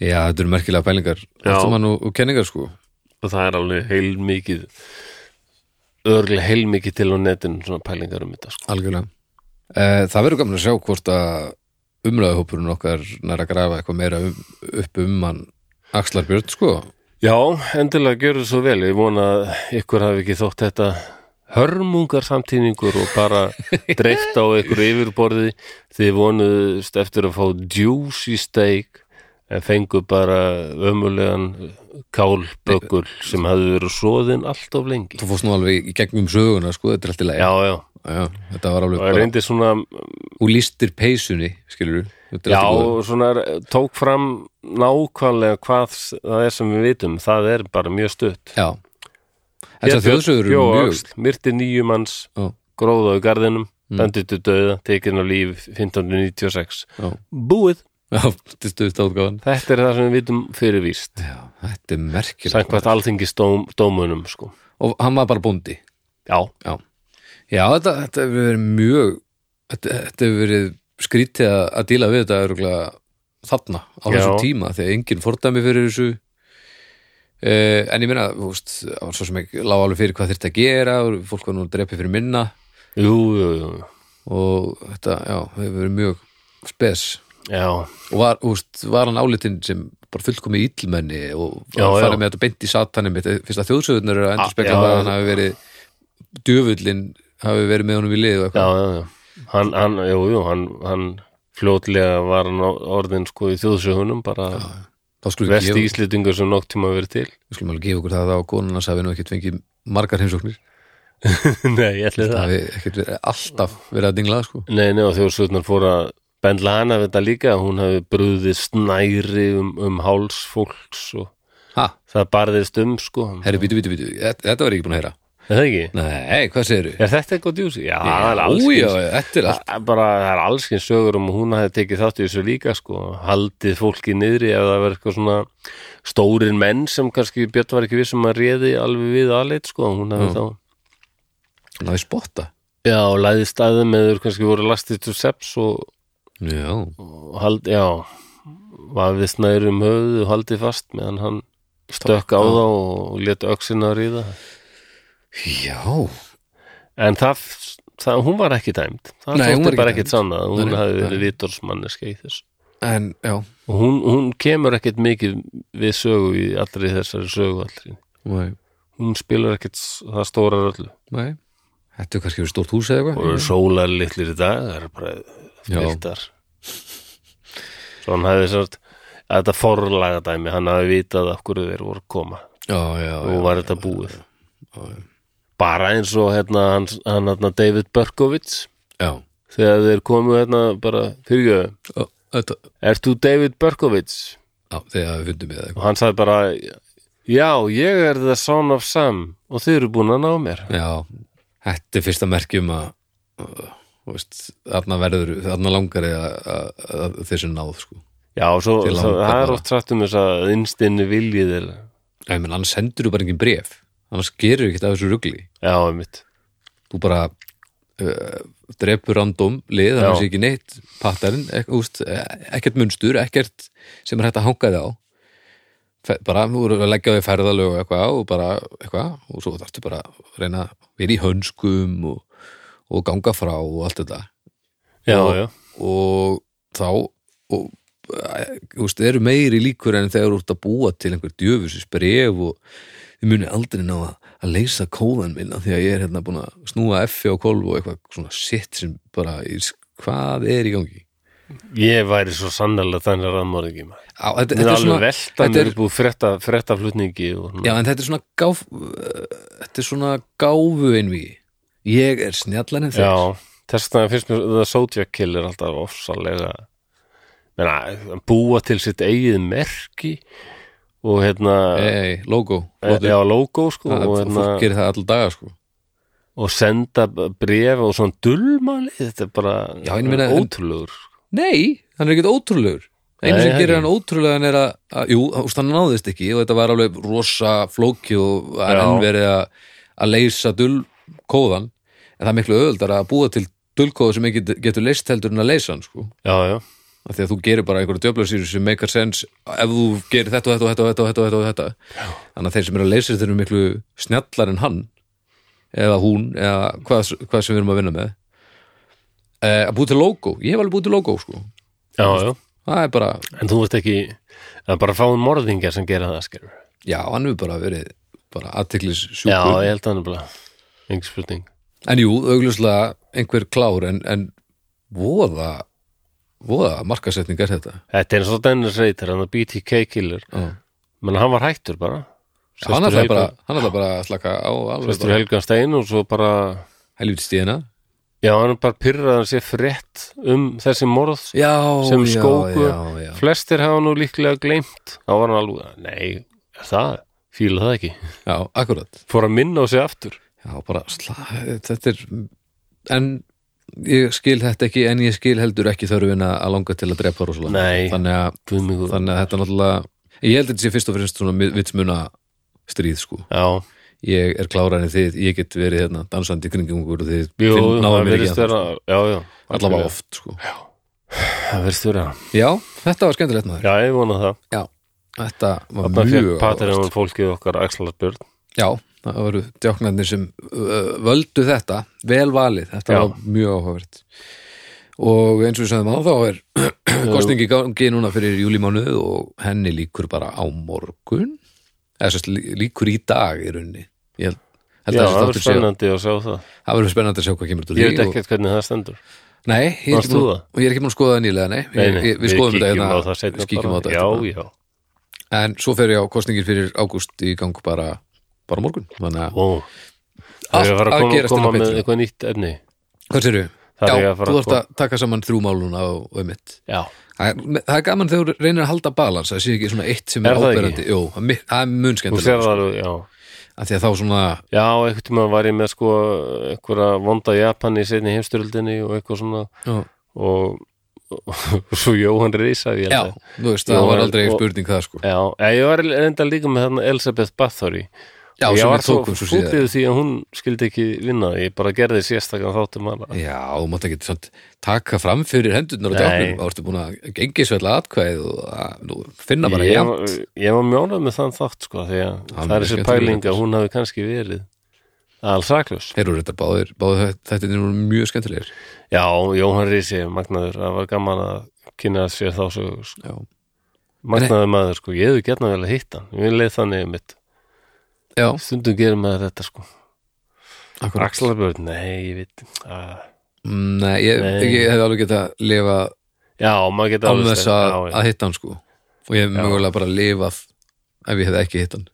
Speaker 2: Já, þetta eru merkilega pælingar
Speaker 1: Já.
Speaker 2: Ástumann og, og kenningar sko
Speaker 1: og það er alveg heilmikið örgulega heilmikið til á netinu svona pælingar um þetta sko.
Speaker 2: Algjörlega Eh, Það verður gaman að sjá hvort að umræðahópurinn okkar nær að grafa eitthvað meira um, upp um hann Axlar Björn sko
Speaker 1: Já, endilega gjörðu svo vel ég vona að ykkur hafi ekki þótt þetta hörmungar samtíningur og
Speaker 2: *laughs*
Speaker 1: bara dreift á ykkur yfirborði þið vonuðust eftir að fá juicy steak en fengu bara ömulegan kálbökkur sem hafði verið svoðin allt of lengi
Speaker 2: Þú fórst nú alveg í gegnum söguna sko Þetta er alltaf leið
Speaker 1: Já, já,
Speaker 2: Já, Þetta var alveg
Speaker 1: og
Speaker 2: bara
Speaker 1: reyndi svona
Speaker 2: Hún lístir peysunni, skilur við
Speaker 1: Já, og svona er- tók fram nákvæmlega hvað s- það er sem við vitum, það er bara mjög stutt
Speaker 2: Já Þessar þjóðsögur eru mjög
Speaker 1: Myrti nýju manns,
Speaker 2: Já. *laughs*
Speaker 1: gróða á garðinum mm. dæmditu döða, tekin á líf 1596
Speaker 2: Já.
Speaker 1: Búið,
Speaker 2: Já, þetta er stöðt átgáðan
Speaker 1: þetta er það sem við vitum fyrir víst
Speaker 2: Já, þetta er merkilega
Speaker 1: Sænkvæmt alþingisdómunum sko.
Speaker 2: Og hann var bara bóndi
Speaker 1: Já,
Speaker 2: Já, Já þetta, þetta hefur verið mjög þetta, þetta hefur verið skrítið að, að díla við þetta örgulega þarna á
Speaker 1: Já.
Speaker 2: þessum tíma þegar enginn fordæmi fyrir þessu eh, en ég meina, þú veist það var svo sem ekki lág alveg fyrir hvað þyrfti að gera og fólk var nú drepið fyrir minna
Speaker 1: jú, jú, jú
Speaker 2: og þetta, já, hefur verið mjög spes
Speaker 1: Já,
Speaker 2: og var, þú veist, var hann álitinn sem bara fullkomi ítlmenni og
Speaker 1: Já,
Speaker 2: var
Speaker 1: já. Ah,
Speaker 2: farið með þetta beint í satanum mitt, fyrst að þjóðsöðunar eru að endur
Speaker 1: já,
Speaker 2: spekla
Speaker 1: já.
Speaker 2: hvað hann hafi verið djöfullin hafi verið með honum í lið og eitthvað
Speaker 1: já, já, já Hann, hann, jú, jú, hann, hann fljótlega var hann á- orðinn sko í þjóðsögunum bara
Speaker 2: þá skulum við
Speaker 1: vesti
Speaker 2: gefa,
Speaker 1: íslendingur sem nokt tíma verið til
Speaker 2: við skulum alveg gefa okkur það að konunans hafi nú ekkert fengið margar heimsóknir
Speaker 1: *laughs* Nei, ég ætli
Speaker 2: það
Speaker 1: það
Speaker 2: hafi ekkert verið, alltaf verið að dingla sko.
Speaker 1: Nei, nei, og þjóðsögnar fór að bendla hana við þetta líka, hún hafi brúðið snæri um, um háls fólks og
Speaker 2: ha,
Speaker 1: það barðist um, sko Er
Speaker 2: herri, bítu, bítu, bítu, þetta, þetta var ég ekki búin að heyra
Speaker 1: það ekki?
Speaker 2: nei, hvað segirðu?
Speaker 1: Er þetta eitthvað djúsi? Já, það er alls
Speaker 2: já,
Speaker 1: kyns
Speaker 2: þetta er allt
Speaker 1: það er bara, það er alls kyns sögur um að hún hafi tekið þátt í þessu líka, sko haldið fólki niðri ef það verið eitthvað svona stórir menn sem kannski Björn var ekki vissum að réði alveg við aðleitt, sko, hún hafi þá
Speaker 2: ná í spotta
Speaker 1: Já, og læði staðið með þau kannski voru lastið til seps og,
Speaker 2: já,
Speaker 1: og hald, já vafið snæri um höfuð og haldið fast meðan hann stökk á það og létt öxina að ríða
Speaker 2: já,
Speaker 1: en það, það hún var ekki dæmd það
Speaker 2: Nei, hún var
Speaker 1: þótti
Speaker 2: ekki
Speaker 1: bara ekkit
Speaker 2: dæmd.
Speaker 1: sanna hún
Speaker 2: Nei,
Speaker 1: hafði
Speaker 2: nei.
Speaker 1: verið vitorsmanneska í þess
Speaker 2: en, já
Speaker 1: og hún, hún kemur ekkit mikið við sögu í allri þessari sögu allri
Speaker 2: nei,
Speaker 1: hún spilar ekkit s- það stóra öllu
Speaker 2: nei þetta er kannski verið stórt hús eða
Speaker 1: og
Speaker 2: eitthvað
Speaker 1: sólar litlir í dag það er bara
Speaker 2: Já.
Speaker 1: viltar svo hann hafði svona þetta forlaga dæmi, hann hafði vitað af hverju þeir voru að koma
Speaker 2: já, já,
Speaker 1: og
Speaker 2: já,
Speaker 1: var þetta búið bara eins og hérna hann, hann hérna David Berkovits
Speaker 2: já.
Speaker 1: þegar þeir komu hérna bara fyrir
Speaker 2: Ó, þetta,
Speaker 1: er þú David Berkovits?
Speaker 2: já, þegar við fundum við
Speaker 1: og hann sagði bara já, ég er the son of Sam og þið eru búin að ná mér
Speaker 2: eitthvað já, þetta er fyrsta merkjum að uh, þú veist, þarna verður þarna langar eða að- að þessu náð sko.
Speaker 1: já, og svo,
Speaker 2: Til
Speaker 1: svo
Speaker 2: langar
Speaker 1: það er
Speaker 2: bara.
Speaker 1: oft sagt um þess að innstinni viljið er
Speaker 2: Nei, menn, annars sendur þú bara engin bref annars gerir ekkert af þessu rugli
Speaker 1: já, einmitt
Speaker 2: þú bara uh, drepur random lið,
Speaker 1: Já.
Speaker 2: þannig sé ekki neitt pattarinn, ek, úst, ekkert munstur ekkert sem er hægt að hanga þið á Fe- bara, þú eru að leggja á því ferðalög og eitthvað og bara, eitthvað og svo þarftu bara að reyna að vera í hönskum og, og ganga frá og allt þetta
Speaker 1: já,
Speaker 2: Og-
Speaker 1: já,
Speaker 2: og þá og, eh, þú veist, eru meiri líkur en þegar þú ert að búa til einhver djöfusis bref og þið muni aldrei ná að, að leysa kóðan minna því að ég er hérna búin að snúa F á kolv og eitthvað svona sitt sem bara, ég- hvað er í gangi
Speaker 1: Ég væri svo sannlega þannig raðmóringi maður.
Speaker 2: á, þetta,
Speaker 1: Mér
Speaker 2: þetta er
Speaker 1: alveg
Speaker 2: svona
Speaker 1: velta
Speaker 2: þetta
Speaker 1: mér
Speaker 2: er-
Speaker 1: upp úr frétta, fréttaflutningi og
Speaker 2: já, en þetta er svona gáf uh, þetta er svona gáfu einvigi ég er snjallan en þeir
Speaker 1: Já, þess vegna finnst mér The Zodiac Kill er alltaf ofsalega menna, að búa til sitt eigið merki og hérna
Speaker 2: hey, logo,
Speaker 1: e,
Speaker 2: flottur.
Speaker 1: já, logo sko
Speaker 2: það,
Speaker 1: og, hérna,
Speaker 2: fólk gerir það alltaf daga sko
Speaker 1: og senda bref og svona dulmali þetta er bara
Speaker 2: Já, ég meina-
Speaker 1: ótrúlegur sko.
Speaker 2: Nei, hann er ekkert ótrúlegur Einu
Speaker 1: Nei,
Speaker 2: sem
Speaker 1: það
Speaker 2: gerir
Speaker 1: ekki.
Speaker 2: hann ótrúlegan er að, að jú, úst, hann náðist ekki og þetta var alveg rosa flóki og var
Speaker 1: Já.
Speaker 2: enn verið að, að leysa dullkóðan en það er miklu öðuldar að búa til dullkóða sem ekki getur leyst heldur en að leysa hann sko.
Speaker 1: já, já,
Speaker 2: af því að þú gerir bara einhverja djöflasýru sem make a sense ef þú gerir þetta og þetta og þetta og þetta og þetta, og þetta, og þetta. þannig að þeir sem eru að leysa þetta eru miklu snjallar en hann eða hún eða hvað, hvað sem við erum að vinna með eh, að búa til logo, ég hef alveg búið til logo sko.
Speaker 1: já, já
Speaker 2: það er bara,
Speaker 1: en þú ert ekki það er bara fáin morðingjar sem gera það skilur
Speaker 2: já, hann hefur bara verið bara aðtiklis
Speaker 1: já,
Speaker 2: sjúkur
Speaker 1: ég held að hann er bara engin spurning
Speaker 2: en jú, augljóslega einhver klár en, en voða voða markasetning er þetta
Speaker 1: þetta er eins og Dennis Reiter, hann er BTK Killer
Speaker 2: Já.
Speaker 1: menn hann var hættur bara
Speaker 2: hann
Speaker 1: Sestur
Speaker 2: ætlaði bara,
Speaker 1: Helga-
Speaker 2: hann ætlaði bara að slaka á alveg
Speaker 1: Sestur
Speaker 2: bara
Speaker 1: Helgan Stein og svo bara
Speaker 2: helvítið stíðina
Speaker 1: Já, hann er bara pyrrað að hann sé frétt um þessi morð
Speaker 2: já,
Speaker 1: sem
Speaker 2: já,
Speaker 1: skóku
Speaker 2: já, já.
Speaker 1: Flestir hafa nú líklega gleymt Þá var hann alveg, nei, er það? Fíla það ekki *laughs*
Speaker 2: já, akkurat
Speaker 1: Fór að minna á sig aftur
Speaker 2: já, bara, sla, þetta er en ég skil þetta ekki en ég skil heldur ekki þörfina að langa til að drepa rosalega
Speaker 1: Nei,
Speaker 2: þannig að,
Speaker 1: guðmígur
Speaker 2: þannig að þetta náttúrulega ég held að þetta sé fyrst og fremst svona mi- vitsmuna stríð sko
Speaker 1: Já,
Speaker 2: ég er klárarinn þið, ég get verið hérna dansandi í kringum ykkur og þið
Speaker 1: jú,
Speaker 2: finn- náðu
Speaker 1: það
Speaker 2: mér ekki
Speaker 1: verðist vera Já, já,
Speaker 2: að allavega oft sko.
Speaker 1: Það verðist vera
Speaker 2: Já, þetta var skemmtilegt maður
Speaker 1: Já, ég vona það
Speaker 2: Já, þetta var
Speaker 1: Þannig
Speaker 2: mjög
Speaker 1: fyrir patir
Speaker 2: áhugavert.
Speaker 1: hann fólkið okkar axlarspjörn
Speaker 2: Já, það voru djáknarnir sem uh, völdu þetta, vel valið þetta
Speaker 1: Já.
Speaker 2: var mjög áhugavert og eins og við sagðum á þá
Speaker 1: *clears throat*
Speaker 2: er kostningi í gangi núna fyrir júlímánuð og henni líkur bara á morgun eða sérst líkur í dag í rauninni ég held, held
Speaker 1: Já,
Speaker 2: að
Speaker 1: það
Speaker 2: þessi
Speaker 1: verður
Speaker 2: þáttur sé-
Speaker 1: spennandi að sjá það
Speaker 2: það verður spennandi að sjá hvað kemur út úr
Speaker 1: Ég
Speaker 2: því
Speaker 1: veit
Speaker 2: og-
Speaker 1: ekkert hvernig það stendur
Speaker 2: Nei, ég er,
Speaker 1: Varst
Speaker 2: ekki búin,
Speaker 1: þú það?
Speaker 2: og ég er ekki búin að skoða það nýlega, nei,
Speaker 1: Nei, nei,
Speaker 2: ég, Við skoðum þetta
Speaker 1: kíkjum á það
Speaker 2: hérna,
Speaker 1: seinna
Speaker 2: við kíkjum á
Speaker 1: bara.
Speaker 2: þetta
Speaker 1: Já,
Speaker 2: eftir
Speaker 1: já,
Speaker 2: bara. En svo fer ég á kostningir fyrir ágúst í gang bara, bara á morgun Þannig að,
Speaker 1: ó Það er að fara að koma,
Speaker 2: gerast
Speaker 1: koma
Speaker 2: inn á
Speaker 1: með
Speaker 2: Patreon.
Speaker 1: eitthvað nýtt efni
Speaker 2: hvað sérðu?
Speaker 1: Það
Speaker 2: Já,
Speaker 1: er ég að fara
Speaker 2: þú
Speaker 1: að
Speaker 2: þarft að taka saman þrjú mál núna og, og mitt
Speaker 1: Já,
Speaker 2: það er, það er gaman þegar þú reynir að halda balans Það sé ekki svona eitt sem
Speaker 1: Er
Speaker 2: er,
Speaker 1: það ekki?
Speaker 2: áberandi Jú, það er mi- það er
Speaker 1: þú
Speaker 2: mun
Speaker 1: sér
Speaker 2: skemmtilega
Speaker 1: það alveg, já
Speaker 2: Af Því að þá svona,
Speaker 1: Já, einhvern tímann var ég með sko einhverja vonda Japan í seinni heimstyröldinni og eitthvað svona
Speaker 2: já,
Speaker 1: og, og svo Jóhann Reisa ég
Speaker 2: já
Speaker 1: held að-
Speaker 2: þú veist, það
Speaker 1: Jú,
Speaker 2: var
Speaker 1: en-
Speaker 2: aldrei
Speaker 1: og-
Speaker 2: spurning það sko
Speaker 1: Já, eða ég var reynda líka með þarna Elisabeth Bathory
Speaker 2: Já,
Speaker 1: og
Speaker 2: sem
Speaker 1: ég
Speaker 2: við
Speaker 1: var svo
Speaker 2: tókum svo síðar.
Speaker 1: fútið því að hún skildi ekki vinna ég bara gerði sérstakann þáttum hana
Speaker 2: Já, þú mátt ekki samt taka fram fyrir hendurnar og djáknum,
Speaker 1: Nei.
Speaker 2: þá ertu búin að gengisvella atkvæð og að, nú, finna bara
Speaker 1: ég,
Speaker 2: jafnt.
Speaker 1: var- ég var mjónað með þann þátt sko því að
Speaker 2: Hann
Speaker 1: það
Speaker 2: er
Speaker 1: er þessi
Speaker 2: skemmtilegur.
Speaker 1: pæling að hún hafi kannski verið alsakljós
Speaker 2: Þeir eru þetta báðir, báðir þetta er mjög skemmtilegir
Speaker 1: Já, Jóhann Reisi, magnaður, það var gaman að kynna sér þá svo sko.
Speaker 2: Já.
Speaker 1: Magnaður maður sko, ég hefði getna vel að hitta hann Ég leið þannig um mitt
Speaker 2: Já,
Speaker 1: Stundum gerum maður þetta sko
Speaker 2: akkur
Speaker 1: Axlarbjörn, nei, ég veit ah. að...
Speaker 2: Nei, ég,
Speaker 1: Nei.
Speaker 2: ég hef alveg getað að lifa
Speaker 1: Já, maður geta
Speaker 2: án þess að,
Speaker 1: já, já.
Speaker 2: að hitta hann sko og ég hef mögulega bara lifað ef ég hef ekki hitt hann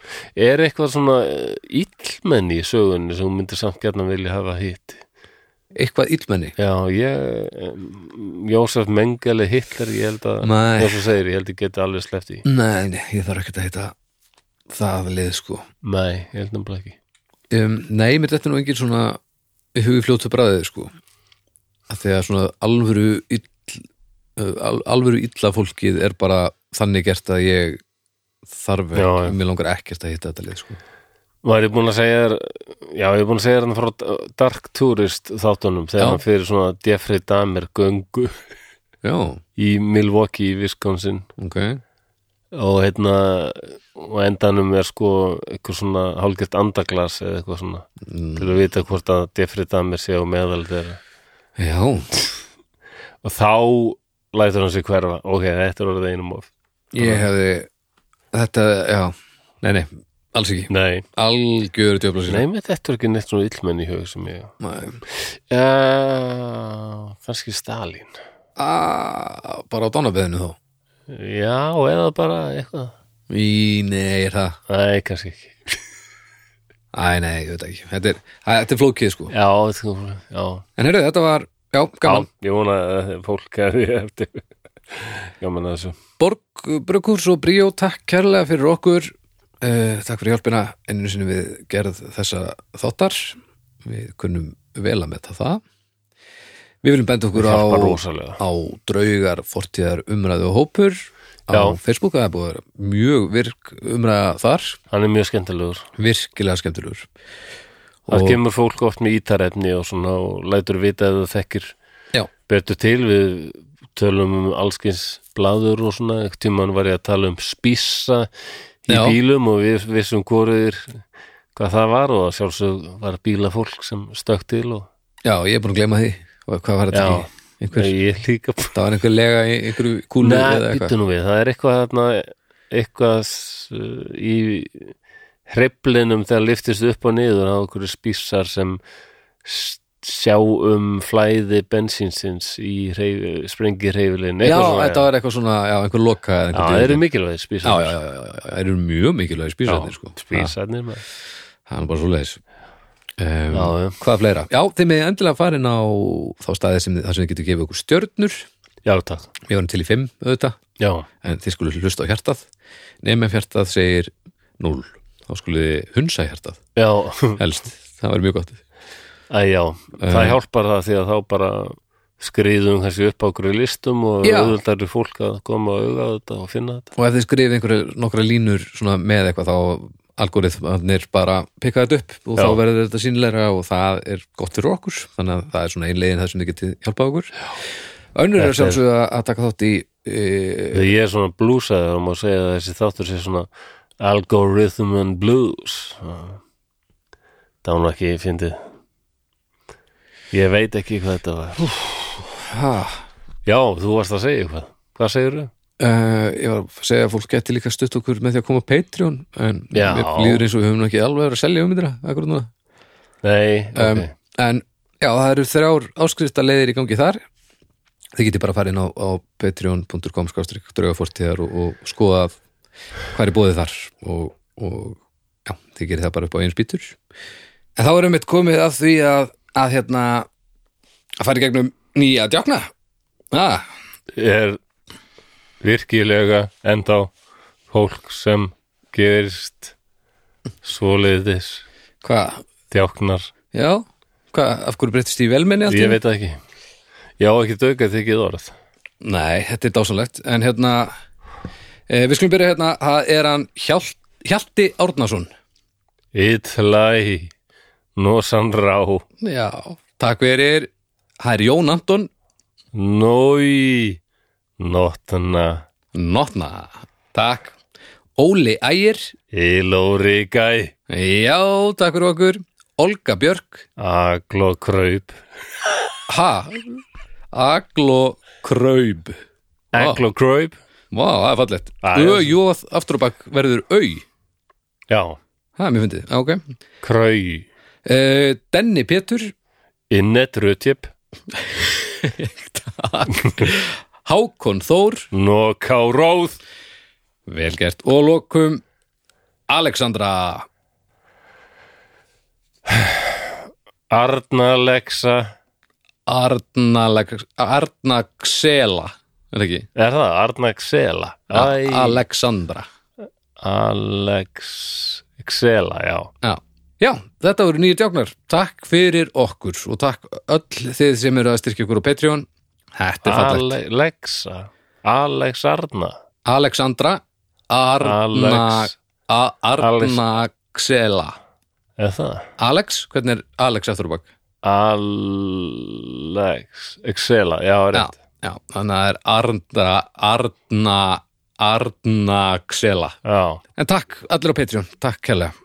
Speaker 1: Er eitthvað svona illmenni í sögunni sem hún myndi samt getna vilja hafa hitt
Speaker 2: Eitthvað illmenni
Speaker 1: Já, ég em, Jósef Mengele Hitler, ég held að
Speaker 2: Nei.
Speaker 1: eins og segir, ég held ég geti alveg sleppt í
Speaker 2: Nei, nei, ég þarf ekkert að hitta það lið sko
Speaker 1: Nei, ég held nefnilega ekki
Speaker 2: um, Nei, mér þetta nú engin svona hugi fljótu bræðið sko að því að svona alvöru ill, uh, al, alvöru illa fólkið er bara þannig gert að ég þarf ekki,
Speaker 1: Já, já.
Speaker 2: mér langar ekkert að hitta þetta lið sko
Speaker 1: Var ég búin að segja þér Já, ég er búin að segja þér hann frá Dark Tourist þáttunum þegar
Speaker 2: Já.
Speaker 1: hann fyrir svona Jeffrey Dahmer göngu
Speaker 2: Já,
Speaker 1: í Milwaukee í Wisconsin
Speaker 2: ok
Speaker 1: og hérna og á endanum er sko eitthvað svona hálfgert andaglas eða eitthvað svona til að vita hvort að Jeffrey Dahmer sé á meðal þeirra
Speaker 2: Já,
Speaker 1: og þá lætur hann sig hverfa ok, þetta er orðið einum of
Speaker 2: Ég hefði Þetta, já, nei, nei, alls ekki
Speaker 1: Nei,
Speaker 2: Algjör djöfla sér
Speaker 1: nei, með þetta er ekki neitt svona illmenn í hug sem ég
Speaker 2: Nei,
Speaker 1: uh, kannski Stalin
Speaker 2: a, bara á dánabeðinu þá
Speaker 1: Já, eða bara eitthvað
Speaker 2: í, nei, er það
Speaker 1: Nei, kannski ekki
Speaker 2: Æ, nei, ég veit það ekki, þetta er, æ, þetta er flókið sko
Speaker 1: Já, þetta er já.
Speaker 2: En heyrðu, þetta var, já,
Speaker 1: já,
Speaker 2: gaman
Speaker 1: ég vona að fólk hefði eftir Gaman að þessu
Speaker 2: Borg, Brukkurs og Bríó, takk kærlega fyrir okkur uh, Takk fyrir hjálpina einu sinni við gerð þessa þáttar Við kunnum vel að metta það Við viljum benda okkur á,
Speaker 1: Hjálpa rosalega
Speaker 2: á draugar fortíðar umræðu og hópur á
Speaker 1: Já.
Speaker 2: Facebook, það er búið að vera mjög virk umræða þar,
Speaker 1: Hann er mjög skemmtilegur
Speaker 2: virkilega skemmtilegur
Speaker 1: Það
Speaker 2: Og-
Speaker 1: kemur fólk oft með ítarefni og svona og lætur vita ef það þekkir
Speaker 2: Já,
Speaker 1: betur til við tölum um allskins blaður og svona ekkert tímann var ég að tala um spissa í
Speaker 2: Já.
Speaker 1: bílum og við vissum hvoruðir hvað það var og að sjálfsög var bílafólk sem stökk til og
Speaker 2: já, ég er búin að gleyma því Og Hvað var þetta
Speaker 1: Já.
Speaker 2: ekki? Einhver,
Speaker 1: ég líka
Speaker 2: það var einhver lega í einhverju kúlu eða
Speaker 1: Nei,
Speaker 2: eitthvað
Speaker 1: býttu nú við, það er eitthvað þarna, eitthvað s- í hreplinum þegar liftist upp og niður á okkur spísar sem s- sjá um flæði bensínsins í hreyf, sprengi hreyfilin
Speaker 2: Já, þetta var eitthvað svona, já, einhver loka eða
Speaker 1: Já,
Speaker 2: einhver
Speaker 1: það eru
Speaker 2: dýr.
Speaker 1: mikilvæg
Speaker 2: já,
Speaker 1: spísar
Speaker 2: já, já, já, já, það eru mjög mikilvæg spísarnir sko. Ha,
Speaker 1: spísarnir maður.
Speaker 2: Það er bara svo leiðis um,
Speaker 1: Já, já.
Speaker 2: Hvað fleira? Já, þið með endilega farin á þá staðið sem þið, þar sem þið getur gefið okkur stjörnur
Speaker 1: Já, takk
Speaker 2: Við varum til í fimm auðvitað
Speaker 1: Já,
Speaker 2: en þið skulle hlusta á hjartað nefnum hjartað segir 0 þá skulle þið hunsa hjartað
Speaker 1: já, *laughs*
Speaker 2: helst, það var mjög gott
Speaker 1: Æ, já.
Speaker 2: Eh.
Speaker 1: það hjálpar það því að þá bara skriðum kannski upp á okkur listum og
Speaker 2: Já.
Speaker 1: auðvitað er fólk að koma að auga á þetta og finna þetta
Speaker 2: og ef þið skrifið einhverju nokkra línur svona með eitthvað þá algoritmarnir bara pikka þetta upp
Speaker 1: Já.
Speaker 2: og þá verður þetta sínilegra og það er gott fyrir okkur þannig að það er svona einlegin það sem þið getið hjálpað okkur önnur er
Speaker 1: Þetta er-
Speaker 2: sjálfsögða að taka þátt í e,
Speaker 1: Þegar ég er svona blúsaður og má segja að þessi þáttur sé svona algorithm and blues það var nú ekki fyndið ég veit ekki hvað þetta var
Speaker 2: ha,
Speaker 1: já, þú varst að segja eitthvað hvað segirðu?
Speaker 2: e, ég var að segja að fólk geti líka stutt okkur með því að koma á Patreon en
Speaker 1: Já.
Speaker 2: mér líður eins og við höfum nú ekki alveg verið að selja ummyndina akkur núna
Speaker 1: nei, ok
Speaker 2: um, en já, það eru þrjár áskriftaleiðir í gangi þar þið getið bara að fara inn á, á patreon.com skástrík draugafortíðar og, og skoða hvað er bóðið þar og, og já, þið gerir það bara upp á eins bítur en þá erum við komið að því að, að hérna að fara í gegnum nýja djákna ah,
Speaker 1: er virkilega enda fólk sem gerist svoleiðis
Speaker 2: hvað,
Speaker 1: þjáknar,
Speaker 2: já hvað, af hverju breyttist í velmenni allt í
Speaker 1: ég
Speaker 2: einu?
Speaker 1: veit það ekki já, ekki dögga þykir orð
Speaker 2: Nei, þetta er dásanlegt En hérna, e, við skulum byrja hérna Það er hann Hjalt, Hjalti Árnason
Speaker 1: Ítlæ Nósan rá
Speaker 2: Já, takk fyrir Það er Jón Anton
Speaker 1: Nói Nótna
Speaker 2: Notna Takk Óli Ægir
Speaker 1: Ílóri gæ
Speaker 2: Já, takk fyrir okkur Olga Björk
Speaker 1: Aglo kraup
Speaker 2: Ha Aglo Kraub
Speaker 1: Aglo kraup
Speaker 2: Vá, það er fallegt
Speaker 1: Já, já.
Speaker 2: Öjóð aftur og bak verður au
Speaker 1: Já,
Speaker 2: Það er mér fyndið, Já, ok
Speaker 1: krau
Speaker 2: e, Denni *laughs* Pétur
Speaker 1: Innet rutjip
Speaker 2: Hákon Þór
Speaker 1: Nóká róð
Speaker 2: Vel gert og lokum Alexandra
Speaker 1: Arna Lexa
Speaker 2: Arna Lex- Arna Xela er það ekki?
Speaker 1: Er það? Arna Xela Æ,
Speaker 2: A Alexandra
Speaker 1: Alex Xela, já
Speaker 2: Já. Já, þetta voru nýju djáknar Takk fyrir okkur og takk öll þið sem eru að styrkja okkur á Patreon Þetta er fallegt
Speaker 1: Alexa Alex Arna
Speaker 2: Alexandra Arna
Speaker 1: Alex.
Speaker 2: A Arna Xela
Speaker 1: Er það?
Speaker 2: Alex, hvernig er Alex aftur á bak?
Speaker 1: Alex Excela, já,
Speaker 2: Já,
Speaker 1: rétt
Speaker 2: já, þannig að það er Arna Arna Arna Xela
Speaker 1: já.
Speaker 2: En takk allir á Patreon, takk kærlega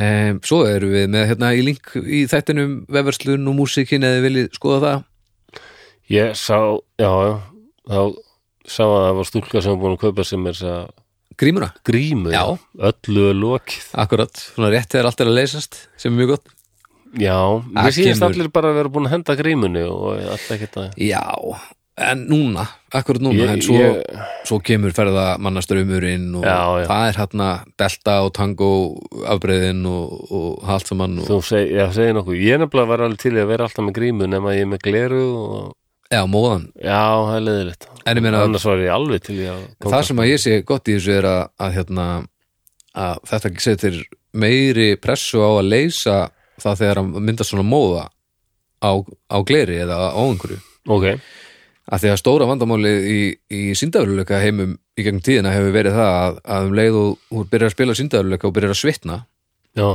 Speaker 2: um, Svo erum við með hérna í link í þættinum vefverslun og músikin eða þið viljið skoða það
Speaker 1: Ég sá, já, já, þá sá að það var stúlka sem var búin að kaupa sem er að
Speaker 2: Grímuna,
Speaker 1: grímu
Speaker 2: Já.
Speaker 1: öllu er lokið
Speaker 2: akkurat, svona rétt þegar allt er að leysast sem er mjög gott
Speaker 1: Já,
Speaker 2: Það
Speaker 1: við síðast
Speaker 2: kemur.
Speaker 1: allir bara að vera búin að henda grímunni og allt ekkert að
Speaker 2: Já, en núna, akkurat núna
Speaker 1: Ég-
Speaker 2: en svo,
Speaker 1: ég-
Speaker 2: svo kemur ferðamannastraumurinn og
Speaker 1: Já, já.
Speaker 2: það er hérna delta og tango afbreiðin og, og haltfamann og,
Speaker 1: Þú seg, já, segir nokkuð, ég er nefnilega að vera alveg til í að vera alltaf með grímu nema ég er með gleru og
Speaker 2: já, móðan
Speaker 1: já, það er leiðilegt
Speaker 2: En ég meina-
Speaker 1: annars var ég alveg til í að
Speaker 2: það sem að ég sé gott í þessu er að, að, hérna, að þetta setur meiri pressu á að leysa það þegar að myndast svona móða á, á gleri eða á einhverju
Speaker 1: Ok,
Speaker 2: að því að stóra vandamálið í, í síndafurleika heimum í gegnum tíðina hefur verið það að, að um leið og hún byrjar að spila síndafurleika og byrjar að svitna
Speaker 1: já,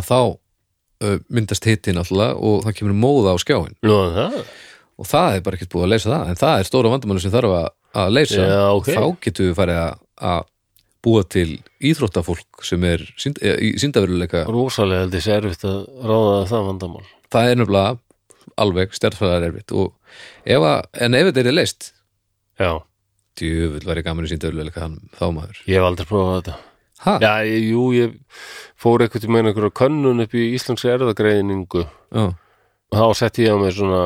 Speaker 2: að þá uh, myndast hitti náttúrulega og það kemur móða á skjáin
Speaker 1: nú er það
Speaker 2: og það er bara ekkert búið að leysa það en það er stóra vandamálið sem þarf að, að leysa
Speaker 1: Já, ok.
Speaker 2: þá getum við farið að, að búa til íþróttafólk sem er sínd, eh, í síndafurleika
Speaker 1: rosalega held ég sé erfitt að ráða það vandamál
Speaker 2: það er nefnilega alveg stærðfæðar erfitt og ef að, en ef þetta er leist
Speaker 1: Já,
Speaker 2: djöfull var ég gaman í síndafurleika þá maður
Speaker 1: ég hef aldrei prófað þetta
Speaker 2: ha,
Speaker 1: *laughs* Já, ég, jú, ég fór eitthvað til meina einhverja könnun upp í íslenska erðagreiningu
Speaker 2: já.
Speaker 1: og þá setti ég á mig svona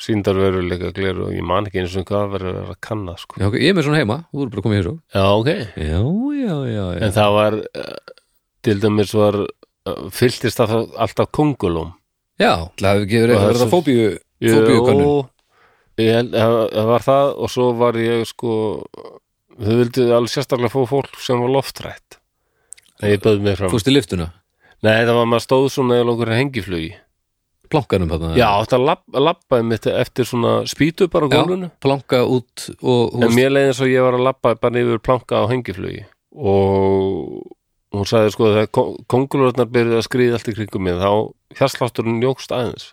Speaker 1: síndarveruleika gleru og ég man ekki eins og hvað verið að kanna sko.
Speaker 2: Já, ok, ég er með svona heima, þú eru bara komið hér svo
Speaker 1: Já, ok
Speaker 2: Já, já, já, já
Speaker 1: en það var eh, til dæmis var eh, fylltist það þá alltaf kongulum
Speaker 2: Já, það hefur
Speaker 1: Og það
Speaker 2: gefur
Speaker 1: er
Speaker 2: eitthvað verða
Speaker 1: svo-
Speaker 2: fóbíu fóbíukönnun
Speaker 1: ég held það það var það og svo var ég sko þau vildu alveg sérstaklega fóð fólk sem var loftrætt en ég bauð mér fram
Speaker 2: Fúst í liftuna,
Speaker 1: nei það var maður stóð svona eða okkur hengiflugi
Speaker 2: plankanum þarna
Speaker 1: já þetta labbaði labba mitt eftir svona spýtu bara á
Speaker 2: Já,
Speaker 1: gólfinu
Speaker 2: planka út og
Speaker 1: en
Speaker 2: húst
Speaker 1: mér leiði eins og ég var að labba bara yfir planka á hengiflugi og hún sagði sko þegar kongulurnar byrjuði að skrýða allt í kringum mig þá hérslátturinn jókst aðeins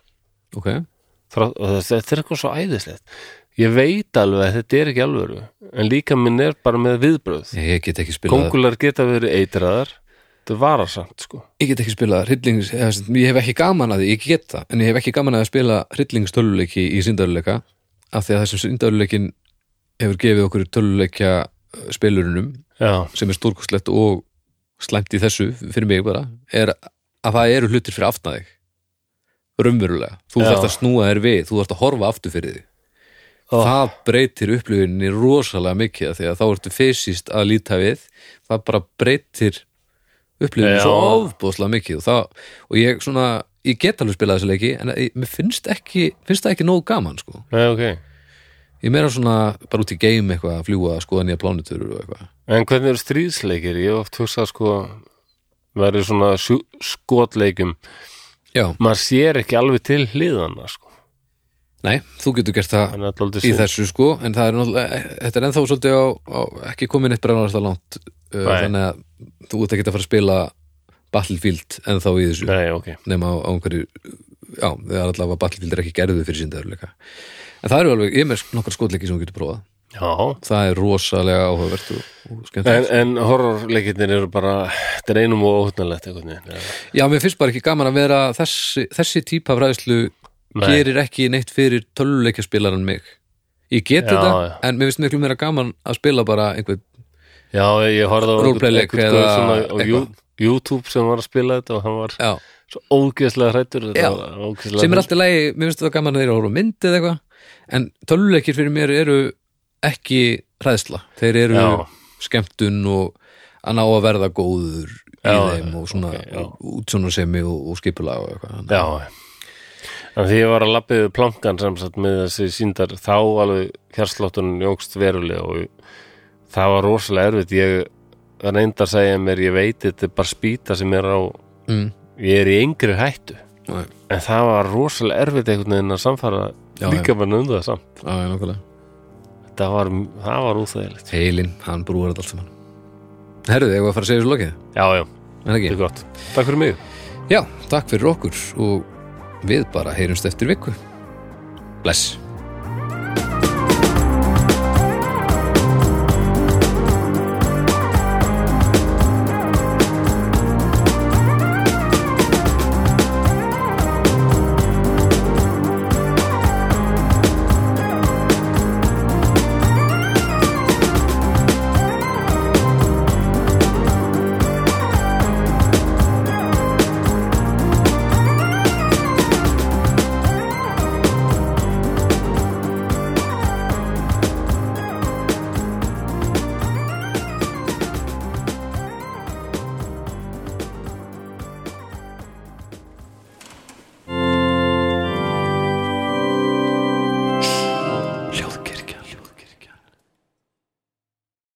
Speaker 2: Ok,
Speaker 1: Þrá- og þetta þetta er eitthvað svo æðislegt ég veit alveg að þetta er ekki alvöru en líka minn er bara með viðbröð
Speaker 2: ég, ég get ekki spilað
Speaker 1: kongular geta verið eitraðar þetta er varasamt sko
Speaker 2: Ég get ekki spilað hryllings eða, sem sagt, Ég hef ekki gaman að því, ég get það En ég hef ekki gaman að spila hryllingstölvuleiki í síndaruleika Af því að þessum síndaruleikin hefur gefið okkur tölvuleikja eh, spilurunum
Speaker 1: já,
Speaker 2: sem er stórkostlegt og slæmt í þessu fyrir mig bara er að það eru hlutir fyrir aftan þig raunverulega, þú
Speaker 1: Já.
Speaker 2: þarft að snúa þér við þú þarft að horfa aftur fyrir þig
Speaker 1: Ó.
Speaker 2: það breytir upplifinni rosalega mikið af því að þá ertu fysiskt að líta við það bara breytir upplifinni
Speaker 1: Já.
Speaker 2: svo ofbúðslega mikið og, það, og ég svona, ég get alveg spilað þessi leiki en ég, mér finnst ekki finnst það ekki nógu gaman sko
Speaker 1: nei ok
Speaker 2: ég er meira svona bara út í game eitthvað að fljúa að skoða nýja plánutur og eitthvað
Speaker 1: en hvernig eru stríðsleikir, ég hef oft hugsað sko verið svona sjú- skotleikum
Speaker 2: já,
Speaker 1: maður sér ekki alveg til hliðana sko
Speaker 2: nei, þú getur gert það
Speaker 1: en þetta er aldrei
Speaker 2: í
Speaker 1: sín
Speaker 2: þessu sko en það er náttúrulega, þetta er ennþá svolítið á, á ekki komin eitt brennarasta langt uh,
Speaker 1: Nei.
Speaker 2: þannig að þú ert ekki að fara að spila Battlefield ennþá í þessu
Speaker 1: nei ok,
Speaker 2: nema á, á einhverju já, það er allavega Battlefield er ekki gerðu fyrir síndaðurleika en það eru alveg, ég er með nokkar skotleiki sem þú getur prófað
Speaker 1: já
Speaker 2: það er rosalega áhugavert og, og
Speaker 1: en,
Speaker 2: skemmtilegt
Speaker 1: en horrorleikinir eru bara þetta er einum og óhugnalegt einhvern veginn já.
Speaker 2: já, mér finnst bara ekki gaman að vera þessi, þessi típa af ræðslu
Speaker 1: Nei.
Speaker 2: gerir ekki neitt fyrir töluleikjaspilaran mig ég get
Speaker 1: Já,
Speaker 2: þetta,
Speaker 1: já.
Speaker 2: en mér finnst miklu meira gaman að spila bara einhvern
Speaker 1: já, ég horfði á
Speaker 2: Roleplayleik
Speaker 1: einhvern
Speaker 2: eða
Speaker 1: gaur svona á
Speaker 2: eitthvað.
Speaker 1: Jú- YouTube sem var að spila þetta og hann var
Speaker 2: já,
Speaker 1: svo ógeðslega hrættur
Speaker 2: Já,
Speaker 1: ógeðslega
Speaker 2: sem er alltaf lægi, mér finnst það gaman að þeir eru á myndið eitthvað, en töluleikir fyrir mér eru ekki hræðsla, þeir eru
Speaker 1: Já.
Speaker 2: skemmtun og að ná að verða góður í
Speaker 1: Já,
Speaker 2: þeim og svona
Speaker 1: ok, já.
Speaker 2: okay, útsjónarsemi og, og skipulag og eitthvað þannig.
Speaker 1: já En því ég var að lappið plankan sem sagt með þessi síndar þá alveg hérsláttunum jógst verulega og það var rosalega erfitt ég reyndi að segja mér ég veit þetta er bara spýta sem er á
Speaker 2: Mm,
Speaker 1: ég er í yngri hættu
Speaker 2: já,
Speaker 1: en það var rosalega erfitt einhvern veginn að samfara
Speaker 2: Já,
Speaker 1: líka bara um það samt
Speaker 2: já, já, nákvæmlega.
Speaker 1: það var, það var úþægilegt
Speaker 2: Heilinn, hann brúar þetta allt saman Herðu, ég var að fara að segja þessu lokið
Speaker 1: Já, já,
Speaker 2: en
Speaker 1: þetta
Speaker 2: ekki,
Speaker 1: er gott Takk fyrir mig
Speaker 2: já, takk fyrir okkur og við bara heyrumst eftir viku Bless